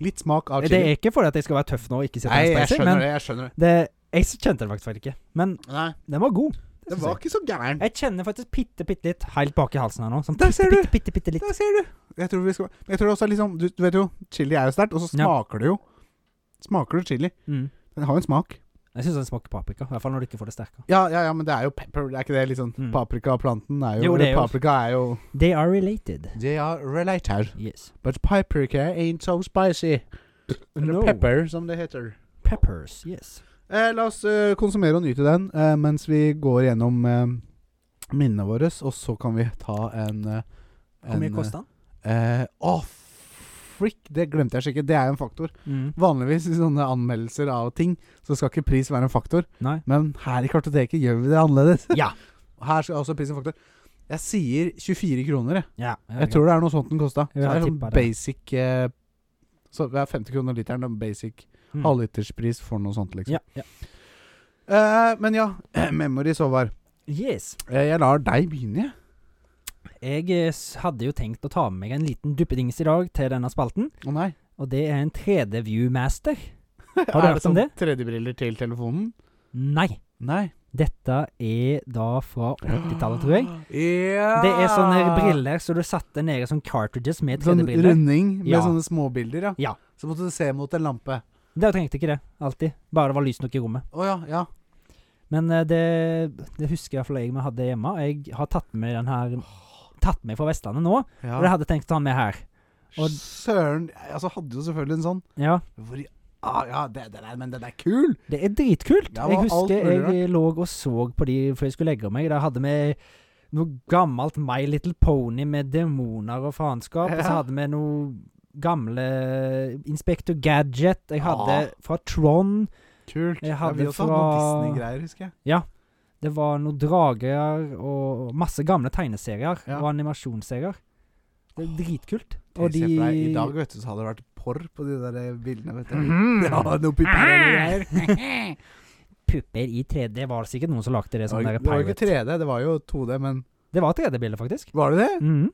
Litt smak av
Det er
chili.
ikke fordi at jeg skal være tøff nå og ikke si at
Nei,
den er
jeg
spicy,
skjønner
men
det. Jeg skjønner det.
det, jeg s- kjente den faktisk ikke. Men
Nei,
den var god.
den
synes
var
jeg.
ikke så gæren.
Jeg kjenner faktisk bitte, bitte litt helt bak i halsen her nå. Sånn
Der
bitte,
ser du!
bitte, bitte, bitte litt.
Der ser du! Jeg tror, vi skal, men jeg tror det også er liksom du, du vet jo, chili er jo sterkt, og så
Ja.
smaker det jo. Smaker du chili?
Mm.
Den har jo en smak.
Jeg syns den smaker paprika. I hvert fall når du ikke får det sterke.
Ja, ja, ja, men det er jo pepper, det er ikke det litt sånn
Mm.
paprikaplanten er jo
Jo, det er
eller
jo-
Paprika er jo
They are related.
They are related,
Yes.
but paprika ain't so spicy. Eller
No.
pepper, som det heter.
Peppers. Yes.
Eh, la oss eh, konsumere og nyte den eh, mens vi går gjennom eh, minnene våre, og så kan vi ta en eh,
Hvor mye
en,
koster den?
eh, eh, Å, frick! Det glemte jeg å sjekke. Det er jo en faktor.
Mm.
Vanligvis i sånne anmeldelser av ting, så skal ikke pris være en faktor.
Nei.
Men her i kartoteket gjør vi det annerledes.
(laughs) Ja.
Her skal også pris en faktor. Jeg sier 24 kroner, jeg.
Ja,
Jeg tror det er noe sånt den kosta. Så
Ja,
det er
jeg
sånn
tipper det.
basic eh, Så det er 50 kroner literen, det er basic
Mm.
halvliterspris for noe sånt, liksom.
Ja, ja.
Eh, men ja, (clears throat) memories, Håvard.
Yes.
Eh, jeg lar deg begynne, jeg.
Jeg eh, s- hadde jo tenkt å ta med meg en liten duppedings i dag til denne spalten,
Å
(laughs)
nei.
og det er en 3D-viewmaster. du
Er sånn
hørt om det?
Tredjebriller til telefonen?
Nei.
Nei.
Dette er da fra 80-tallet, (gasps) tror jeg.
(gasps) Ja.
Det er sånne briller så du satte ned i sånne cartridges med
Sånn
3D-briller.
runding med
Ja.
sånne småbilder, ja.
Ja.
Så måtte du se mot en lampe.
Det trengte ikke det, alltid. Bare det var lys nok i rommet.
Å ja, ja.
Men eh, det, det husker i hvert fall jeg vi hadde hjemme. Jeg har tatt med den her Tatt med fra Vestlandet nå,
ja.
og jeg hadde tenkt å ta den med her. Og-
Søren Altså, hadde jo selvfølgelig en sånn.
Ja,
Hvor i ah, Ja, det, det der, men den er kul!
det er dritkult.
Ja, det
jeg
var alt
husker
mulig
jeg lå og så på de før jeg skulle legge meg. Da hadde vi noe gammelt My Little Pony med demoner og faenskap. Og så
Ja.
hadde vi noe gamle Inspector Gadget. Jeg hadde
Ja.
fra Tron.
Kult.
Jeg
ja,
hadde
vi også hadde noen
fra-
Disney-greier, husker jeg.
Det var noen drager og masse gamle tegneserier
Ja.
og animasjonsserier. Det er
Åh,
dritkult.
Og
Og de
I dag vet du, så hadde det vært porr på de der eh, bildene, vet du.
Mhm.
Ja, noe pipper og
Ah! Pupper i 3D var det sikkert noen som lagde (laughs) det som
greier.
der
Det var jo ikke
pirate.
3D, det var jo 2D, men
Det var 3D-bilde, faktisk.
Var det det?
Mhm.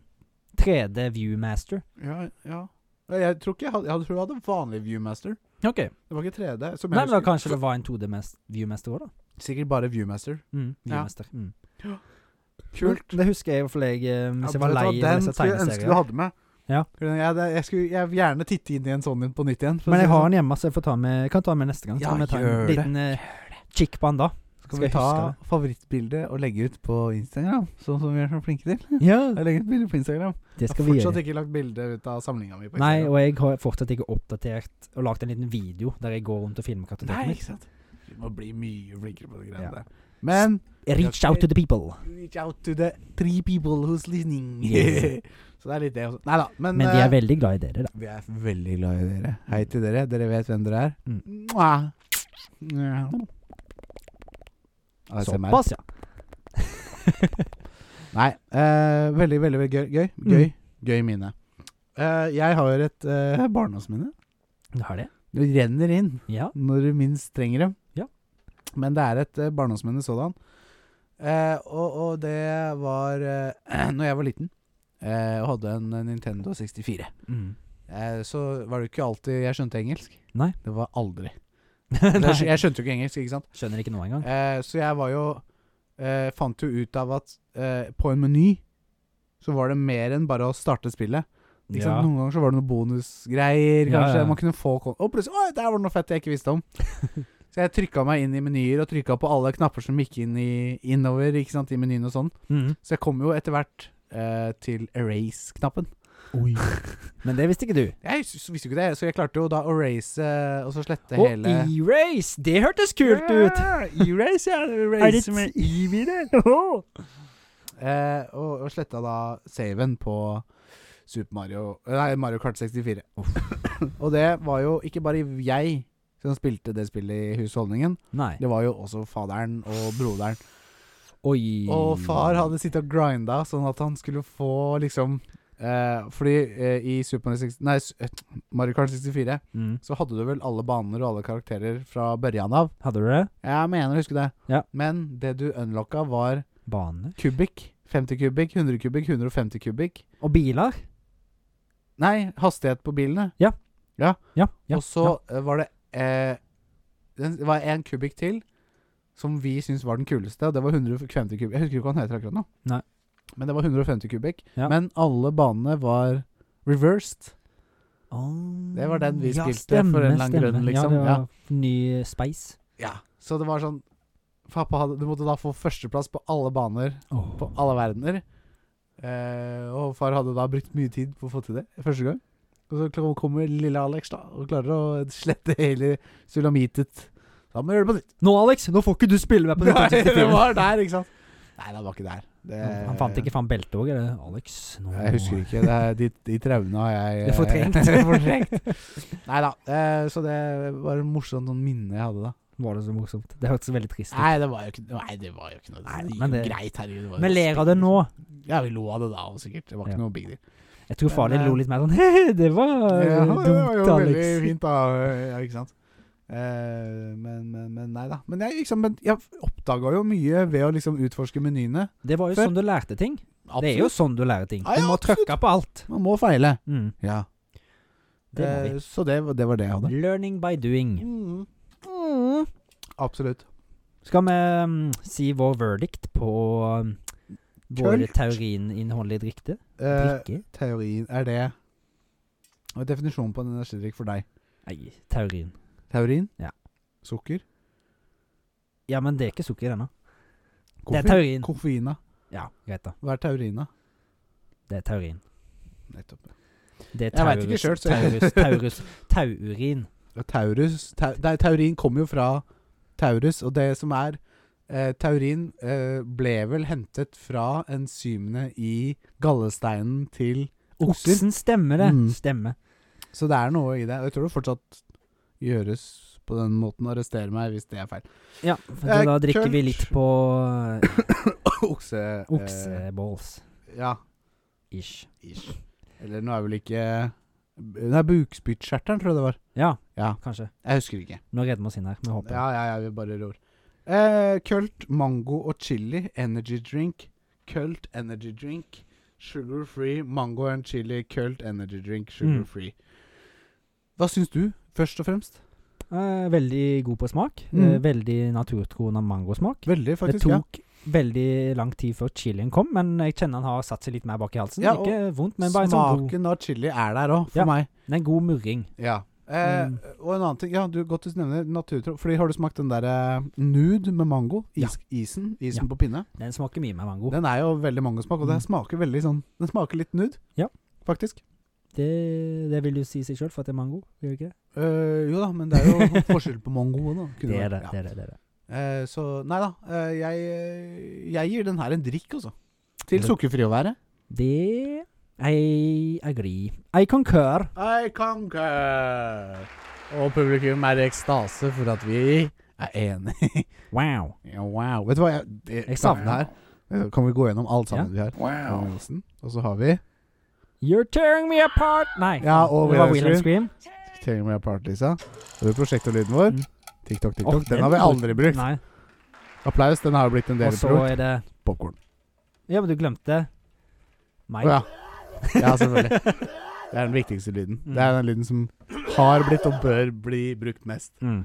3D Viewmaster.
Ja, ja. Nei, Jeg tror ikke jeg hadde, jeg tror jeg hadde vanlig Viewmaster.
Ok.
Det var ikke 3D. Som
Nei,
jeg
men da
husker.
kanskje det var en 2D-viewmaster òg, da.
Sikkert bare Viewmaster.
Mm,
Ja.
viewmaster. Mm.
Kult.
Det husker jeg, for jeg, eh, mens jeg
Ja,
var
vet du hva,
lei av
den
disse
skulle jeg ønske du
tegneseriene.
hadde med.
Ja.
Jeg, det- jeg, skulle, jeg vil gjerne titte inn i en sånn en på nytt igjen. for å
Men
si
jeg
det
har
sånn.
den hjemme, så jeg får ta med, jeg kan ta med neste gang. Så
Ja,
kan vi ta en
gjør det.
liten eh, kikk på den da.
Skal
skal
vi
jeg huske
ta favorittbildet og legge ut på Instagram, sånn som vi er så flinke til?
Ja,
Jeg legger ut bilde på Instagram.
det
Jeg har
skal vi
fortsatt
gjøre.
ikke lagt bilde ut av samlinga mi på
Nei,
Instagram.
og jeg har fortsatt ikke oppdatert og lagd en liten video der jeg går rundt og filmer kartoteket mitt.
ikke sant? Vi må bli mye flinkere på de greiene
Ja.
der. Men
Reach out to the people.
reach out to the three people who's listening.
Yes.
(laughs) så det er litt det også. Nei da. Men,
Men vi
eh,
er veldig glad i dere, da.
vi er veldig glad i dere. Hei til dere. Dere vet hvem dere er.
Mm.
Mwah. Ja. ASMR.
Såpass, ja.
Nei. eh, veldig, veldig, veldig gøy. Gøy,
Mm.
gøy, gøy mine. Eh, jeg har et uh, barndomsminne.
Du har det?
Det renner inn
Ja.
når du minst trenger dem.
Ja.
Men det er et eh, barndomsminne sådan. Eh, og, og det var uh, (clears throat) Når jeg var liten eh, og hadde en eh, Nintendo 64,
(laughs)
eh, så var det ikke alltid jeg skjønte engelsk.
Nei.
Det var aldri.
Nei,
Jeg, jeg skjønte jo ikke engelsk, ikke sant.
skjønner ikke noe engang.
Eh, så jeg var jo eh, Fant jo ut av at eh, på en meny så var det mer enn bare å starte spillet. Ikke sant? Noen ganger så var det noen bonusgreier,
Ja,
kanskje.
ja, ja.
Man kunne få kon- Og plutselig Oi, der var det noe fett jeg ikke visste
(laughs)
om. så jeg trykka meg inn i menyer, og trykka på alle knapper som gikk inn i, innover ikke sant, i menyen og sånn.
Mhm.
Så jeg kom jo etter hvert eh, til erase-knappen.
(laughs) Men det visste ikke du.
Jeg s- visste jo ikke det, så jeg klarte jo da å erase eh, og så slette
Og
hele
E-Race! Det hørtes kult ut!
Erase, ja.
(laughs) Er det
Erase med
i det?
(laughs) Eh, og, og sletta da saven på Super Mario Nei, Mario Kart (coughs) 64. og det var jo ikke bare jeg som spilte det spillet i husholdningen.
Nei.
Det var jo også faderen og broderen.
Oi.
Og far hadde sittet og grinda sånn at han skulle få liksom eh, Fordi eh, i Super Mario, 60, nei, s- eh, Mario Kart 64
Mm.
så hadde du vel alle baner og alle karakterer fra børjan av.
Hadde du det?
Jeg mener å huske det.
Ja.
Men det du unlocka, var
Baner?
kubikk. 50 kubikk, 100 kubikk, 150 kubikk.
Og biler?
Nei, hastighet på bilene.
Ja. ja
og så eh, var det eh, den, Det var en kubikk til som vi syntes var den kuleste, og det var 150 kubikk. Jeg husker ikke hva han heter akkurat nå.
Nei.
Men det var 150 kubikk.
Ja.
Men alle banene var reversed.
ja. Åh.
det var den vi
Ja,
spilte
stemme,
for en eller annen
stemme.
grunn, liksom.
Ja, det
Ja.
var ny space.
Ja. Så det var sånn Pappa hadde, du måtte da få førsteplass på alle baner, på alle verdener. Eh, og far hadde da brukt mye tid på å få til det første gang. Og så kl- kommer lille Alex da og klarer å slette hele sulamitet. Da må vi gjøre det på nytt.
Nå, Alex, nå får ikke du spille meg på
Nei, det
1964.
var der, ikke sant? Nei, det var ikke der. Det,
Han han fant ikke fram beltet òg, eller? Alex, nå
Eh, Jeg husker ikke. Det er, de, de traumene har (laughs) jeg
Det er fortrengt. (laughs)
Nei da. Eh, Så det var et morsomt sånn minne jeg hadde da.
Var det så morsomt? Det hørtes veldig trist ut.
Nei, det var jo ikke, nei, det var jo ikke noe
Nei,
det gikk
men
jo
det-
greit, herregud. det var jo
Men ler av det
spill,
nå.
liksom. Ja, vi lo av det da også, sikkert. Det var ikke
Ja.
noe big deal.
Jeg tror far din
Men,
lo
eh,
litt mer sånn (laughs) He, det var
Ja,
eh,
det var
dumt,
jo veldig
Alex.
fint, da. Ja, ikke sant. Eh, men, men, men nei da. Men jeg, liksom, men jeg oppdaga jo mye ved å liksom utforske menyene.
Det var jo
Før-
sånn du lærte ting. Det er jo sånn du lærer ting.
Ja, ja,
Du må
absolutt.
trykke på alt.
Man må feile.
Mm.
Ja.
Det må
Eh,
vi. Mm.
Så det, var- det var det jeg hadde.
Learning by doing. Mm.
Absolutt.
Skal vi mm, si vår verdict på mm, vår
Kult.
teorininnholdet i drikke?
Eh,
Drikke?
teorien er det Og Definisjonen på en energidrikk for deg.
Nei, teorien.
Teorien?
Ja.
Sukker?
Ja, men det er ikke sukker i denne. Det er
Koffein?
teorien.
Koffeina.
Ja, greit da.
Hva er teorina?
Det er teorien.
Nettopp.
Det er
Jeg vet ikke
taurus.
selv, så jeg-
Taurus, taurus, taurin.
Og Taurus tau, nei, Taurin kommer jo fra Taurus, og det som er eh, Taurin eh, ble vel hentet fra enzymene i gallesteinen til okser.
Oksen stemmer det.
Mm.
Stemmer.
Så det er noe i det. Og jeg tror det fortsatt gjøres på den måten. Arrester meg hvis det er feil.
Ja, for
Eh,
da drikker vi
kult.
litt på eh,
Okse... eh,
okseballs-ish.
ja. Ish. Eller nå er vel ikke eh, Nei, bukspyttkjertelen, tror jeg det var.
Ja,
Ja.
kanskje.
Jeg husker ikke.
Nå redder vi oss inn her. Vi håper.
Ja, ja, ja, vi bare ror. Eh, Kult, mango og chili, energy drink. Kult, energy drink. Sugar free, mango and chili, kult, energy drink, sugar
Mm.
free. Hva syns du, først og fremst?
Eh, veldig god på smak. Eh,
Mm.
veldig naturtroende mangosmak.
Veldig,
Det
faktisk. ja.
tok veldig lang tid før chilien kom, men jeg kjenner han har satt seg litt mer bak i halsen.
Ja, og
ikke vondt, men bare en sånn god,
Smaken av chili er der òg, for
Ja.
meg.
det er en god murring.
Ja. Eh,
Mm.
Og en annen ting Ja, du godt du nevner naturtro. Fordi har du smakt den der eh, nude med mango?
Ja.
Is, Isen isen
Ja.
på pinne?
Den smaker mye mer mango.
Den er jo veldig mangosmak, og den
Mm.
smaker veldig sånn Den smaker litt nude,
Ja.
faktisk.
Det, det vil jo si seg sjøl, for at det er mango. Gjør det ikke det?
Eh, jo da, men det er jo (laughs) forskjell på mango da. kunne
Det er det.
vært,
det,
ja.
er det, det, er det.
Eh, så nei da. eh, jeg, eh, jeg gir den her en drikk, altså. Til
Det-
sukkerfri å være.
det I agree. I concur.
I conquer! Og publikum er i ekstase for at vi er enige.
Wow.
Ja, wow. Vet du hva jeg, det,
Jeg savner
her? Eh, Kan vi gå gjennom alt sammen vi har? Owen
Wow.
Wilson. Og så har vi
You're tearing me apart! Nei.
Ja, og
det var
Will
Will and Scream.
Tearing Me Apart, Lisa. Så har vi prosjektordlyden vår.
Mm.
TikTok, TikTok.
Åh,
den, har vi aldri brukt.
Nei.
Applaus, den har jo blitt en del
Og så
brukt.
er det
Popkorn.
Ja, men du glemte
Å
meg.
ja. ja,
(laughs)
selvfølgelig. Det er den viktigste lyden.
Mm.
Det er den lyden som har blitt og bør bli brukt mest.
Mm.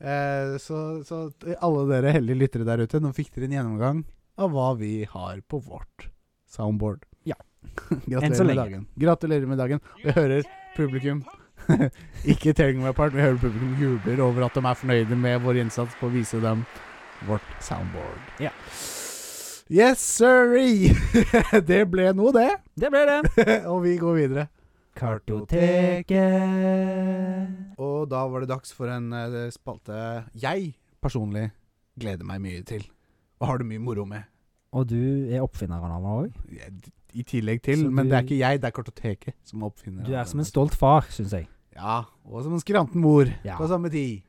Eh, så, så til alle dere heldige lyttere der ute, nå fikk dere en gjennomgang av hva vi har på vårt soundboard.
Ja. Enn så
(laughs) Gratulerer med
lenge.
dagen. Gratulerer med dagen. Vi hører publikum (laughs) Ikke telling me apart, vi hører publikum jubler over at de er fornøyde med vår innsats på å vise dem vårt soundboard.
Ja.
Yes, sorry! (laughs) det ble noe, det.
Det ble
(laughs)
det.
og vi går videre.
Kartoteket.
Og da var det dags for en eh, spalte jeg personlig gleder meg mye til. Og har det mye moro med.
Og du er oppfinneren av meg òg.
Jeg- I tillegg til,
Så
men
du-
det er ikke jeg, det er kartoteket som oppfinner
Du
av
er som en
denne.
stolt far, syns jeg.
Ja, og som en skranten mor
Ja.
på samme tid.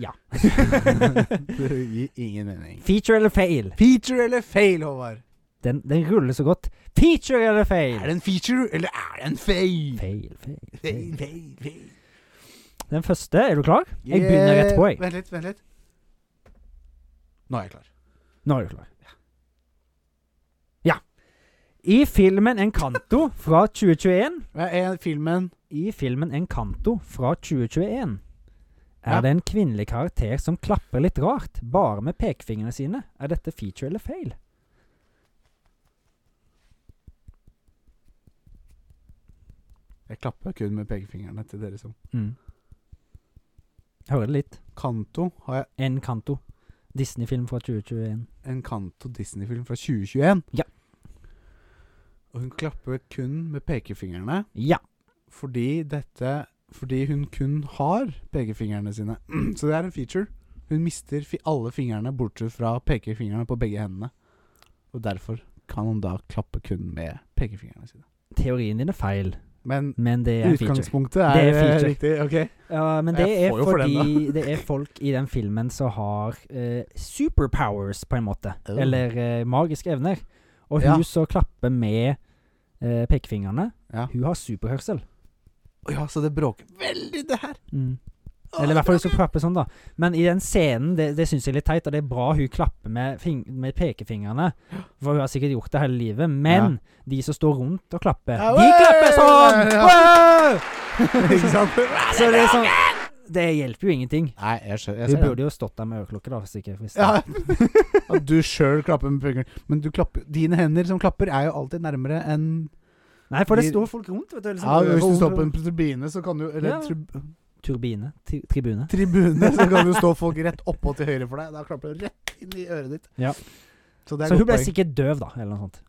(laughs)
Ja.
det gir ingen mening.
Feature eller fail?
Feature eller fail, Håvard?
Den, den ruller så godt. Feature eller fail?
Er det en feature, eller er det en fail?
Fail, fail,
Fail,
fail.
fail, fail.
Den første, er du klar? Jeg begynner rett på,
Eh,
jeg.
Vent litt, vent litt. Nå er jeg klar.
Nå er du klar. Ja. I filmen Encanto fra 2021
Eh, Filmen
I filmen Encanto fra 2021 er
Ja.
det en kvinnelig karakter som klapper litt rart, bare med pekefingrene sine. Er dette feature eller fail?
Jeg klapper kun med pekefingrene til dere som
Mm. Hører det litt.
Kanto har jeg
Encanto. Disney-film fra 2021.
en Kanto Disney-film fra 2021.
Ja.
Og hun klapper kun med pekefingrene
Ja.
fordi dette Fordi hun kun har pekefingrene sine. (clears throat) Så det er en feature. Hun mister fi alle fingrene bortsett fra pekefingrene på begge hendene. Og derfor kan hun da klappe kun med pekefingrene sine.
Teorien din er feil,
Men
men det er feature.
utgangspunktet er,
Det er
eh,
feature.
riktig. Ok.
Ja, men det
Jeg
er
får jo for den,
fordi det er folk i den filmen som har eh, superpowers, på en måte.
Oh.
Eller eh, magiske evner. Og
Ja.
hun som klapper med eh, pekefingrene,
Ja.
hun har superhørsel.
Å ja, så det bråker veldig, det her. Å,
Eller i hvert fall hun som
bråker.
klapper sånn, da. Men i den scenen, det, det syns jeg er litt teit, og det er bra hun klapper med, fing med pekefingrene. For hun har sikkert gjort det hele livet. Men de som står rundt og klapper,
Ja,
de
wey!
klapper sånn!
Ja.
Wow!
(laughs) Ikke sant?
(laughs) Så det, er sånn, det hjelper jo ingenting.
Nei, jeg skjønner. Jeg
Hun
ser den.
burde jo stått der med øreklokke, da. Sikkert, hvis det-
Ja. At du sjøl klapper med fingeren. Men du klapper, dine hender som klapper, er jo alltid nærmere enn
Nei, for det
De-
står folk rundt, vet du. Liksom,
ja,
bare
Hvis du
rundt
står på en
rundt.
tribune, så kan du Eller
Ja.
tri
Turbine. Tri tribune.
tribune, så kan du stå folk rett oppå til høyre for deg. Da klapper du rett inn i øret ditt.
Ja.
Så det er
Så
godt
hun ble
poeng.
sikkert døv, da, eller noe sånt.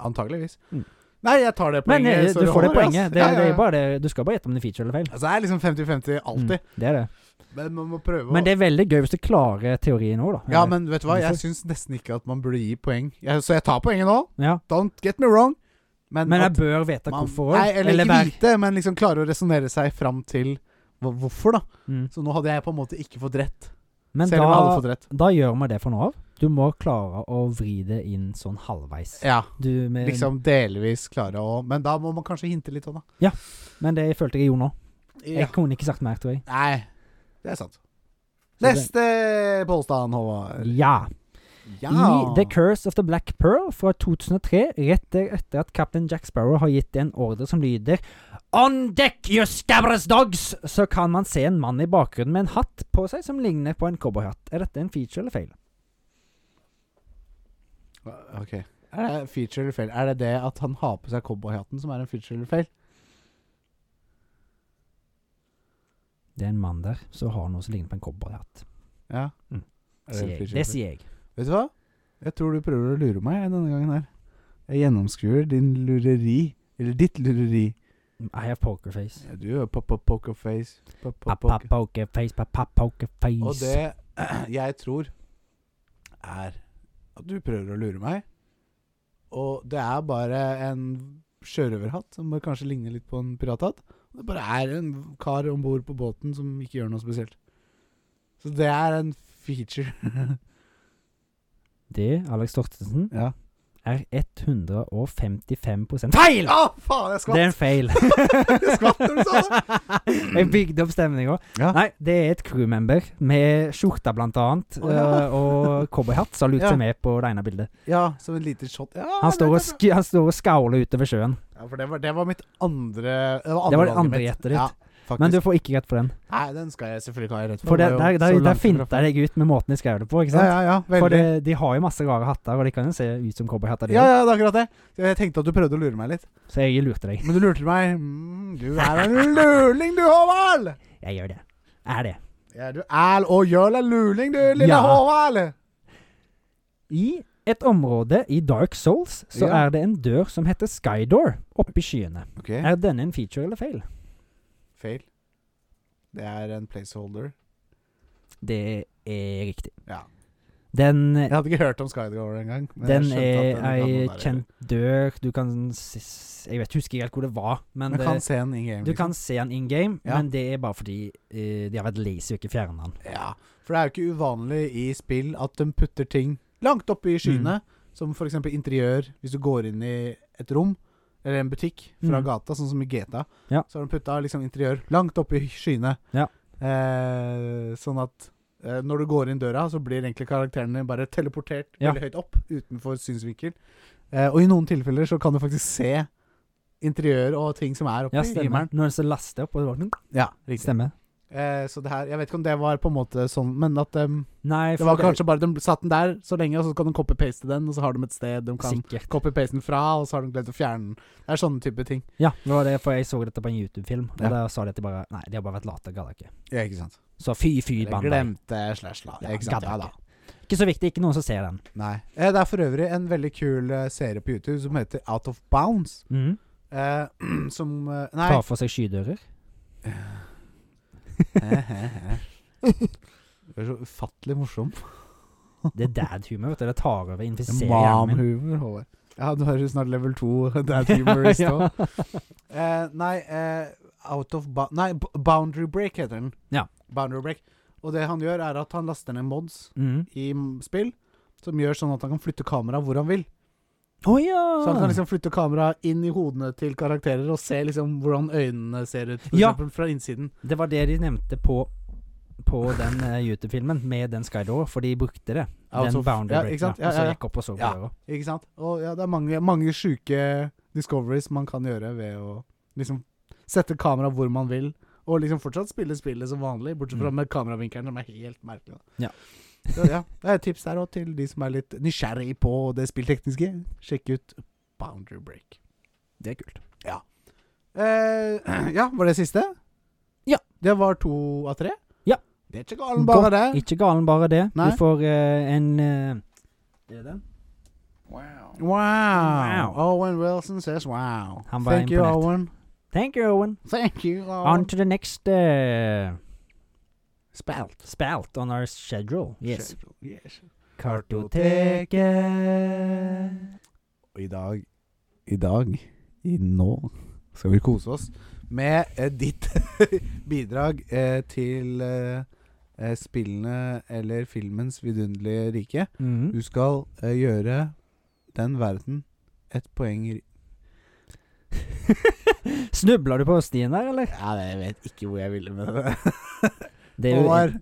Antageligvis.
Mm.
Nei, jeg tar det poenget.
Men eh,
så
du får det
holder, ass.
poenget. Det,
Ja, ja,
det
ja.
er bare det. Du skal bare gjette om det er feature eller feil.
Altså, det er liksom 50-50 alltid.
Mm, det er det.
Men man må prøve
Men
å
det er veldig gøy hvis du klarer teorien òg, da.
Ja, men vet du hva? Jeg
Hvorfor?
syns nesten ikke at man burde gi poeng. Jeg, så jeg tar poenget nå.
ja.
Don't get me wrong. Men,
Men jeg
at
bør vite
man-
hvorfor
Nei,
òg.
eller, ikke vite, men liksom klare å resonnere seg fram til hva- hvorfor, da.
Mm.
Så nå hadde jeg på en måte ikke fått rett.
Men
selv om jeg hadde
da,
fått rett.
da gjør vi det for nå av. Du må klare å vri det inn sånn halvveis.
Ja,
Du, med,
liksom delvis klare å Men da må man kanskje hinte litt òg, da.
Men det følte jeg gjorde nå.
Ja.
Jeg kunne ikke sagt mer, tror jeg.
Nei, det er sant.
Så det-
Neste påstand, Håvard.
Ja. I The Curse of the Black Pearl fra 2003, rett der etter at kaptein Jack Sparrow har gitt en ordre som lyder On deck, you scabrous dogs! Så kan man se en mann i bakgrunnen med en hatt på seg som ligner på en cowboyhatt. Er dette en feature eller feil?
Ok. Er det feature eller fail? Er det det at han har på seg cowboyhatten som er en feature eller fail?
Det er en mann der som har noe som ligner på en cowboyhatt.
Ja.
Mm.
Er
Sier
en
jeg.
feature
Det
eller fail?
sier jeg.
Vet du hva? Jeg tror du prøver å lure meg denne gangen her. Jeg gjennomskuer din lureri. Eller ditt lureri.
I have pokerface.
Ja, du gjør pop-pop-pokerface.
Pappa pokerface, pappa pokerface.
Og det (clears throat) jeg tror er at du prøver å lure meg. Og det er bare en sjørøverhatt som bare kanskje ligner litt på en pirathatt. Det bare er en kar om bord på båten som ikke gjør noe spesielt. Så det er en
(laughs)
feature.
Det, Alex Torstensen,
Ja.
er 155 feil!
Å, faen, jeg
Det er
Ah, skvatt!
en feil.
Jeg sånn. skvatt når du sa (laughs) det!
(laughs) Jeg bygde opp stemninga.
Mm. Ja.
Nei, det er et crewmember med skjorte, blant annet,
Å, ja.
øh, og cowboyhatt, som har lurt
Ja.
seg med på det ene bildet.
Ja, som en liten shot. Ja,
Han
det-
står og, sk han står og skauler utover sjøen.
ja, for det var, det var mitt andre Det var,
Det var det
valget
andre
mitt.
gjettet ditt.
Ja, faktisk.
Men du får ikke rett for den.
Nei, den skal jeg selvfølgelig ikke ha rett
For det,
Den var
der,
jo
der,
så
der
langt ifra
finta jeg deg ut med måten de skrev det på, ikke
Ja,
sant?
ja, ja, veldig.
For det, de har jo masse rare hatter, og de kan jo se ut som cowboyhatter, de
Ja,
også.
ja, det er akkurat det. Jeg tenkte at du prøvde å lure meg litt.
Så jeg lurte deg.
Men du lurte meg. Mm, du er en luling, du, Håvard!
Jeg gjør det. Er det.
Ja, du er og gjør deg luling, du, lille
Ja.
Håvard!
I et område i Dark Souls så
Ja.
er det en dør som heter Skydoor, oppe i skyene.
Ok,
Er denne en feature eller feil?
feil. Det er en placeholder.
Det er riktig.
Ja.
Den
Jeg hadde ikke hørt om Skydor engang. men jeg
Den
skjønte
er
at den kan
ei
noen der-
kjent dør Du kan s- Jeg vet, husker ikke helt hvor det var, men
Men kan
det,
se en in game.
du kan se den in game,
Ja.
men det er bare fordi eh, de har vært lazy og ikke fjernet den.
Ja, for det er jo ikke uvanlig i spill at de putter ting langt oppe i skyene,
Mm.
som for eksempel interiør, hvis du går inn i et rom, eller en butikk fra
Mm.
gata, sånn som i GTA,
Ja.
så har de putta liksom interiør langt oppe i skyene.
Ja.
Eh, sånn at eh, når du går inn døra, så blir egentlig karakterene bare teleportert
Ja.
veldig høyt opp, utenfor synsvinkel. Eh, og i noen tilfeller så kan du faktisk se interiør og ting som er oppe
Ja,
i himmelen.
stemmer. Når den så laster opp, og det var
Ja, riktig.
Stemmer.
Eh, så det her Jeg vet ikke om det var på en måte sånn, men at um,
Nei,
det var kanskje bare De satt den der så lenge, og så kan de copy-paste den, og så har de et sted de kan
Sikkert.
copy-paste den fra, og så har de glemt å fjerne den. Det er sånne type ting.
Ja, det var derfor jeg så dette på en YouTube-film, og
Ja.
da sa de at de bare Nei, de har bare vært late, gadd ikke.
Ja, ikke sant.
Så fy, fy,
Eller
banda.
glemte slash la.
Ja,
ikke sant.
gadd
Ja da.
Ikke så viktig, ikke noen som ser den.
Nei. Eh, det er for øvrig en veldig kul eh, serie på YouTube som heter Out of Bounds.
Mhm.
Eh, (clears throat) som eh, Nei. (laughs)
Tar for seg skydører.
Du er så ufattelig morsom.
Det er dad-humor, vet du. Det tar over, infiserer hjernen min.
Mom-humor, Håvard. Ja, du har jo snart level (laughs) 2 dad humorist òg.
(laughs) Ja.
Eh, nei, eh, out of ba nei, B- Boundary Break heter den.
Ja.
Boundary Break. Og det han gjør, er at han laster ned mods
Mhm.
i m- spill som gjør sånn at han kan flytte kameraet hvor han vil.
Å ja!
Så han kan liksom flytte kameraet inn i hodene til karakterer og se liksom hvordan øynene ser ut, for
Ja.
eksempel fra innsiden.
Det var det de nevnte på på den eh, YouTube-filmen med den Skydoor, for de brukte det.
Out
den
of-
Boundary
ja,
Break.
ikke sant?
ja,
Ja,
Og så
ja, ja.
gikk opp og så på
Ja.
det også.
Ikke sant? Og ja, det er mange, mange sjuke discoveries man kan gjøre ved å liksom sette kameraet hvor man vil, og liksom fortsatt spille spillet som vanlig, bortsett fra
Mm.
med kameravinkelen, som er helt merkelig. da.
Ja.
Så ja, det er et tips der òg til de som er litt nysgjerrig på det spilltekniske. Sjekk ut Boundary Break.
Det er kult.
Eh, (clears throat) ja, var det siste?
Ja.
Det var to av tre?
Ja.
Det er ikke galen, bare det.
Ikke galen bare det.
Nei.
Du får eh, en eh, Det er den.
Wow.
Wow.
Wow.
Owen Wilson says wow.
Han var
Thank you,
imponert.
Owen.
Thank you, Owen.
Thank you, Owen.
On to the next uh,
Spelt.
spelt on our schedule. Yes.
Schedule. yes.
Kartoteket.
Og i dag I dag, i nå, skal vi kose oss med eh, ditt (laughs) bidrag eh, til eh, eh, spillene eller filmens vidunderlige rike. Du
(laughs) Mhm.
skal eh, gjøre den verden et poeng ri-
Snubla du på stien der, eller?
Ja, jeg vet ikke hvor jeg ville med det.
Det er jo
(laughs) Håvard,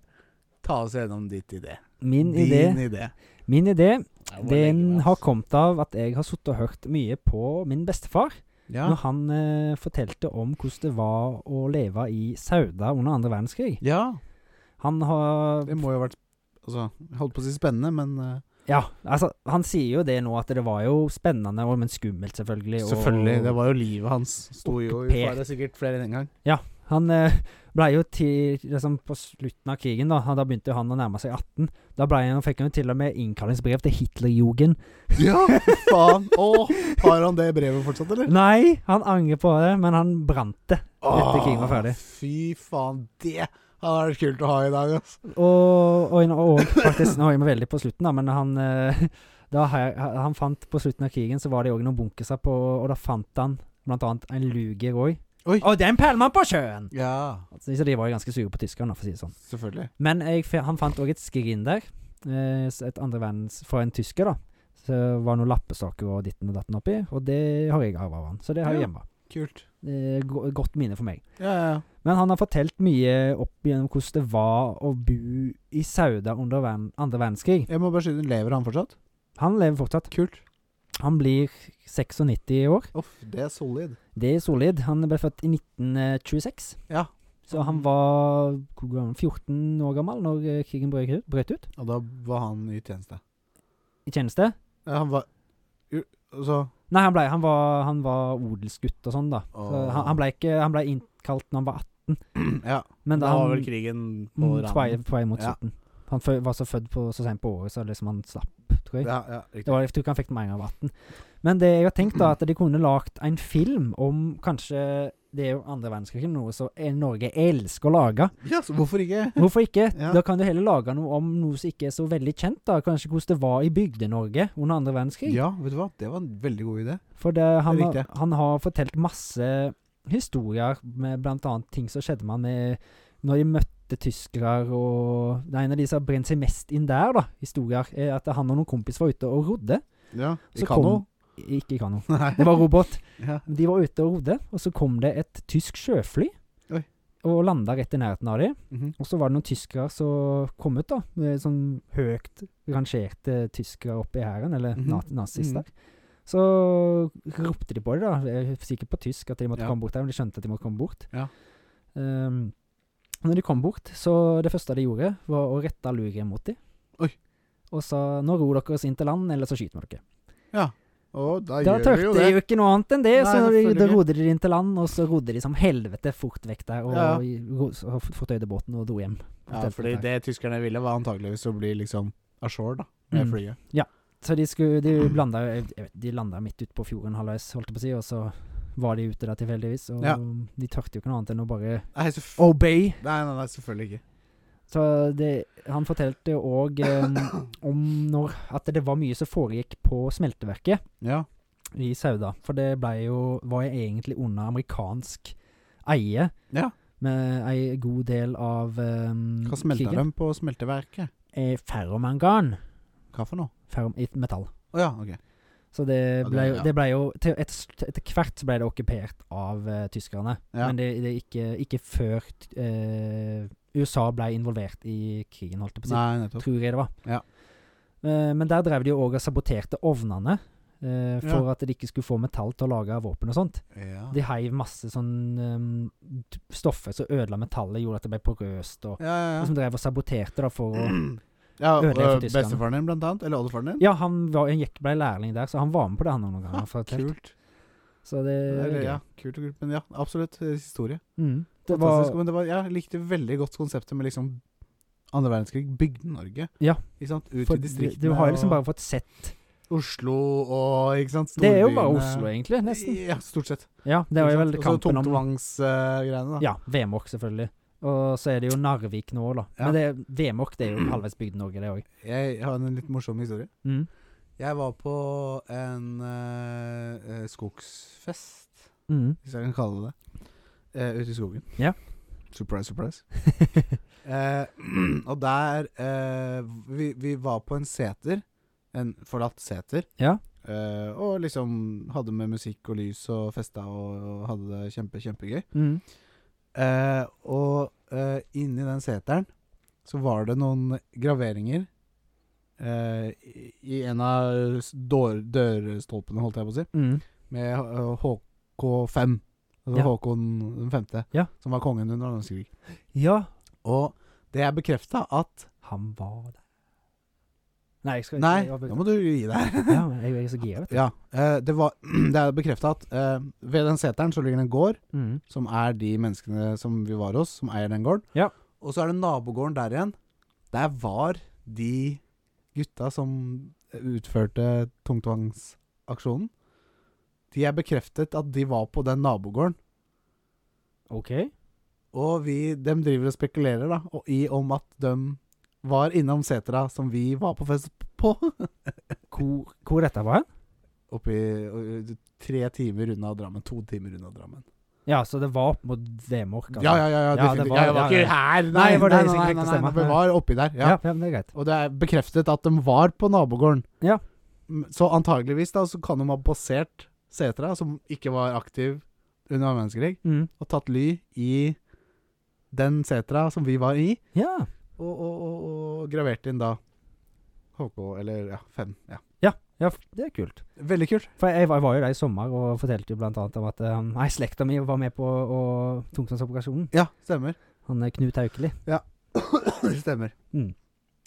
ta oss gjennom ditt idé.
min
Din
idé.
idé.
Min idé
Jeg må legge
den
meg,
har
ass.
kommet av at jeg har sittet og hørt mye på min bestefar.
ja.
Når han eh, fortalte om hvordan det var å leve i Sauda under andre verdenskrig.
ja.
Han har
Det må jo ha vært Altså, jeg holdt på å si spennende, men eh,
Ja, altså, han sier jo det nå at det var jo spennende, og, men skummelt, selvfølgelig. og-
Selvfølgelig. Det var jo livet hans. Sto jo i
Okkupert.
fare sikkert flere enn en gang.
Han eh, ble jo til liksom, På slutten av krigen, da han- Da begynte jo han å nærme seg 18. Da ble han, fikk han jo til og med innkallingsbrev til
(laughs)
Hitlerjugend.
(laughs) Ja, faen. Å, har han det brevet fortsatt, eller?
Nei, han angrer på det, men han brant det. Etter krigen var ferdig.
Fy faen, det hadde vært kult å ha i dag, ass.
Og, og, og faktisk Nå er vi veldig på slutten, da, men han eh, da har- han fant På slutten av krigen så var det òg noen bunkerser på Og da fant han blant annet en luger òg.
Oi.
Og den pæler man på sjøen!
Ja,
Så de var jo ganske sure på tyskerne, da, for å si det sånn.
selvfølgelig.
Men jeg, fe- han fant òg et skrin der, eh, s- et andre verdens fra en tysker, da. Så det var noen lappesaker og ditten og datten oppi, og det har jeg arva av han. Så det har
Ja.
jeg hjemme.
Kult.
Det er go- godt minne for meg.
Ja, ja, ja.
Men han har fortalt mye opp igjennom hvordan det var å bo i Sauda under vern- andre verdenskrig.
Jeg må bare skyte inn. Lever han fortsatt?
Han lever fortsatt.
Kult.
Han blir 96 i år.
Uff, det er solid.
Det er solid. Han ble født i 1926.
Ja.
Så han var hvor gammel? 14 år gammel når eh, krigen brøt ut- brøt ut.
Og da var han i tjeneste.
I tjeneste.
Ja, han var Jo, Altså (clears throat)
Nei, han, ble, han, var, han var odelsgutt og sånn, da. Så
Åh.
han, han, ble ikke, han ble innkalt når han var 18,
Ja.
men da han
krigen
mm, på vei, på vei mot
Ja.
slutten. Han fø, var så født på, så sent på året, så liksom han slapp, tror jeg.
Ja, ja,
Det
riktig.
var, jeg tror ikke han fikk det med en gang han var 18. Men det jeg har tenkt, da, at de kunne lagd en film om kanskje Det er jo andre verdenskrig, noe som er- Norge elsker å lage.
Ja, så hvorfor ikke?
Hvorfor ikke?
(laughs) Ja.
Da kan du heller lage noe om noe som ikke er så veldig kjent, da. Kanskje hvordan det var i Bygde-Norge under andre verdenskrig.
Ja, vet du hva? Det var en veldig god idé.
For det, han,
Det er
har-
riktig.
han har fortalt masse historier med bl.a. ting som skjedde med han med- når de møtte tyskere og Det er en av de som har brent seg mest inn der, da, historier, er at han og noen kompiser var ute og rodde.
Ja.
Så
I
(laughs)
kano?
kom- Ikke i kano.
Nei.
Det
(laughs)
var robåt.
Ja.
De var ute og rodde, og så kom det et tysk sjøfly.
Oi.
Og landa rett i nærheten av dem.
Mhm.
Og så var det noen tyskere som kom ut, da. Med sånn høyt rangerte tyskere oppe i hæren, eller
Mhm.
na nazister.
Mhm.
Så ropte de på det, da. Jeg er Sikkert på tysk at de
Ja.
måtte komme bort der, men de skjønte at de måtte komme bort.
Ja.
Ehm, når de kom bort, så det første de gjorde, var å rette luren mot dem.
Oi.
Og sa 'nå ror dere oss inn til land, eller så skyter vi dere'.
Å, da,
Da
gjør vi
tørte
jo
de
det.
jo ikke noe annet enn det,
Nei,
så de,
selvfølgelig
da
ikke.
rodde de inn til land, og så rodde de som helvete fort vekk der, og,
Ja.
i- ro- så f- fortøyde båten og dro hjem.
Ja, fordi det tyskerne ville, var antakeligvis å bli liksom ashore, da, med
Mm.
flyet.
Så de, skulle, de, blanda, jo- jeg vet, de landa midt ute på fjorden halvveis, holdt jeg på å si, og så var de ute der tilfeldigvis, og
Ja.
de tørte jo ikke noe annet enn å bare
Nei, selvf-
Obey!
nei, nei, nei, selvfølgelig ikke.
Så det, han fortalte jo òg om når, at det var mye som foregikk på smelteverket.
Ja.
i Sauda. For det ble jo Var jo egentlig under amerikansk eie.
Ja.
Med ei god del av um,
Hva smelta dem på smelteverket?
Eh, ferromangan.
Hva for noe?
Ferrom, i metall.
Å ja, ok.
Så det
Ja, det-
ble, jo-
ja.
det ble jo til et, Etter hvert så ble det okkupert av eh, tyskerne.
Ja.
Men det, det er ikke, ikke før eh, USA ble involvert i krigen, holdt jeg på å si.
Nei, nettopp.
Tror jeg det var.
Ja.
Eh, men der drev de jo òg og saboterte ovnene. eh,
Ja.
for at de ikke skulle få metall til å lage våpen og sånt.
Ja.
De heiv masse sånn ehm, t- stoffer som ødela metallet, gjorde at det ble porøst, og,
Ja, ja,
og som drev og saboterte da for å
ja. ja
ødelegge for
og, øh,
tyskerne.
bestefaren din, blant annet? Eller oldefaren din?
Ja, han, var, han gikk, ble lærling der, så han var med på det, han noen ganger. har fortalt.
Ah, Kult.
Så det,
Eller, ja,
Eh, ja.
kult og kult. Men ja, absolutt. eh, Historie.
mm, det var
Fantastisk. Men det var, jeg likte veldig godt konseptet med liksom andre verdenskrig, Bygde-Norge.
Ja.
Ikke sant? Ut
for,
i
du,
distriktene.
du har jo liksom
og-
bare fått sett
Oslo og ikke sant?
Det er jo bare
Storbyene.
Oslo, egentlig. Nesten.
Ja, stort sett.
Ja, det var jo vel
Ikke sant? Og så
kampen om
Tungtvangs-greiene, da.
Ja, Vemork, selvfølgelig. Og så er det jo Narvik nå, da.
Ja.
Men det, Vemork det
(clears throat)
er jo halvveis bygd Norge, det òg.
Jeg har en litt morsom historie.
Mm.
Jeg var på en eh, eh, skogsfest,
Mm.
hvis jeg kan kalle det det, eh, ute i skogen.
Ja.
Surprise, surprise.
(laughs)
Eh, (clears throat) og der eh, vi, vi var på en seter, en forlatt seter.
Ja.
Eh, og liksom hadde med musikk og lys og festa og, og hadde det kjempe, kjempegøy.
mm.
Eh, og eh, inni den seteren så var det noen graveringer eh, i, i en av s- dår, dørstolpene, holdt jeg på å si,
Mm.
med eh, HK5. Altså
Ja.
Håkon den femte,
Ja.
som var kongen under andre verdenskrig.
Ja,
Og det er bekrefta at
han var der. Nei, jeg skal ikke
Nei,
jeg
nå
avbryter.
må du gi
(laughs)
deg.
ja, men jeg, jeg er så gira, vet du.
Ja, eh, det, var, (clears throat) det er bekrefta at eh, ved den seteren så ligger det en gård,
Mm.
som er de menneskene som vi var hos, som eier den gården.
Ja.
Og så er det nabogården der igjen. Der var de gutta som utførte tungtvangsaksjonen. De er bekreftet at de var på den nabogården.
OK.
Og vi, dem driver og spekulerer da, og i om at de var innom setra som vi var på fest på.
Hvor, hvor dette var hen?
Oppi ø, eh, tre timer unna Drammen. To timer unna Drammen.
Ja, så det var opp mot Vemork? altså.
Ja, ja, ja. ja,
Ja, det
definitivt.
var-
ja, jeg var
ja,
ikke
ja.
her! Nei,
Nei, det liksom var
nei,
det jeg
nei,
skulle
nei,
ikke
nei,
stemme.
vi var oppi der.
ja.
Ja.
ja, men det er greit.
Og det er bekreftet at de var på nabogården.
Ja.
M- Så antageligvis da, så kan de ha basert setra, som ikke var aktiv under annen verdenskrig,
Mm.
og tatt ly i den setra som vi var i,
Ja.
og, og, og, og gravert inn da HK, eller ja, 5. Ja.
ja, f- det er kult.
Veldig kult.
For jeg var, jeg var jo der i sommer og fortalte jo blant annet om at eh, Nei, slekta mi var med på å- tungtvannsoperasjonen.
Ja, stemmer.
Han eh, Knut Haukeli.
stemmer.
Mm.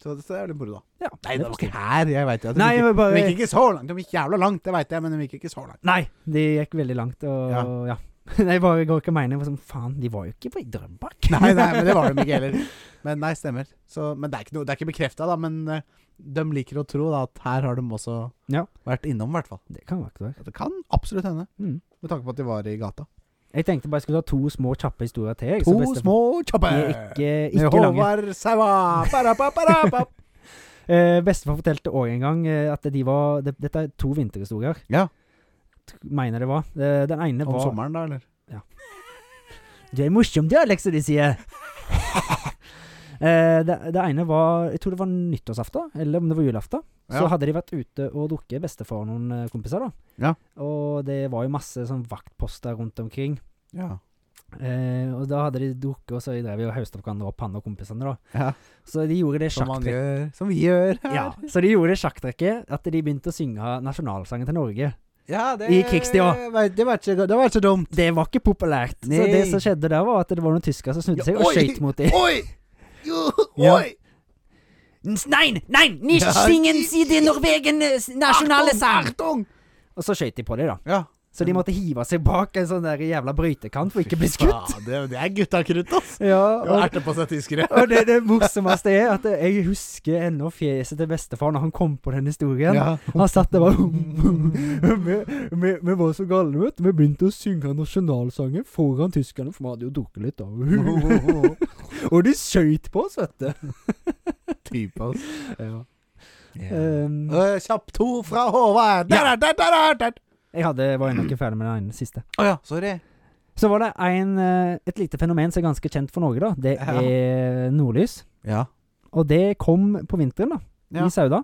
Så det er litt moro, da.
Ja,
Nei, det var
forstår jeg.
ikke her. Jeg veit jo at de
Nei,
gikk,
jeg bare-
de gikk ikke så langt. De gikk jævla langt, det veit jeg, men de gikk ikke så langt. (laughs)
Nei, de gikk veldig langt, og ja. (laughs) Nei, jeg bare går ikke og mener sånn, Faen, de var jo ikke på i Drømbak.
(laughs) Nei, nei, men det var de ikke heller. Men nei, stemmer. Så, men det er ikke, noe- det er ikke bekrefta, da. Men eh, de liker å tro da, at her har de også
Ja.
vært innom, i hvert fall.
(laughs) Det kan være ikke det.
Ja, Det kan absolutt hende,
Mm.
med tanke på at de var i gata.
Jeg tenkte bare jeg skulle ta to små, kjappe historier til. jeg, så
To
beste-
små
De
kjappe!
er Ikke,
Med
ikke lange.
Håvard Saua! Para, pa, para, pa.
Eh, bestefar fortalte òg en gang eh, at de var det, Dette er to vinterhistorier.
Ja.
T- Mener (laughs) det var. Eh, den ene
Om
var
sommeren, da, eller?
Du er morsom, du, Alex, som
(laughs)
de sier. Eh, det, det ene var Jeg tror det var nyttårsaften, eller om det var julaften. Så
Ja.
hadde de vært ute og drukket bestefar og noen eh, kompiser, da.
Ja.
Og det var jo masse sånn vaktposter rundt omkring.
Ja.
Eh, og da hadde de drukket, og så drev vi og hauste opp hverandre opp, han og kompisene, da.
Ja.
Så de gjorde det
Som man
sjakktrekket.
gjør. Som vi gjør her.
Ja, så de gjorde det sjakktrekket at de begynte å synge nasjonalsangen til Norge.
Ja, det,
I krigstida.
vet- Det var ikke, det var ikke dumt.
Det var ikke populært. Så
Nei.
det som skjedde der, var at det var noen tyskere som snudde
Ja,
seg og
oi!
skøyt mot dem.
Oi! Jo,
Ja.
oi!
Nein, nein, nicht
Ja.
singen sie den Norwegen äh, nasjonale sang!
Achtung!
Ah, Og så skøyt de på dem, da.
Ja.
Så de måtte hive seg bak en sånn der jævla brøytekant for ikke å bli skutt.
Ja, det, det er guttakrutt, ass.
Ja,
Ja,
og,
Erte på seg tyskere.
og det, det morsomste er at jeg husker ennå fjeset til bestefar når han kom på den historien.
Ja.
Han satt der bare vi, vi, vi var så gale, vet du. Vi begynte å synge nasjonalsangen foran tyskerne, for vi hadde jo drukket litt, da. (laughs) og de skøyt på oss, vet du.
Type, ass.
Ja.
Eh,
Um,
øh, Kjapp to fra Håvard. Der,
Ja.
der, der, der, der.
jeg hadde, var ennå ikke ferdig med den ene siste.
Å ja, sorry.
Så var det en, eh, et lite fenomen som er ganske kjent for Norge, da. Det
Ja.
er nordlys.
Ja.
Og det kom på vinteren, da.
Ja.
I Sauda.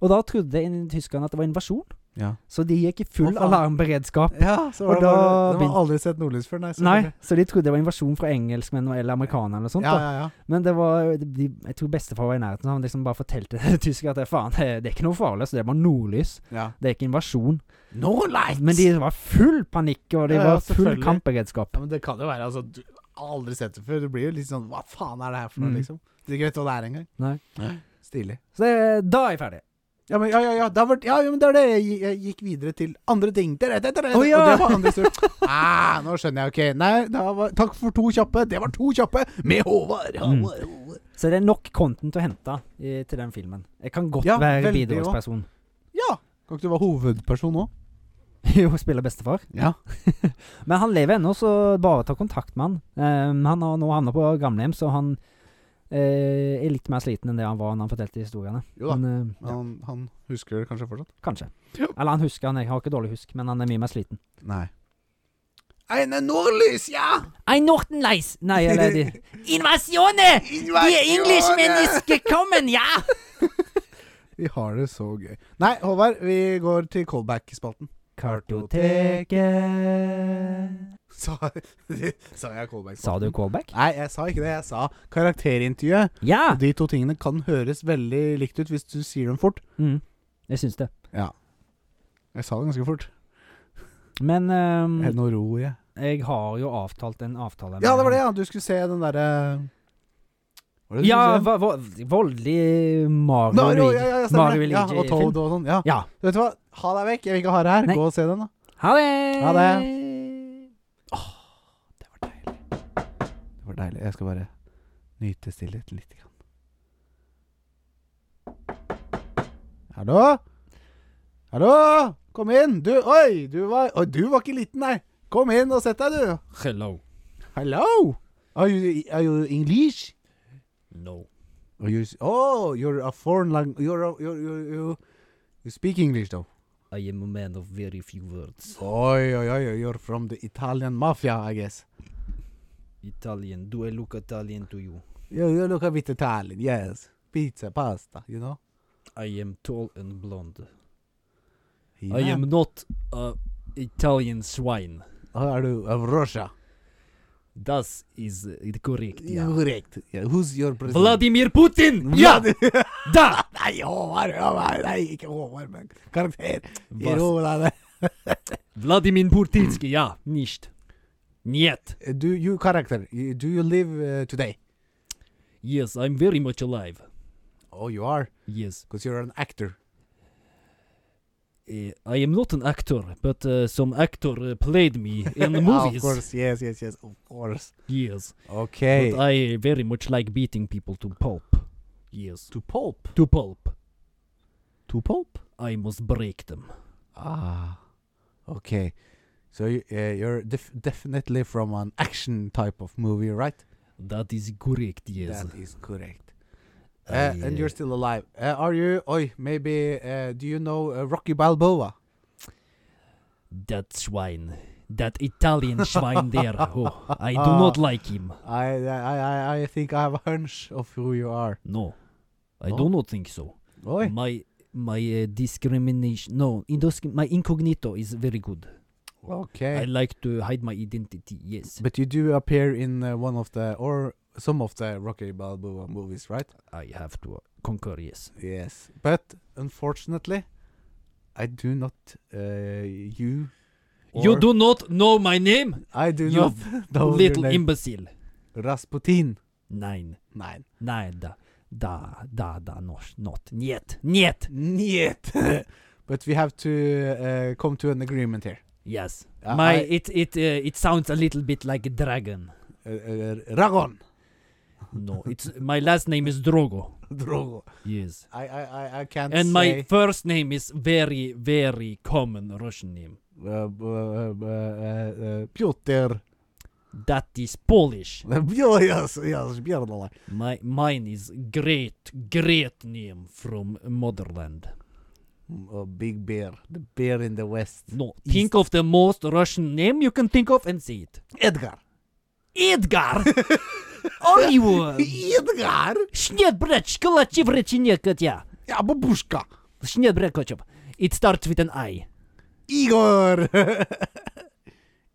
Og da trodde in- tyskerne at det var invasjon,
Ja.
så de gikk i full
Å, faen.
alarmberedskap.
så
Og
var det bare,
da
De har aldri sett nordlys før, nei.
Nei,
selvfølgelig.
så de trodde det var invasjon fra engelskmenn eller amerikanere eller sånt.
Ja,
da.
ja, ja.
Men det var de, Jeg tror bestefar var i nærheten, så han liksom bare fortalte (laughs) til tyskerne at det, faen, det er ikke noe farlig, så det er bare nordlys.
ja.
Det er ikke invasjon.
Nordlights!
Men de var full panikk, og
Ja,
de
ja,
var full
selvfølgelig.
kampberedskap.
ja, men det kan jo være, altså. Du har aldri sett det før. Du blir jo litt sånn Hva faen er det her for noe,
Mm.
liksom? Du ikke vet hva det er engang.
Nei.
Stilig.
Så det, da er jeg ferdig.
Ja, men ja, ja, ja. Da var, ja, ja, men det er det. Jeg, gi- jeg gikk videre til andre ting. Dere, dere, dere,
Å, ja.
Og det var andre historier. ah, nå skjønner jeg. Ok. Nei, da var, takk for to kjappe. Det var to kjappe med Håvard.
Mm.
Håvard, Håvard.
Så det er nok content å hente i, til den filmen. Jeg kan godt
Ja,
være
veldig
bidragsperson.
Ja. Kan ikke du være hovedperson nå?
(laughs) Jo, spiller bestefar.
Ja.
Men han lever ennå, så bare ta kontakt med han. Ehm, han har nå havna på gamlehjem, så han eh, er litt mer sliten enn det han var når han fortalte historiene.
Jo da.
Men, eh,
Men han, han husker det kanskje fortsatt?
Kanskje.
Ja.
Eller han husker, han jeg har ikke dårlig husk, men han er mye mer sliten.
Nei. Eine Nordlys, ja!
Ein Nortenleis! Nei, eller de
(laughs)
Invasjone! De engelskmennene kommen, ja!
Vi har det så gøy. Nei, Håvard, vi går til callback-spalten. (laughs)
Kartoteket
Sa, sa jeg callback-spalten?
Sa du callback?
Nei, jeg sa ikke det. Jeg sa karakterintervjuet.
Ja!
Og de to tingene kan høres veldig likt ut hvis du sier dem fort.
Mm, jeg syns det.
Jeg sa det ganske fort.
Men ehm,
Er det noe ro i det?
jeg har jo avtalt en avtale
Mm. Ja, det var det, ja. Du skulle se den derre Hva var det du
Ja,
skulle se?
hva- hva- voldelig Mario.
Mario,
Luigi.
ja, ja, ja, stemmer
Mario
det. Ja, og
Luigi-film.
Toad og sånn. Ja.
Ja.
Vet du hva, ha deg vekk. Jeg vil ikke ha det her.
Nei.
Gå og se den, da.
Ha det!
Ha det. Det var deilig. Det var deilig. Jeg skal bare nyte stillheten litt. Grann. Hallo? Hallo? Kom inn! Du, oi, du var, oi, du var ikke liten, nei. Kom inn og sett deg, du.
Hello.
Hello? Are you, are you English?
No.
Are you, oh, you're a foreign language. You're, a- you're, you're, you, you speak English, though.
I am a man of very few words.
Oi, oi, oi, oi, you're from the Italian mafia, I guess.
Italian. Do I look Italian to you?
You, you look a bit Italian, yes. Pizza, pasta, you know?
I am tall and blonde.
Yeah.
I am not a Italian swine.
Oh, Are you of Russia?
Das is uh, correct. Yeah.
Correct. Yeah. Who's your president? (laughs) oh,
Vladimir Putin!
Ja! (laughs)
Ja! Da!
Nei, Håvard, Håvard, nei, ikke Håvard, men karakter. I
Was-
ro deg ned.
Vladimir Putinski, ja. Nicht. Нет.
Do you character, you- do you live uh, today?
Yes, I'm very much alive.
Oh, you are,
Yes.
because you're an actor.
Uh, I am not an actor, but uh, some actor uh,
(laughs)
played me in
Ah,
movies.
of course, yes, yes, yes, of course.
Yes.
Okay.
But I eh, very much like beating people to pulp. Yes.
to pulp.
To pulp.
To pulp?
I must break them.
Ah, okay. So you, uh, you're def- definitely from an action type of movie, right?
That is correct, yes. Eh,
That is correct. Uh,
I,
And you're still alive. Uh, are you? Oi, maybe. Uh, do you know uh, Rocky Balboa?
That swine. That Italian swine there.
(laughs)
Oh, I do not like him.
I, I, I, I think I have a hunch of who you are.
No. I
Oh.
do not think so.
Oi.
My my uh, discrimination. No, indus- my incognito is very good. I
Okay.
like to hide my identity. Yes,
But you do appear in uh, one of the or some of the Rocky Balboa movies, right?
I have to uh, conquer. Yes.
Yes. But unfortunately, I do not. Uh, you.
you
or-
do not know my name,
I do
you
not know your
little
name.
imbecile.
Rasputin.
Nine.
Nein.
Nine. Da. Da. Da. Da. No. Not. Нет. Нет.
Niet. (laughs) but we have to uh, come to an agreement here.
Yes.
Uh,
my.
I-
It. It. Uh, it sounds a little bit like a dragon.
Uh, uh, Ragon. (laughs)
No. It's (laughs) my last name is Drogo.
Drogo.
Yes.
I, I, I, I can't
And
say.
my first name is very, very common Russian name.
Uh, b- uh, b- uh, uh, Piotr.
That is Polish.
Bjo- yes, yes, Bjørnalai.
My mine is great, great name from motherland.
Mm, uh, Big Bear. The bear in the west.
No, think of the most Russian name you can think of and say it.
Edgar.
Edgar. Олива.
Edgar?
Шнет брат, школачи в речине котя.
Ja, babushka.
Шнет брат котчоп. It starts with an I.
Igor.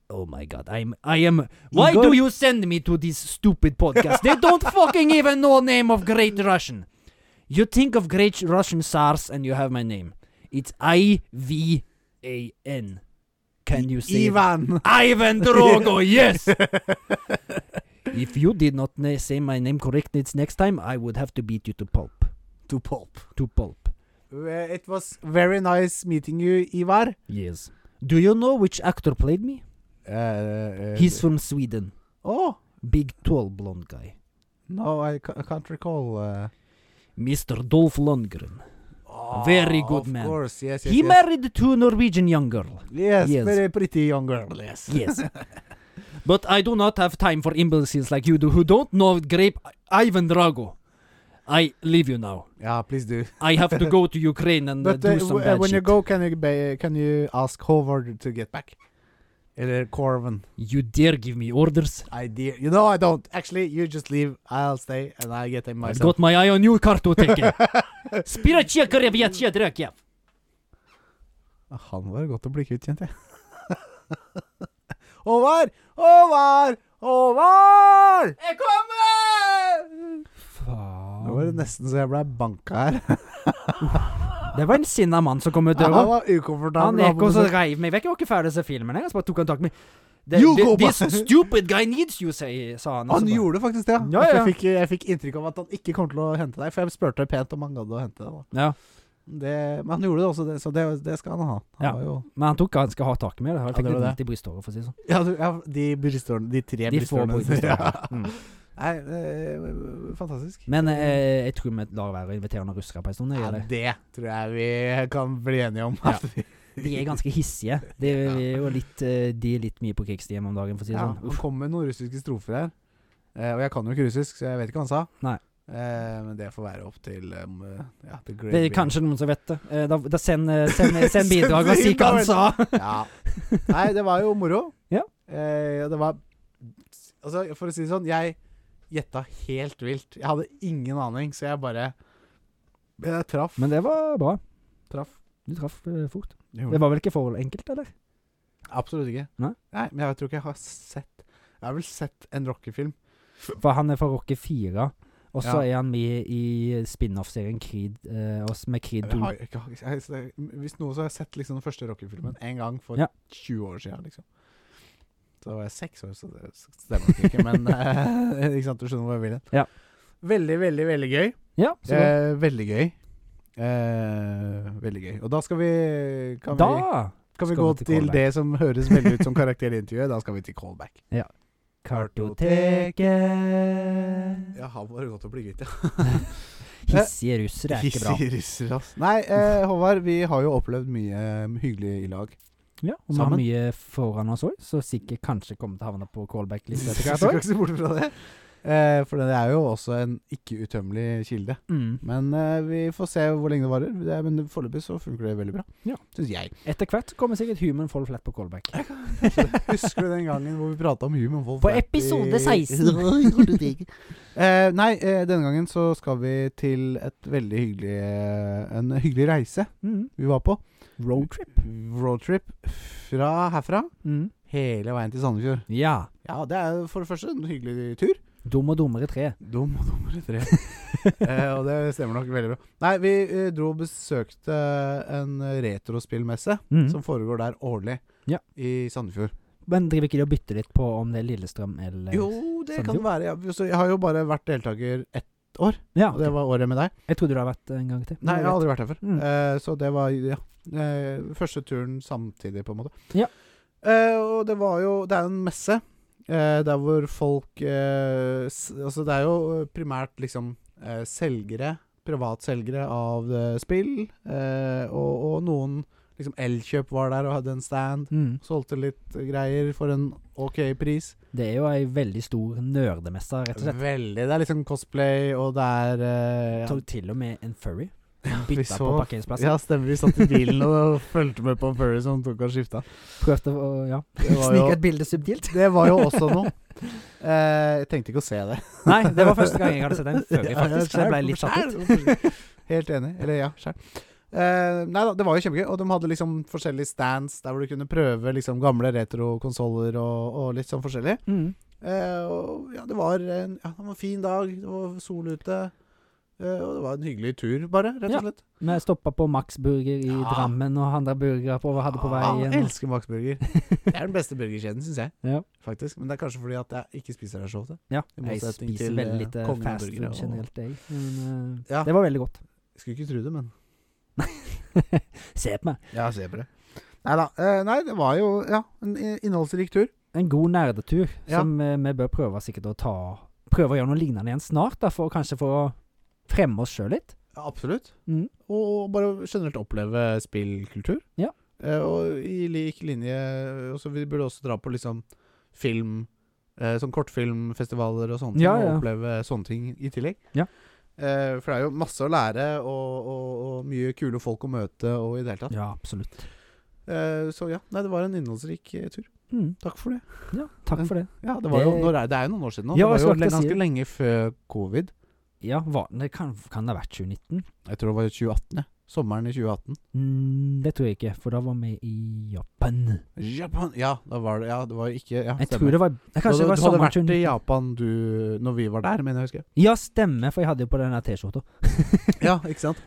Oh my god, I'm I am Why
Igor?
do you send me to this stupid podcast? they
(laughs)
don't fucking even know name of great Russian. You think of great Russian SARS and you have my name. It's I V A N. Can you see it?
Ivan.
Ivan
(laughs)
Drogo, yes! if you did not na- say my name correctly it's next time, I would have to beat you to pulp.
To pulp.
To pulp.
Uh, it was very nice meeting you, Ivar.
Yes. Do you know which actor played me?
Uh, uh,
He's from Sweden.
Oh.
Big, tall, blonde guy.
No, I, ca- I can't recall. Uh,
Mr. Dolph Lundgren.
Very good
Oh, of
man.
Course. Yes, yes,
He
yes.
married to a Norwegian young girl.
yes,
Yes.
very pretty young girl. Yes. (laughs)
Yes. but I do not have time for imbeciles like you do who don't know grape Ivan Drago. I leave you now.
Yeah, please do.
I have to go to Ukraine and uh,
But uh,
do some
w- uh,
bad
when you
shit.
go, can you ba- can you ask Howard to get back? Eller Corvin.
You dare give me orders?
I dare you know I don't. Actually, you just leave. I'll stay, and I get him
I've
myself.
got my eye on you,
(laughs)
Kartoteke. Spirachia karebjatje drekjev.
Ah, Han var godt å bli kvitt, kjente jeg. (laughs) Håvard! Håvard! Håvard!
Jeg kommer!
Nå var det
Faen.
nesten så jeg ble banka her.
Det var en sinna mann som
e
(laughs)
kom ut
Han
døra.
var
Han
ukomfortabel.
gikk og sånn. så reiv meg vekk. Jeg var ikke ferdig å se filmen engang. Så bare tok han tak i meg. Det-
You
det-
go
This
back.
stupid guy needs you, say- sa han. og så
Han
bare-
gjorde faktisk det,
Ja,
For
ja.
Jeg, fikk, jeg fikk inntrykk av at han ikke kom til å hente deg, for jeg spurte pent om han gadd å hente deg. Da.
Ja.
Det, men han gjorde det også, det, så det, det skal han ha. Han
Ja.
var jo,
Men han tok ganske hardt tak i meg. da. Jeg
Ja,
fikk
det var
litt
det.
vondt i brysthåret, for å si det sånn.
ja, du, ja, de brystårene, de tre
De få
brystårene. (laughs)
brystårene. Mm.
Nei, eh, fantastisk.
Men eh, jeg tror vi lar være å invitere noen russere på en stund. jeg
ja,
gjør det.
det tror jeg vi kan bli enige om. (laughs)
Ja.
at vi-
De er ganske hissige. De er jo litt, eh, de er litt mye på krigsstien om dagen, for å si det
Ja,
sånn.
han kom med noen russiske strofer her. Eh, og jeg kan jo ikke russisk, så jeg vet ikke hva han sa.
Nei.
Eh, men det får være opp til um, eh, ja, til
Det er
Grey
kanskje noen som vet det. Eh, Da, da send, eh, send,
(laughs)
send bidrag og si hva han sa.
Bear. Ja. Nei, det var jo moro.
Ja.
Eh, og det var Altså, for å si det sånn, jeg gjetta helt vilt. Jeg hadde ingen aning, så jeg bare Jeg traff.
Men det var bra.
traff.
Du traff eh, fort.
Gjorde
Det var vel ikke for enkelt, eller?
Absolutt ikke.
Nei?
men jeg tror ikke jeg har sett Jeg har vel sett en rockefilm.
For han er fra Rocky 4, og så
Ja.
er han med i spin-off-serien Creed, eh, også med Creed
Jeg
2.
har, ikke- jeg, har- jeg, hvis noe, så har jeg sett liksom den første rockefilmen en gang for
Ja.
20 år siden. Liksom. Da var jeg seks år, så det stemmer nok ikke. Men (laughs) eh, ikke sant, du skjønner hvor jeg vil hen.
Ja.
Veldig, veldig, veldig gøy.
Ja, så bra.
Eh, veldig gøy. Eh, veldig gøy. Og da skal vi Kan
Da
vi, kan vi
skal
gå
vi til
til,
callback.
det som høres veldig ut som karakterintervjuet. Da skal vi til callback. (laughs)
Kartoteket.
Jeg har bare gått og blitt kvitt, ja.
Hissige russere er ikke bra.
Hissige russere, ass. Nei, eh, Håvard, vi har jo opplevd mye eh, hyggelig i lag.
Ja, og vi har
Sammen.
mye foran oss òg, så sikkert kanskje kommer til å havne på
(laughs)
callback-lista etter hvert
Skal
også.
ikke se bort fra det. Eh, for det er jo også en ikke utømmelig kilde.
Mm.
Men eh, vi får se hvor lenge det varer. Det er, men foreløpig så funker det veldig bra.
Ja.
Syns jeg.
Etter hvert kommer sikkert Human Fall Flat på callback.
(laughs) Husker du den gangen hvor vi prata om human vold?
På episode
(laughs)
16.
eh, nei, eh, denne gangen så skal vi til et veldig hyggelig eh, En hyggelig reise
Mm.
vi var på.
Roadtrip.
Roadtrip fra herfra hele veien til Sandefjord.
Mm. Ja.
Ja, det er for det første en hyggelig tur.
Dum og dummere tre.
Dum og dummere (laughs) tre. eh, og det stemmer nok veldig bra. Nei, vi eh, dro og besøkte en retrospillmesse
Mm.
som foregår der årlig
Ja.
i Sandefjord.
Men driver ikke de og bytter litt på om det er Lillestrøm eller
Jo, det
Sandefjord?
kan være. Ja. Så jeg har jo bare vært deltaker ett år,
Ja,
og det
ok.
var året med deg.
Jeg trodde du hadde vært en gang til.
Nei, jeg har aldri vært der før.
Mm.
Eh, så det var ja, eh, første turen samtidig, på en måte.
Ja.
Eh, og det var jo Det er jo en messe. eh, der hvor folk eh, s Altså, det er jo primært liksom eh, selgere, privatselgere av eh, spill, eh, og, og noen liksom Elkjøp var der og hadde en stand.
Mm.
Solgte litt greier for en OK pris.
Det er jo ei veldig stor nerdemesse, rett og slett.
Veldig. Det er liksom cosplay, og det er eh, ja.
Tok til og med en furry.
vi
Bytta på
så-
parkeringsplassen.
Ja, stemmer. Vi satt i bilen og (laughs) fulgte med på Furry som tok og skifta.
Prøvde å ja.
Det var jo-
snike et bilde subtilt.
Det (laughs) var jo også noe. Eh, jeg tenkte ikke å se det.
(laughs) Nei, det var første gang jeg hadde sett en furry,
(laughs) Ja, ja,
faktisk. så jeg ble
skjær,
litt satt ut.
skjær. (laughs) Helt enig. Eller ja, sjæl. nei da, det var jo kjempegøy. Og de hadde liksom forskjellige stands der hvor du kunne prøve liksom gamle retrokonsoller og, og litt sånn forskjellig.
Mm.
Eh, og ja, det var en, ja, det var en fin dag. Det var sol ute. Eh, og det var en hyggelig tur, bare, rett
Ja.
og slett.
Vi stoppa på Max Burger i
Ja.
Drammen og handla burgere på, hadde på
Ah,
veien. og-
elsker Max Burger. Det er den beste burgerkjeden, syns jeg.
Ja.
Faktisk. Men det er kanskje fordi at jeg ikke spiser der så ofte.
Ja,
I
jeg
motsetning
spiser
til,
veldig
eh,
lite
kongen av
fast
burgere
food
og-
generelt, jeg. Men eh,
Ja.
det var veldig godt.
Skulle ikke tro det, men
Se på meg.
Ja, se på det. Nei da. Eh, nei, det var jo ja, en i- innholdsrik tur.
En god nerdetur
Ja.
som eh, vi bør prøve sikkert å ta Prøve å gjøre noe lignende igjen snart, da, for kanskje for å fremme oss sjøl litt.
Absolutt.
Mm.
Og bare generelt oppleve spillkultur.
Ja.
Eh, og i lik linje og så Vi burde også dra på liksom film eh, Sånn kortfilmfestivaler og sånne ting.
Ja,
Og
ja.
oppleve sånne ting i tillegg.
Ja.
Eh, for det er jo masse å lære, og, og, og mye kule folk å møte, og i det hele tatt.
Ja, absolutt.
Eh, så ja, nei, det var en innholdsrik eh, tur.
Mm.
Takk for det.
Ja, takk for det.
Ja, Det, var
Det-
jo, når er, det er jo noen år siden nå.
Ja,
det
jeg
var jo
skulle
le-
akkurat si
ganske lenge før covid.
Ja, var, det kan, kan det ha vært 2019?
Jeg tror det var i 2018. ja. Sommeren i 2018.
Mm, det tror jeg ikke, for da var vi i Japan.
Japan Ja, da var det Ja, det var ikke ja, stemmer.
Jeg tror det var
du,
Kanskje det var
du hadde
sommeren
vært
2019.
i Japan du Når vi var der, mener jeg å
(laughs)
huske.
Ja, stemmer, for jeg hadde jo på den der T-skjorta.
Ja, ikke sant?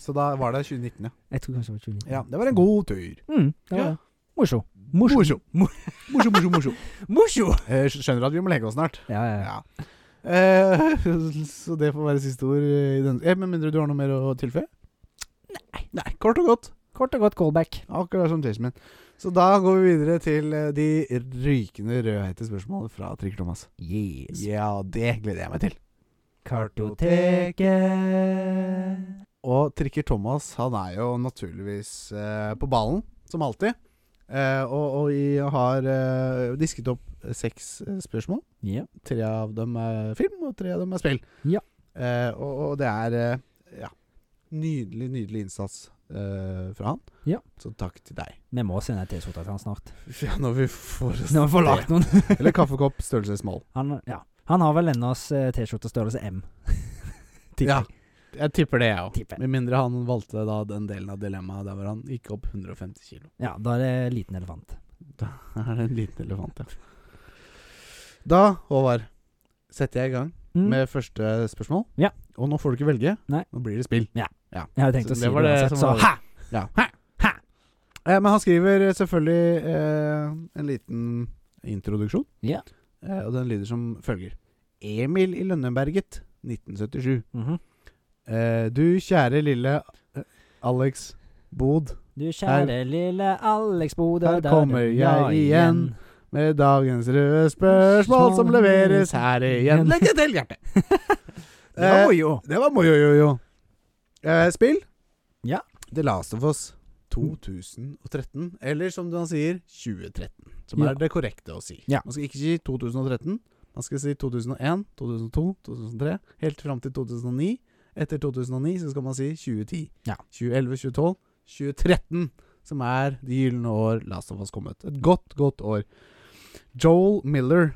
Så da var det 2019, ja.
Jeg tror kanskje det var 2019.
ja. Det var en god tur.
Mm, det var
Ja.
det. Morso. Morso.
Morsom, morsom, morsom.
Morso!
Eh, skj- skjønner at vi må legge oss snart.
Ja, ja. ja.
Ja. Eh, så det får være siste ord i den eh, Men mindre du har noe mer å tilføye? Nei. Nei. Kort og godt.
Kort og godt callback.
Akkurat som tissen min. Så da går vi videre til eh, de rykende rødhete spørsmålene fra Trikker-Thomas.
Yes.
Ja, det gleder jeg meg til.
Kartoteket.
Og Trikker Thomas han er jo naturligvis eh, på ballen, som alltid. Eh, og, og vi har eh, disket opp seks eh, spørsmål.
Ja.
Tre av dem er film, og tre av dem er spill.
Ja.
Eh, og, og det er eh, ja, nydelig, nydelig innsats eh, fra han.
Ja.
Så takk til deg. (laughs)
Vi må sende en T-skjorte til han snart.
Ja, når vi får
Når vi får lagt noen.
Eller kaffekopp størrelse small.
Han, ja. han har vel ennå oss, eh, T-skjortestørrelse M. (laughs) Tipper
Ja,
jeg.
jeg tipper det, jeg òg.
Tipper.
Med mindre han valgte da den delen av dilemmaet der hvor han gikk opp 150 kilo.
ja, da er det liten elefant.
Da (laughs) er det en liten elefant, ja. Da, Håvard, setter jeg i gang
Mm.
med første spørsmål.
Ja.
Og nå får du ikke velge.
Nei.
Nå blir det spill.
Jeg hadde tenkt
Så
å si
det
det
var det
uansett,
som
så
var-
ha!
Ja. Eh, men han skriver selvfølgelig eh, en liten introduksjon.
Ja.
Eh, og den lyder som følger. Emil i Lønneberget, 1977.
Mhm.
Eh, du kjære lille eh, Alex Bod.
Du kjære lille Alex Bodø,
Her
der
kommer
du
jeg
var
igjen. Med dagens røde spørsmål som leveres her igjen. Legg det til, (laughs) Hjerte! Eh,
Ja, jo.
det var mojo-jojo. Eh, spill?
Ja. Mm.
The Last of Us 2013. Eller som han sier, 2013. Som
Ja.
er det korrekte å si.
Ja.
Man skal ikke si 2013. Man skal si 2001, 2002, 2003. Helt fram til 2009. Etter 2009 så skal man si 2010.
Ja.
2011, 2012, 2013. Som er de gylne år Last of Us kom ut. Et godt, godt år. Joel Miller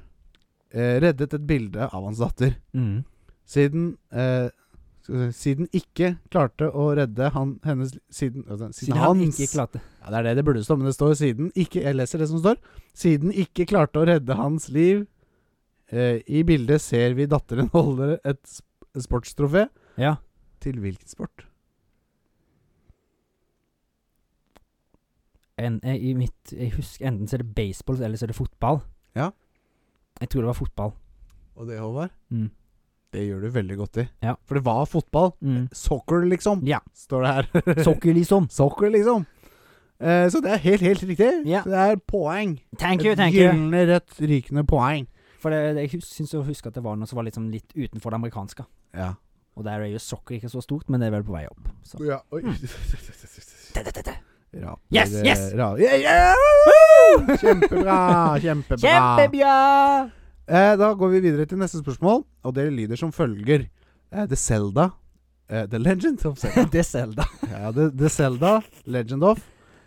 eh, reddet et bilde av hans datter.
Mm.
Siden eh, skal vi se, Siden ikke klarte å redde han, hennes Siden, altså, siden,
Siden han
hans
ikke klarte
ja, Det er det det burde stå, men det står siden ikke Jeg leser det som står. Siden ikke klarte å redde hans liv eh, I bildet ser vi datteren holde et sp- sportstrofé.
Ja.
Til hvilken sport?
en, eh, i mitt, jeg husker, enten så er det baseball, eller så er det fotball.
Ja.
Jeg tror det var fotball.
Og det, Håvard,
Mm.
det gjør du veldig godt i.
Ja.
For det var fotball.
Mm.
Soccer, liksom,
Ja.
står det her.
Sokkel, liksom.
(laughs) Soccer, liksom. Eh, så det er helt, helt riktig.
Ja.
Så det er poeng.
Thank you, thank you.
Gylne, rødt, rykende poeng.
For det, det, jeg hus- syns jeg husker at det var noe som var liksom litt utenfor det amerikanske.
Ja.
Og der er jo sokkel ikke så stort, men det er vel på vei opp. Så.
ja. Oi.
Da-da-da-da.
Raper,
Yes, yes!
ra- Ja, ja!
Woo! (laughs)
Kjempebra! Kjempebra.
Kjempebra!
(laughs) Eh, da går vi videre til neste spørsmål, og det lyder som følger. Eh, The Zelda eh, The Legend of Zelda.
det er Selda.
ja, the, the Zelda Legend of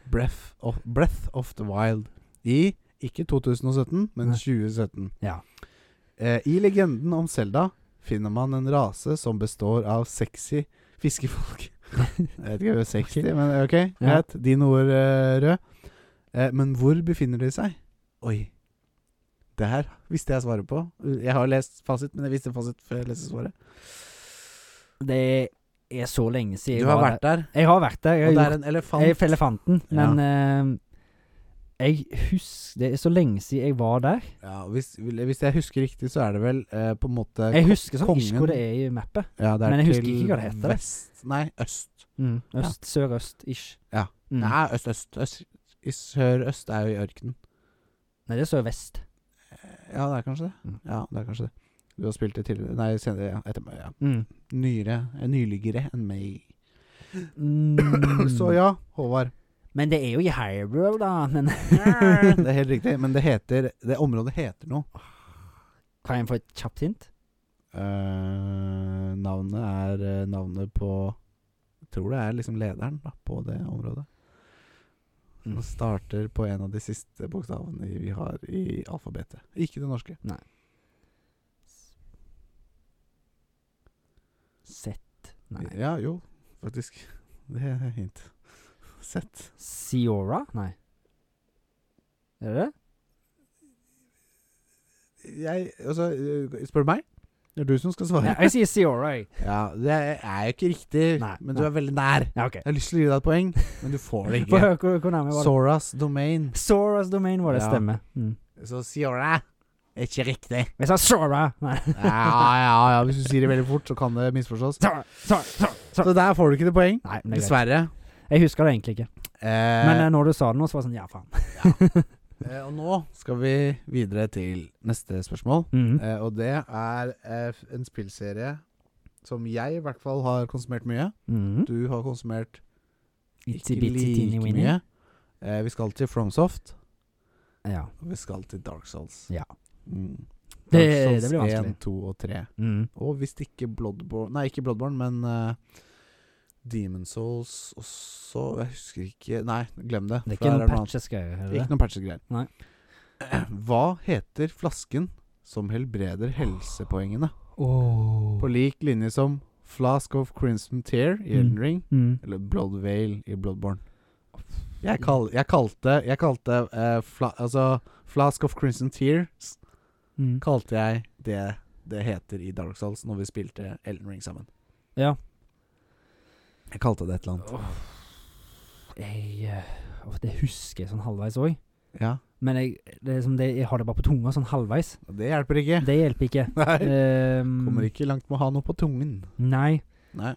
Breath of, Breath of the Wild i ikke 2017, men
Nei.
2017.
Ja.
Eh, I legenden om Zelda finner man en rase som består av sexy (laughs) fiskefolk. Jeg vet ikke om det er 60, men ok.
Ja.
Greit. Dine ord, eh, Rød. Eh, men hvor befinner de seg? Oi. Det her visste jeg svaret på. Jeg har lest fasit, men jeg visste fasit før jeg leste svaret.
Det er så lenge siden
Du
jeg
har
var
vært der,
der. Jeg har vært der. Jeg
og det
har
er en elefant.
Jeg er for elefanten, men eh, jeg husker Det er så lenge siden jeg var der.
Ja, hvis, hvis jeg husker riktig, så er det vel eh, på en måte
Jeg husker sånn ikke
kongen-
hvor det er i mappet.
ja, det er
men jeg husker
til
ikke hva det heter.
Vest Nei, øst.
Øst, sørøst-ish.
Mm. Ja.
Mm. Nei.
Nei, øst, øst. øst. I sør-øst er jo i ørkenen. Eh,
det er sørvest.
Ja, det er kanskje det.
Mm.
Ja, det er kanskje det. Du har spilt det tidligere Nei, senere, ja. Etter meg, ja.
Mm.
Nyere, eh, nyligere enn
(clears throat)
meg.
Mm.
(coughs) Så ja, Håvard.
Men det er jo i Hyrule, da. Men (laughs)
(laughs) Det er helt riktig. Men det heter Det området heter noe.
kan jeg få et kjapt hint?
Eh, navnet er eh, navnet på Jeg tror det er liksom lederen da, på det området. Den starter på en av de siste bokstavene vi har i alfabetet. Ikke det norske.
Sett Nei.
Ja, jo, faktisk. (laughs) Det er hint. Sett.
Siora? Nei. Er det det?
Jeg Altså, eh, spør du meg? Det er du som skal
Ja,
svare.
jeg sier Siora, jeg.
Ja, det er jo ikke riktig,
Nei,
men
nei.
du er veldig nær.
Ja, OK.
Jeg har lyst til å gi deg et poeng, men du får (laughs) det
Få
ikke.
høre hvor, hvor nærme var det.
Soras domain.
Soras domain var det,
Ja.
stemmer. Mm.
Så Siora er ikke riktig.
Jeg sa Sora! Nei.
Ja, ja, ja. Hvis du sier det veldig fort, så kan det misforstås.
Sora, Sora, Sora, Sora.
Så der får du ikke det poeng.
Nei, men det er greit.
Dessverre.
Jeg husker det egentlig ikke.
Eh,
Men eh, når du sa det nå, så var det sånn Ja, faen.
eh, og nå skal vi videre til neste spørsmål.
Mm.
Eh, og det er eh, f- en spillserie som jeg i hvert fall har konsumert mye.
Mm.
Du har konsumert
Itsy
ikke
bitsy teeny
like
weeny.
mye. Eh, vi skal til FromSoft,
Ja.
og vi skal til Dark Souls.
Ja.
Mm.
Det,
Dark Souls
det blir vanskelig.
1, 2 og 3.
Mm.
Og hvis det ikke Bloodborne Nei, ikke Bloodborne, men eh, Demon Souls også Jeg husker ikke Nei, glem det.
Det
for
er ikke
her
noen
annet.
patches, skal jeg gjøre.
Ikke noen patchegreier.
Nei.
(clears throat) Hva heter flasken som helbreder helsepoengene?
Oh.
På lik linje som Flask of Crimson Tear i Elden
Mm.
Ring
Mm.
eller Blood Veil i Bloodborne. Jeg, kal jeg kalte, jeg kalte eh, fla altså, Flask of Crimson Tears
Mm.
kalte jeg det det heter i Dark Souls når vi spilte Elden Ring sammen.
Ja.
Jeg kalte det et eller annet.
Åh. Jeg eh, åh, Det husker jeg sånn halvveis òg.
Ja,
Men jeg, det er som det, jeg har det bare på tunga
(laughs)
sånn halvveis.
og Det hjelper ikke.
Det hjelper ikke.
Nei.
Um,
Kommer ikke langt med å ha noe på tungen.
Nei.
Nei.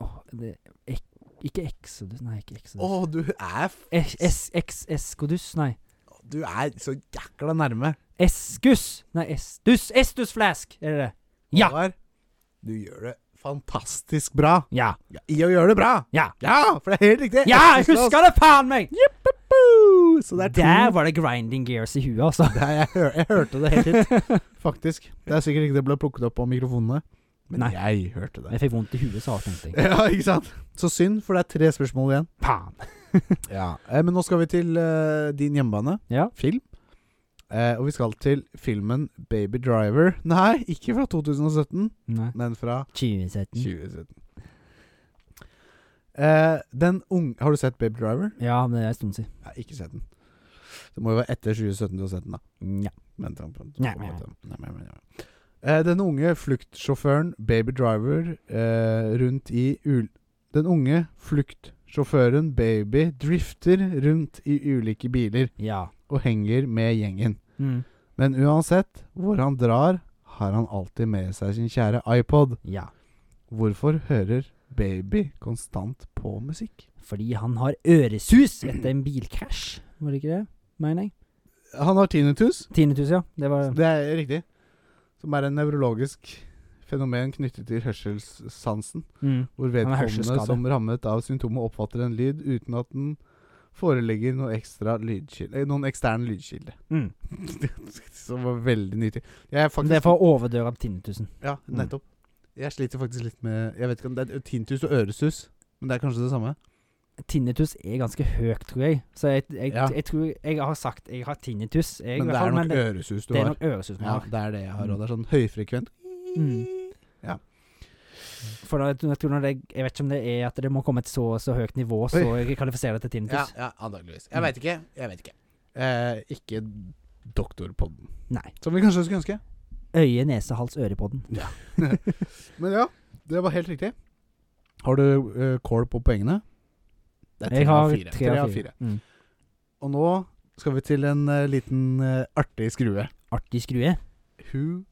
Åh, det, ek, ikke Exodus Nei, ikke Exodus.
Å, du er f
Es- es- ex- Eskodus, nei.
Du er så jækla nærme.
Eskus! Nei, Estus! Estus Flask! Er det det? Ja.
Håvard, Du gjør det fantastisk bra.
Ja.
Ja, I å gjøre det bra.
Ja.
Ja, for det er helt riktig.
Ja, jeg
Estus Flask.
husker det, faen meg!
Boo! Så det er to
Der var det grinding gears i huet, altså.
Nei, jeg, hør, (laughs) jeg hørte det helt hit, faktisk. Det er sikkert ikke det ble plukket opp på mikrofonene, men
Nei.
jeg hørte det.
(laughs) Jeg fikk vondt i huet, sa jeg, tenkte
(laughs)
jeg.
Ja, ikke sant? Så synd, for det er tre spørsmål igjen.
Faen.
Ja. Eh, men nå skal vi til eh, din hjemmebane,
Ja.
film. Eh, og vi skal til filmen Baby Driver. Nei, ikke fra 2017,
Nei.
men fra
2017.
2017. Eh, den unge Har du sett Baby Driver?
Ja, men det er en stund siden.
Nei, ikke sett den. Det må jo være etter 2017 du har sett den, da.
Nja.
Men da- da-
Nei,
da-
nei, nei.
da- nei, nei, nei. Eh, Den unge fluktsjåføren Baby Driver eh, rundt i ul... Den unge fluktsjåføren Baby drifter rundt i ulike biler
Ja.
og henger med gjengen.
Mm.
Men uansett hvor han drar, har han alltid med seg sin kjære iPod.
Ja.
Hvorfor hører Baby konstant på musikk?
Fordi han har øresus etter en bilkrasj, var det ikke det? Mener jeg.
Han har tinnitus.
Tinnitus, ja. Det var
Det er riktig. Som er en nevrologisk fenomen knyttet til hørselssansen.
mm.
hvor
er
vedkommende
hørselsskadet.
som rammet av symptomet oppfatter en lyd uten at den foreligger noe ekstra lydkilde, eh, noen ekstern lydkilde.
Mm.
Som var veldig nyttig. Jeg er faktisk,
Det er for Mm. å overdøre av tinnitusen.
Ja, nettopp. Jeg sliter faktisk litt med Jeg vet ikke om det er tintus og øresus, men det er kanskje det samme?
Tinnitus er ganske høyt, tror jeg. Så jeg, jeg,
Ja.
jeg tror jeg har sagt jeg har tinnitus. Jeg, i
Men
hvert
det
fall,
er nok
det,
øresus du
det er
har.
nok øresus man
Ja,
har.
det er det jeg har,
Mm.
og det er sånn høyfrekvent
Mm. For da, jeg, tror når det, jeg vet ikke om det er at det må komme et så og så høyt nivå, så jeg kvalifiserer det til tinnitus.
antakeligvis.
Jeg vet
ikke. Jeg vet ikke. Eh, ikke doktorpodden.
Nei.
Som vi kanskje skulle ønske.
Øye, nese, hals, øre på den.
Men ja, det var helt riktig. Har du eh, kål på poengene? Det
Jeg har tre av fire. Mm.
Og nå skal vi til en eh, liten eh, artig skrue.
Artig skrue.
Who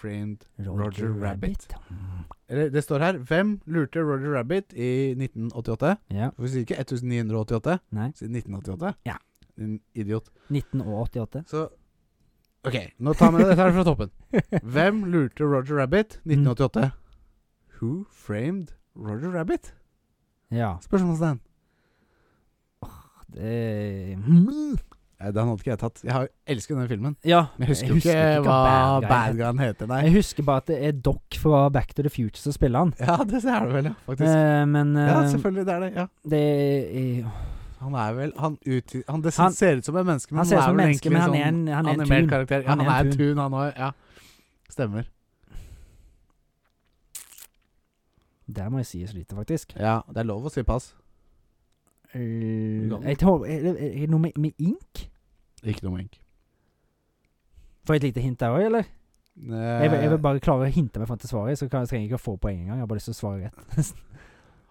framed
Roger,
Roger Rabbit.
Rabbit. Mm.
Eller det står her Hvem lurte Roger Rabbit i 1988?
Ja.
For vi sier ikke 1988,
Nei.
vi sier 1988.
Ja. (laughs)
Din idiot.
1988.
Så Ok, nå
(laughs)
tar vi det dette her fra toppen. Hvem lurte Roger Rabbit 1988? Who framed Roger Rabbit?
Ja.
Spørsmålstegn.
Det,
Eh, Den hadde ikke jeg tatt. Jeg har elsket den filmen.
ja.
Men jeg husker jo ikke, hva Bad
heter.
Guyen heter, nei.
Jeg husker bare at det er Doc fra Back to the Future som spiller han.
Ja, det er det vel, ja. Faktisk.
Eh, men eh,
ja, selvfølgelig. Det er det. ja
det er,
Han er vel Han, ut, han, det
Han-
ser ut som et menneske, men
Han
han,
ser ut
er
som
vel
menneske, men han
egentlig sånn
er en, han er en
animert
tun.
karakter. Ja,
Han
han,
er en
er
tun.
en tun, han òg. Ja. Stemmer.
Der må jeg si jeg sliter, faktisk.
Ja, det er lov å si pass.
Eh, jeg tror, er det er det noe med, med ink?
Ikke noe mink.
Får jeg et lite hint der òg, eller?
Eh,
Jeg vil, jeg vil bare klare å hinte meg fram til svaret, så kan, trenger jeg ikke å få poeng engang. Jeg har bare lyst til å svare rett.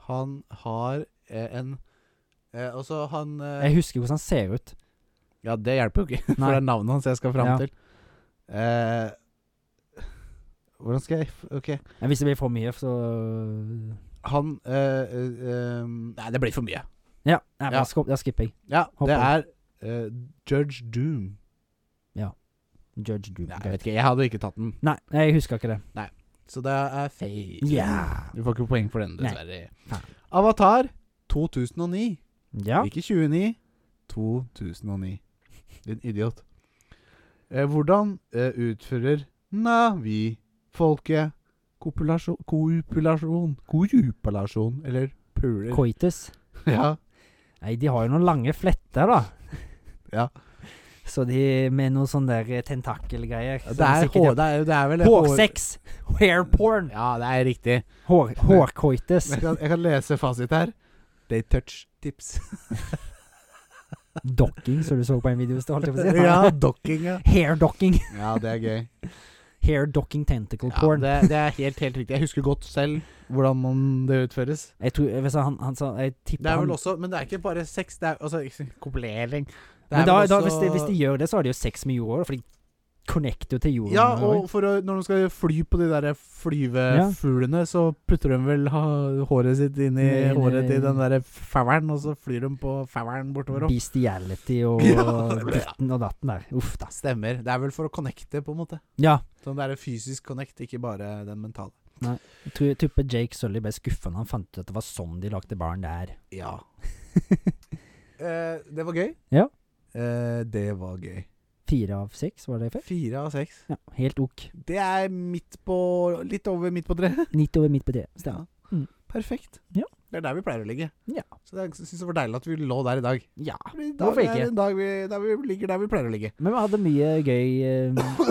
Han har eh, en eh, Og så han eh,
Jeg husker hvordan han ser ut.
Ja, det hjelper jo ikke, (laughs) for
Nei.
det er navnet hans jeg skal fram
Ja.
til. Eh, hvordan skal jeg f- Ok.
Men hvis det blir for mye, så
Han eh, eh, eh, Nei, det blir for mye.
Ja, nei,
Ja.
bare skip- da skipper jeg.
Ja,
Hopp
det
over.
er eh, Judge Doom.
Judge Doom.
Nei, jeg vet ikke, jeg hadde ikke tatt den.
Nei, jeg husker ikke det.
Så det er feil. Du får ikke poeng for den,
Nei.
dessverre.
Faen.
Avatar 2009.
Ja.
Ikke 29, 2009. Din idiot. Eh, hvordan eh, utfører Navi folket kopulasjon Kopulasjon Kojupalasjon, eller puler?
Coitus.
ja.
Nei, de har jo noen lange fletter, da.
Ja.
Så de med noen sånne der eh, tentakelgreier. som
Det er, hår,
sikkert-
det, er, det er vel
Hårsex! Hairporn!
Ja, det er riktig.
Hår, hårkoitus.
Jeg kan, jeg kan lese fasit her. They touch tips.
Docking, som du så på en video. så (laughs) Holdt jeg på å si.
(laughs) ja, dokking, ja.
Hairdocking.
Ja, det er gøy.
Hairdocking tentacle
Ja,
porn.
det, det er helt, helt riktig. Jeg husker godt selv hvordan man det utføres.
Jeg tror jeg, vet du, han, han sa Jeg tipper
Det er
han
vel også, Men det er ikke bare sex, det er altså ikke- kopulering. Det er
Men da,
vel
da,
også-
hvis, de, hvis de gjør det, så har de jo sex med jorda, for de connecter jo til jorda.
Ja, og for å, når de skal fly på de der flyvefuglene, så putter de vel ha, håret sitt inn i
Nei, nei,
håret til
nei.
den derre fauren, og så flyr de på fauren bortover. Og.
Bestiality
(laughs)
og
Ja, det ble-
ditten og datten der. Uff da.
Stemmer. Det er vel for å connecte, på en måte.
Ja,
Sånn det er en fysisk connect, ikke bare den mentale.
jeg tror jeg tipper Jake Sully ble skuffa når han fant ut at det var sånn de lagde barn der.
Ja. (laughs) eh, det var gøy.
Ja.
Eh, det var gøy.
Fire av seks, var det før?
Fire av seks.
Ja, helt ok.
Det er midt på Litt over midt på treet.
Nidt over midt på det. (laughs) Stemmer. Mm.
Perfekt.
Ja.
Det er der vi pleier å ligge.
Ja.
Så jeg syns det var deilig at vi lå der i dag.
Ja.
For i
Hvorfor
dag er
ikke?
en dag vi, der vi ligger der vi pleier å ligge.
Men vi hadde mye gøy eh,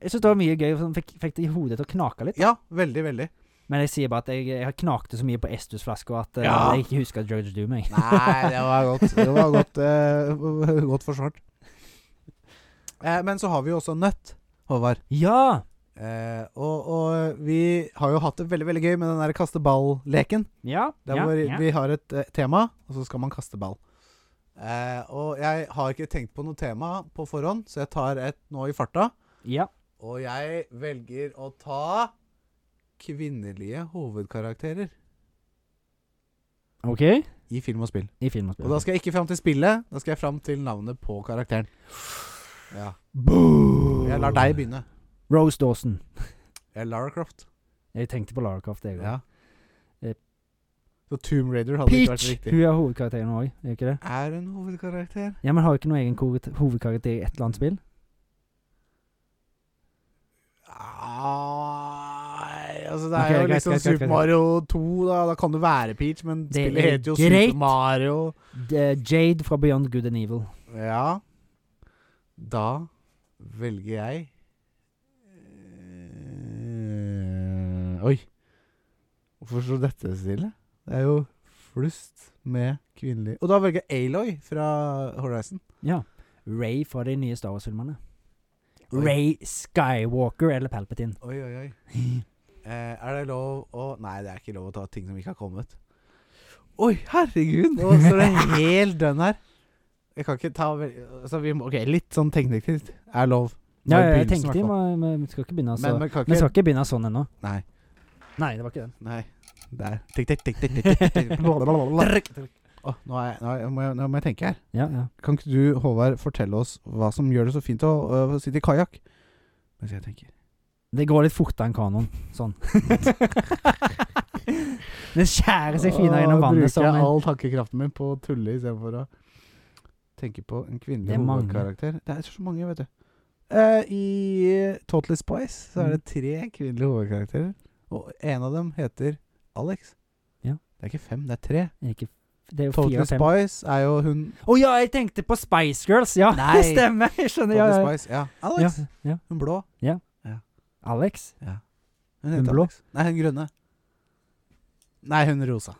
Jeg syns det var mye gøy som fikk, fikk det i hodet til å knake litt.
Ja, veldig, veldig.
Men jeg sier bare at jeg, jeg har knakte så mye på Estus-flaska at eh,
Ja.
jeg ikke husker George Doom, jeg.
Nei, det var godt. (laughs) Det var godt, eh, (laughs) godt forsvart. Eh, men så har vi jo også Nøtt, Håvard.
Ja!
Eh, og, og vi har jo hatt det veldig veldig gøy med den der kaste ball-leken.
Ja.
Der
ja,
hvor
ja.
vi har et eh, tema, og så skal man kaste ball. Eh, og jeg har ikke tenkt på noe tema på forhånd, så jeg tar et nå i farta.
ja.
Og jeg velger å ta kvinnelige hovedkarakterer
OK.
i film og spill.
I film og
Og da skal jeg ikke fram til spillet, da skal jeg fram til navnet på karakteren. Ja. Jeg lar deg begynne.
Rose Dawson.
Jeg er Lara Croft.
Jeg tenkte på Lara Croft, jeg òg.
Ja.
Eh,
Så Tomb Raider hadde ikke vært
Peach!
riktig.
Hun er hovedkarakteren òg, er hun ikke det?
Er en hovedkarakter.
Ja, Men har hun ikke noen egen korre- hovedkarakter i et eller annet spill?
Nei, altså det er
Ok,
jo
greit,
liksom
greit, greit,
Super
greit.
Mario 2, da. Da kan det være Peach, men
Det
spillet
er
heter jo
greit.
Super Mario.
D- Jade fra Beyond Good and Evil.
Ja. Da velger jeg Eh, Oi. Hvorfor står dette stille? Det er jo flust med kvinnelig Og da velger jeg Aloy fra Horizon.
Ja. Ray fra de nye Star Wars-filmene.
Oi.
Ray Skywalker eller Palpatine.
Oi, oi, oi. (laughs) Eh, er det lov å Nei, det er ikke lov å ta ting som ikke har kommet. Oi, herregud! Nå står det helt dønn her. Jeg kan ikke ta vel- altså, vi må, Ok, litt sånn teknisk er lov.
Ja,
Nå i
ja, jeg
begynnelsen,
tenkte
i hvert fall.
Vi skal ikke begynne
Men
sånn.
man kan
Vi
ikke
skal ikke begynne sånn ennå.
Nei.
Nei, det var ikke den.
Nei. Der. Tikk, tikk, tikk, tikk, tikk, tikk, tikk. (laughs) Blablabla. Åh, nå, er jeg, nå, er jeg, må jeg, nå må jeg tenke her.
Ja, ja.
Kan ikke du, Håvard, fortelle oss hva som gjør det så fint å øh, sitte i kajakk? Mens jeg tenker.
Det går litt fortere enn kanoen. (laughs) Sånn. det skjærer seg finere gjennom
Åh,
vannet.
Bruker
Som
jeg
en,
all tankekraften min på å tulle istedenfor å tenke på en
Det
kvinnelig
er mange.
hovedkarakter? Det er så mange, vet du. Eh, I eh, Totally Spice så er
Mm.
det tre kvinnelige hovedkarakterer, og en av dem heter Alex.
Ja.
Det er ikke fem, det er tre.
ikke, det er jo fire
Totally
og fem. Å
Spice er jo hun
ja, jeg tenkte på Spice Girls! Ja,
Nei.
det (laughs) stemmer! Jeg skjønner.
Totally
Ja, ja.
Spice. Ja.
Ja,
Alex.
ja.
Hun blå.
Alex?
Hun
Hun
heter
blå?
Alex. Nei, hun grønne. Nei, hun
(laughs)
rosa.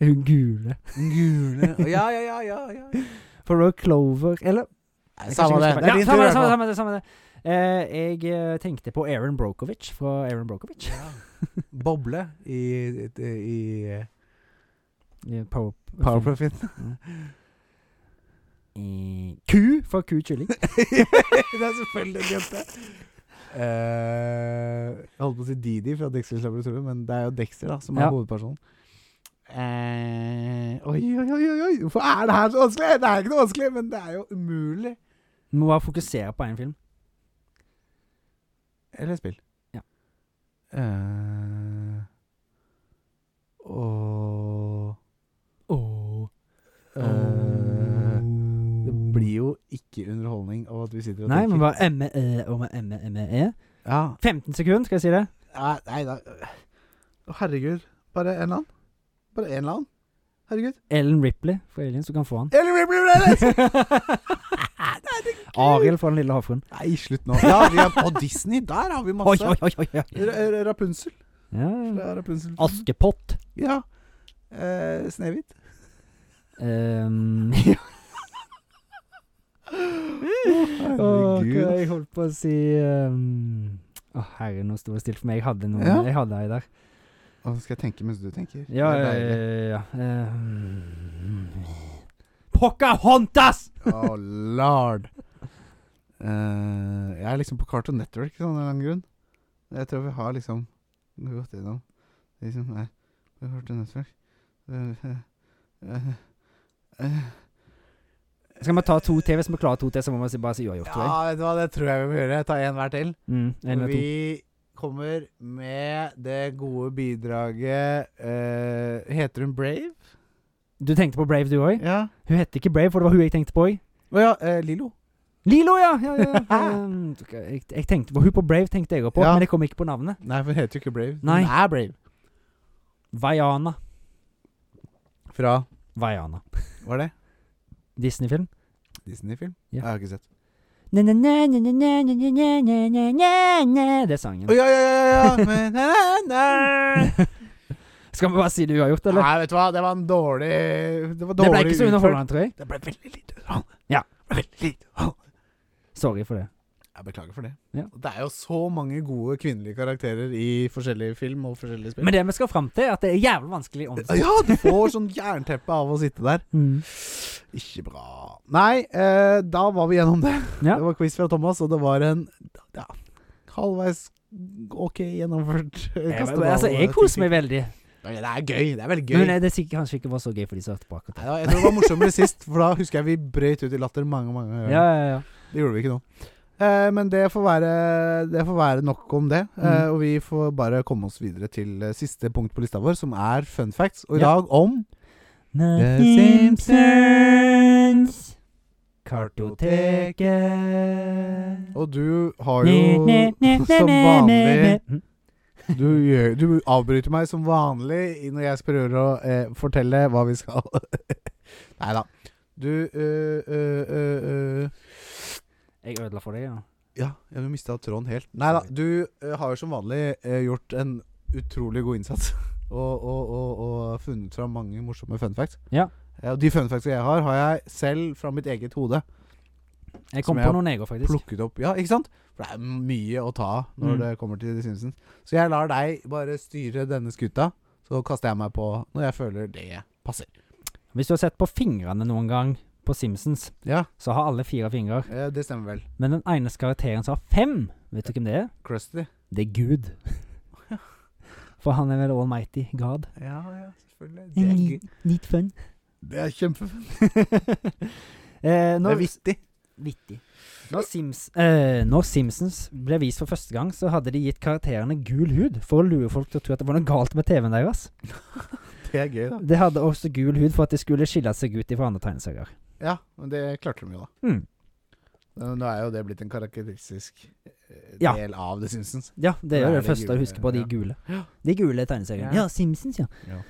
Hun gule.
Hun gule. Å, Ja, ja, ja. ja, ja.
For det var Clover Eller
Nei, Samme det. Det er
ja,
din tur,
samme,
i hvert
det, samme,
fall.
samme det. Samme det. Eh, jeg eh, tenkte på Aaron Brokovic fra Aaron Brokovic.
Ja. Boble i, i, i
I Eh, Power,
Power Profit.
I Ku Eh, fra Ku kylling.
(laughs) det er selvfølgelig en jente. Eh, jeg holdt på å si Didi fra Dexters laboratorium, men det er jo Dexter da som er
Ja.
hovedpersonen. Eh, oi, oi, oi, oi, oi. hvorfor er det her så vanskelig? Det er ikke noe vanskelig, men det er jo umulig.
Må bare fokusere på én film.
Eller spill.
Ja.
Eh, og
Oh.
eh, Det blir jo ikke underholdning av at vi sitter og
Nei, men
tenker.
bare ME og med ME.
ja.
15 e. sekunder, skal jeg si det?
Nei, nei da. Å, herregud. Bare en eller annen. Bare en eller annen. Herregud.
Ellen Ripley fra Aliens, du kan (laughs) få han.
Eller Ripley Brothers!
Ariel fra Den lille havfruen.
Nei, slutt nå. Ja, vi er på Disney. Der har vi
Oi,
masse.
oi, oi, oi, oi. Mm.
R R Rapunzel.
Ja.
Det er Rapunzel.
Askepott.
Ja. Eh, Snehvit.
Um, ja. (gasps) Åh, hva
Herregud.
jeg holdt på å si um, Å, herre, nå sto det stille for meg. Jeg hadde noe
Ja.
jeg hadde ei der.
Å, nå skal jeg tenke mens du tenker.
Ja,
Det
ja,
er deilig.
ja, ja. Um, Pocahontas!
Å, lord. Eh, jeg er liksom på Cartoon Network sånn, av en eller annen grunn. Jeg tror vi har liksom vi har gått gjennom de som er på Cartoon Network. Eh, eh, eh,
Skal vi ta to til? Hvis vi klarer to til, så må vi si- bare si uavgjort, tror jeg.
Ja, vet du hva, det tror jeg vi må gjøre. Ta en hver til.
Mm, en eller to.
Vi kommer med det gode bidraget eh, Heter hun Brave?
Du tenkte på Brave, du òg?
Ja.
Hun heter ikke Brave, for det var hun jeg tenkte på òg.
Å ja, eh, Lilo.
Lilo, ja! ja, ja,
(laughs)
ja. Um, jeg, jeg tenkte på Hun på Brave tenkte jeg òg på,
Ja.
men jeg kom ikke på navnet.
Nei, for hun heter jo ikke Brave.
Nei.
Hun er Brave.
Vaiana.
Fra
Vaiana.
Hva er det?
Disney-film.
Disney-film?
Ja.
Jeg har ikke sett.
Na-na-na-na-na-na-na-na-na-na-na. Det er sangen.
Å ja, ja, ja, ja, ja. Men, nei, nei, nei.
Skal vi bare si det hun har gjort, eller?
nei, vet du hva, det var en dårlig Det var
det
dårlig
ble ikke så
utført.
underholdende, tror jeg.
Det ble veldig lite underholdende.
Ja.
Veldig lite underholdende.
Sorry for det.
Jeg beklager for det.
Ja.
Det er jo så mange gode kvinnelige karakterer i forskjellige film og forskjellige spill.
Men det vi skal fram til, er at det er jævlig vanskelig å omsette.
ja, du får sånn jernteppe av å sitte der.
Mm.
Ikke bra. Nei, eh, da var vi gjennom det.
Ja.
Det var quiz fra Thomas, og det var en ja, halvveis ok gjennomført eh,
Jeg,
kasteball-
altså, jeg koser meg veldig.
Det er gøy. Det er veldig gøy.
Men det er sikkert kanskje ikke var så gøy for de som hørte på akkurat.
Nei, det var- jeg tror det var morsommere (laughs) sist, for da husker jeg vi brøyt ut i latter mange mange ganger.
Ja, ja, ja.
Det gjorde vi ikke nå. Eh, men det får, være, det får være nok om det. Eh,
Mm.
og vi får bare komme oss videre til eh, siste punkt på lista vår, som er fun facts. Og i
Ja.
dag om
The
Simpsons.
Kartoteket.
Og du har (laughs) jo som vanlig Du, gjør, du avbryter meg som vanlig når jeg prøver å eh, fortelle hva vi skal (laughs) Nei da. Du øh, øh, øh, øh.
Jeg ødela for deg, ja.
Ja, jeg mista tråden helt. Nei da. Du eh, har jo som vanlig eh, gjort en utrolig god innsats. (laughs) Og, og, og, og funnet fram mange morsomme fun facts.
Ja.
Eh, Og de fun facts jeg har, har jeg selv fra mitt eget hode
Jeg kom
Som
på
jeg
noen jeg òg, faktisk.
plukket opp. Ja, ikke sant? For det er mye å ta av når
Mm.
det kommer til The Simpsons. Så jeg lar deg bare styre denne skuta, så kaster jeg meg på når jeg føler det passer.
Hvis du har sett på fingrene noen gang på Simpsons,
Ja,
så har alle fire fingre.
eh, det stemmer vel.
Men den eneste karakteren som har fem, vet du hvem det er?
Crusty.
Det
(laughs)
er Gud. For han er vel almighty god.
Ja, ja, selvfølgelig.
(laughs) Need, need fun.
Det er kjempefint.
Eh,
Det
når,
er vittig.
vittig. Når, Sims, eh, når Simpsons ble vist for første gang, så hadde de gitt karakterene gul hud for å lure folk til å tro at det var noe galt med TV-en deres.
Det er gøy, da.
De hadde også gul hud for at de skulle skille seg ut fra andre tegneserier.
Ja, men det klarte de jo, da.
Mm.
Nå er jo det blitt en karakteristisk eh,
Ja.
del av The Simpsons.
Ja, det
Da
er jo
er
det
det
første
gule,
å huske på, de
ja.
gule. De gule tegneseriene.
Ja.
Ja, Simpsons, ja.
Ja.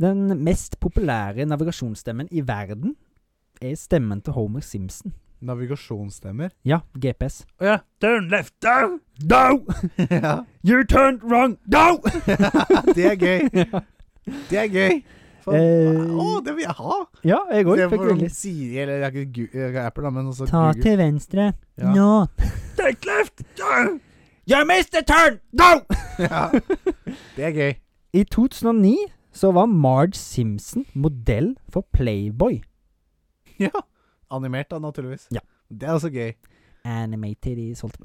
Den mest populære navigasjonsstemmen i verden er stemmen til Homer Simpson.
Navigasjonsstemmer.
Ja, GPS.
Å ja.
Turn left, down,
(laughs)
down! You turned wrong, down!
Det er gøy. Det er gøy. Faen.
Eh,
Å, det vil jeg ha!
Ja, jeg
Se
òg fikk
hvordan
veldig
Siri Eller det er ikke Gu- eh, Apple, da, men også
Ta
Google.
til venstre.
Ja.
Nå!
Take left, down! You missed the turn, down!
(laughs) Ja. Det er gøy.
I 2009 så var Marge Simpson modell for Playboy.
Ja. Animert, da, naturligvis.
Ja.
Det er også gøy.
Animated i solgt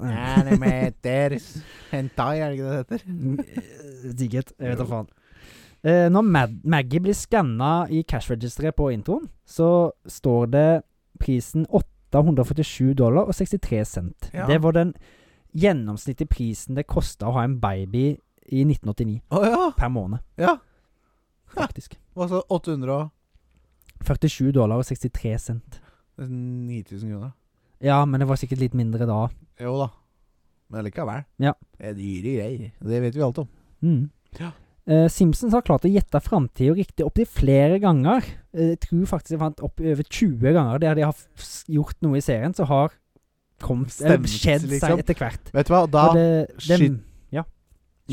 Animators. Hentai, er det ikke det det heter?
Mm, Digget. Jeg vet da faen. Eh, når Mad Maggie blir skanna i cashregisteret på introen, så står det prisen 847 dollar og 63 cent.
Ja.
Det var den gjennomsnittlige prisen det kosta å ha en baby i 1989
Å ja.
per måned,
ja.
faktisk.
Og så 800 og
47 dollar og 63 cent.
9000 kroner.
Ja, men det var sikkert litt mindre da.
Jo da. Men likevel.
Ja.
Det er dyre greier. Det vet vi alt om.
Mm.
Ja.
Eh, Simpsons har klart å gjette framtida riktig opptil flere ganger. Eh, jeg tror faktisk jeg fant opp over 20 ganger der de har f- s- gjort noe i serien som har kommet eller
Stemt,
skjedd
liksom.
seg etter hvert.
Vet du hva, da,
Og det,
skyt.
Ja.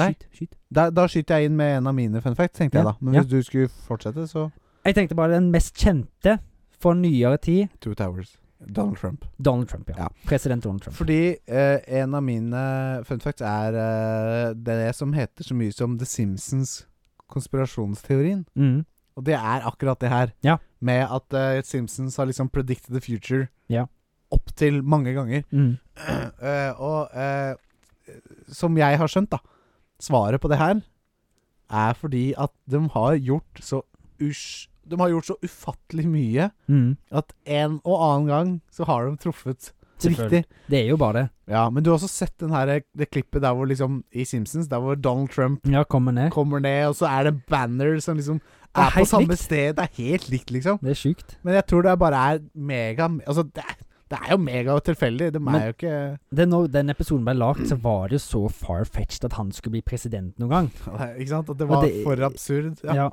Nei.
Skyt, skyt.
da, da skyter jeg inn med en av mine fun facts, tenkte jeg
Ja,
da. Men
ja.
hvis du skulle fortsette, så
Jeg tenkte bare den mest kjente for nyere tid.
Two Towers. Donald Trump.
Donald Trump, ja.
Ja.
President Donald Trump.
Fordi eh, en av mine fun facts er eh, det som heter så mye som The Simpsons konspirasjonsteorien.
Mm.
Og det er akkurat det her.
Ja.
Med at eh, Simpsons har liksom predicted the future
Ja.
opptil mange ganger.
Mm.
(clears throat) Eh, og eh, som jeg har skjønt, da Svaret på det her er fordi at de har gjort så usj... De har gjort så ufattelig mye
Mm.
at en og annen gang så har de truffet
Selvfølgelig.
riktig.
Det er jo bare det.
Ja, Men du har også sett den her, det klippet der hvor liksom i Simpsons, der hvor Donald Trump
Ja, kommer ned.
kommer ned, og så er det banner som liksom
er
er på
helt
samme
likt.
sted. Det er helt likt, liksom.
Det er sjukt.
Men jeg tror det bare er mega Altså, det er, det er jo mega tilfeldig. De er
Men-
jo ikke
Det, når den episoden ble lagd, så var det jo så far-fetched at han skulle bli president noen gang.
(laughs) Ikke sant? At det
Og
var
det-
for absurd. Ja.
Ja.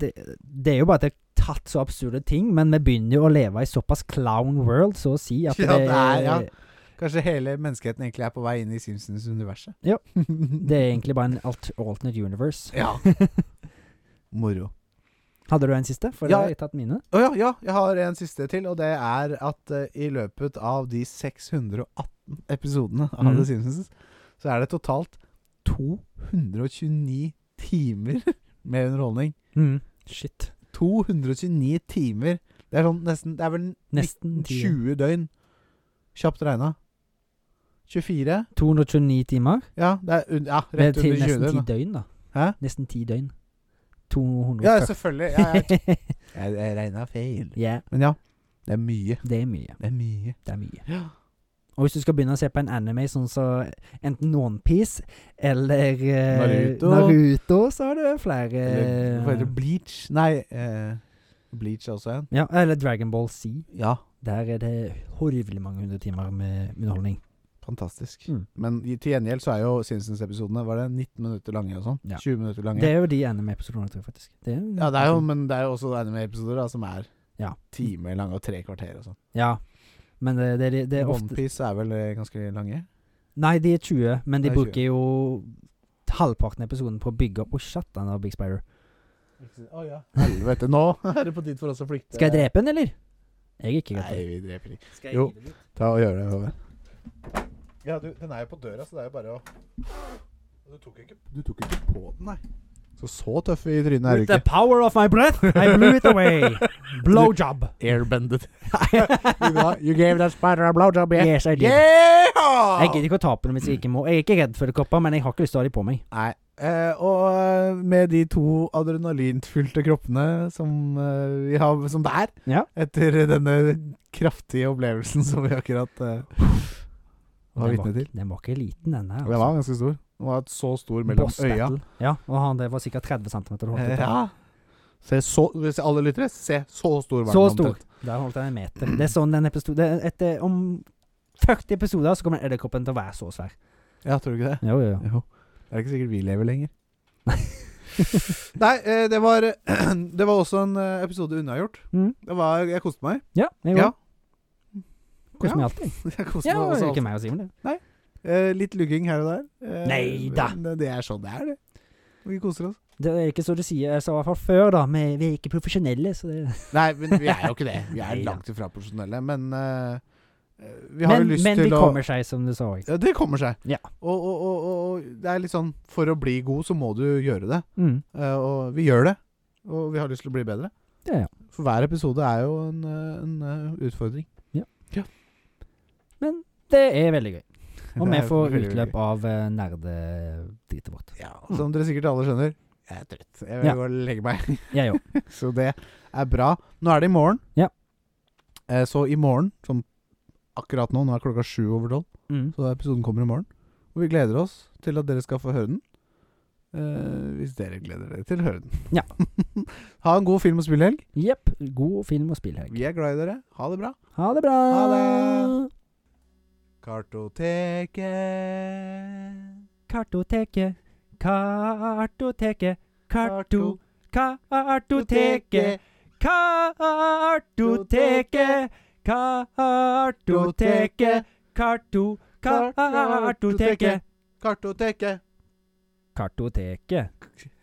det, det er jo bare at det er tatt så absurde ting, men vi begynner jo å leve i såpass clown world, så å si, at
Ja,
det,
det er- ja.
er-
Kanskje hele menneskeheten egentlig er på vei inn i
(laughs)
Simpsons-universet.
Ja. det er egentlig bare en alt alternate universe.
ja. Moro.
Hadde du en siste? For
Ja.
da har jeg tatt mine.
Å ja, ja, jeg har en siste til, og det er at eh, i løpet av de 618 episodene av
Mhm.
The Simpsons, så er det totalt 229 timer (laughs) med underholdning.
Shit.
229 timer. Det er sånn nesten Det er vel
Nesten 10.
20 døgn. Kjapt regna. 24?
229 timer.
Ja, det er un ja,
Med
rett
ti-
under 20
nesten 10
døgn. da.
døgn, da.
Hæ?
Nesten 10 døgn.
Ja,
240.
selvfølgelig. Ja, ja. (laughs) Jeg, jeg regna feil.
(laughs) Ja,
Men ja, det er mye.
det er mye.
Det er mye.
Det er mye.
Ja.
Og hvis du skal begynne å se på en anime sånn som enten Onepiece eller eh,
Naruto.
Naruto, så har du flere
Eller hva heter det? Bleach? Eh, Nei, eh, Bleach er også en.
Ja, eller Dragon Ball Z.
Ja,
Der er det horvelig mange hundre timer med underholdning.
fantastisk.
Mm.
Men i- til gjengjeld så er jo Simpsons-episodene Var det 19 minutter lange og sånn?
Ja.
20 minutter lange?
Det er jo de anime-episodene, tror jeg faktisk. Det er,
ja, det er jo, men det er jo også anime-episoder da, som er
Ja.
timer lange og tre kvarter og sånn.
Ja, men eh, det, det, det, det er ofte
Onepiece er vel eh, ganske lange?
Nei, de er 20, men de
Nei, 20.
bruker jo halvparten av episoden på å bygge opp Å, satan av Big Spider.
Å ja. Helvete, nå (laughs) er det på tide for oss å flykte.
Skal jeg drepe den, eller? Jeg er ikke
Nei,
redd.
vi dreper ikke.
Skal
jeg Jo. Ta og gjør det. Tove. Ja, du, den er jo på døra, så det er jo bare å Du tok ikke, du tok ikke på den, nei. Så så tøff i trynet er du
With the
ikke.
power of my breath, I blew it
(laughs)
away. Blowjob.
Airbended. (laughs) you gave that spider a blowjob, yeah.
Yes, I did.
Yeah!
Jeg gidder ikke å ta på dem hvis jeg ikke må. Jeg er ikke redd for edderkopper, men jeg har ikke lyst til å ha dem på meg.
Nei, Eh, og eh, med de to adrenalinfylte kroppene som eh, vi har som det er,
Ja.
etter denne kraftige opplevelsen som vi akkurat eh, var
Den var,
vitne til.
den var ikke liten, den her. altså.
Den var ganske stor. Den var så stor mellom
Boss
øya.
battle. Ja, og han det var sikkert 30 cm. du holdt
Eh,
ut.
Ja. Se så, se alle lyttere, se så stor var
Så
den
stor.
omtrent.
Der holdt han en meter. Det er sånn den episode det er Etter om 40 episoder så kommer edderkoppen til å være så svær.
Ja, tror du ikke det?
Jo, jo, jo.
Jo. Det er ikke sikkert vi lever
(laughs)
lenger. Nei, eh, det var (clears throat) Det var også en eh, episode unnagjort.
Mm.
Det var Jeg koste meg. (laughs)
Ja, jeg
Ja.
òg. Koser meg alltid.
Jeg koste
Ja,
meg
det
også
er ikke meg og Simen, det.
Eh, litt lugging her og der. Eh,
Neida.
men Det er sånn det er, det. Vi koser oss.
Det er ikke så du sier, jeg sa i hvert fall før, da. Vi, vi er ikke profesjonelle, så det
Nei, men vi er jo ikke det.
(laughs)
Vi er
Neida.
langt ifra profesjonelle, men eh, eh, vi har
Men,
jo lyst
men
til
de
å
kommer seg, som du sa òg.
ja, Det kommer seg.
Ja.
Og, og, og, og, og det er litt sånn For å bli god, så må du gjøre det.
Mm.
Eh, og vi gjør det. Og vi har lyst til å bli bedre.
Det er ja.
For hver episode er jo en, eh, en eh, utfordring.
Det er veldig
(laughs)
gøy. Og
Det
vi
er
får
veldig
utløp
gøy.
av eh, nerdedritet vårt.
Ja, som dere sikkert alle skjønner, jeg er trøtt. Jeg vil
Mm. Ja.
gå og legge meg. (laughs)
Jeg òg.
Så det er bra. Nå er det i morgen.
Ja.
Eh, så i morgen, som akkurat nå, nå er klokka sju over tolv,
Mm.
så episoden kommer i morgen. Og vi gleder oss til at dere skal få høre den. Eh, hvis dere gleder dere til å høre den.
Ja.
(laughs) ha en god film- og spillehelg.
Jepp. God film- og spillhelg.
Vi er glad i dere. Ha det bra.
Ha det bra!
Ha det. Kartoteket.
Kartoteket, kartoteket, karto... Kartoteket, kartoteket, kartoteket, karto... Kartoteket.
Kartoteket.
Kartoteket.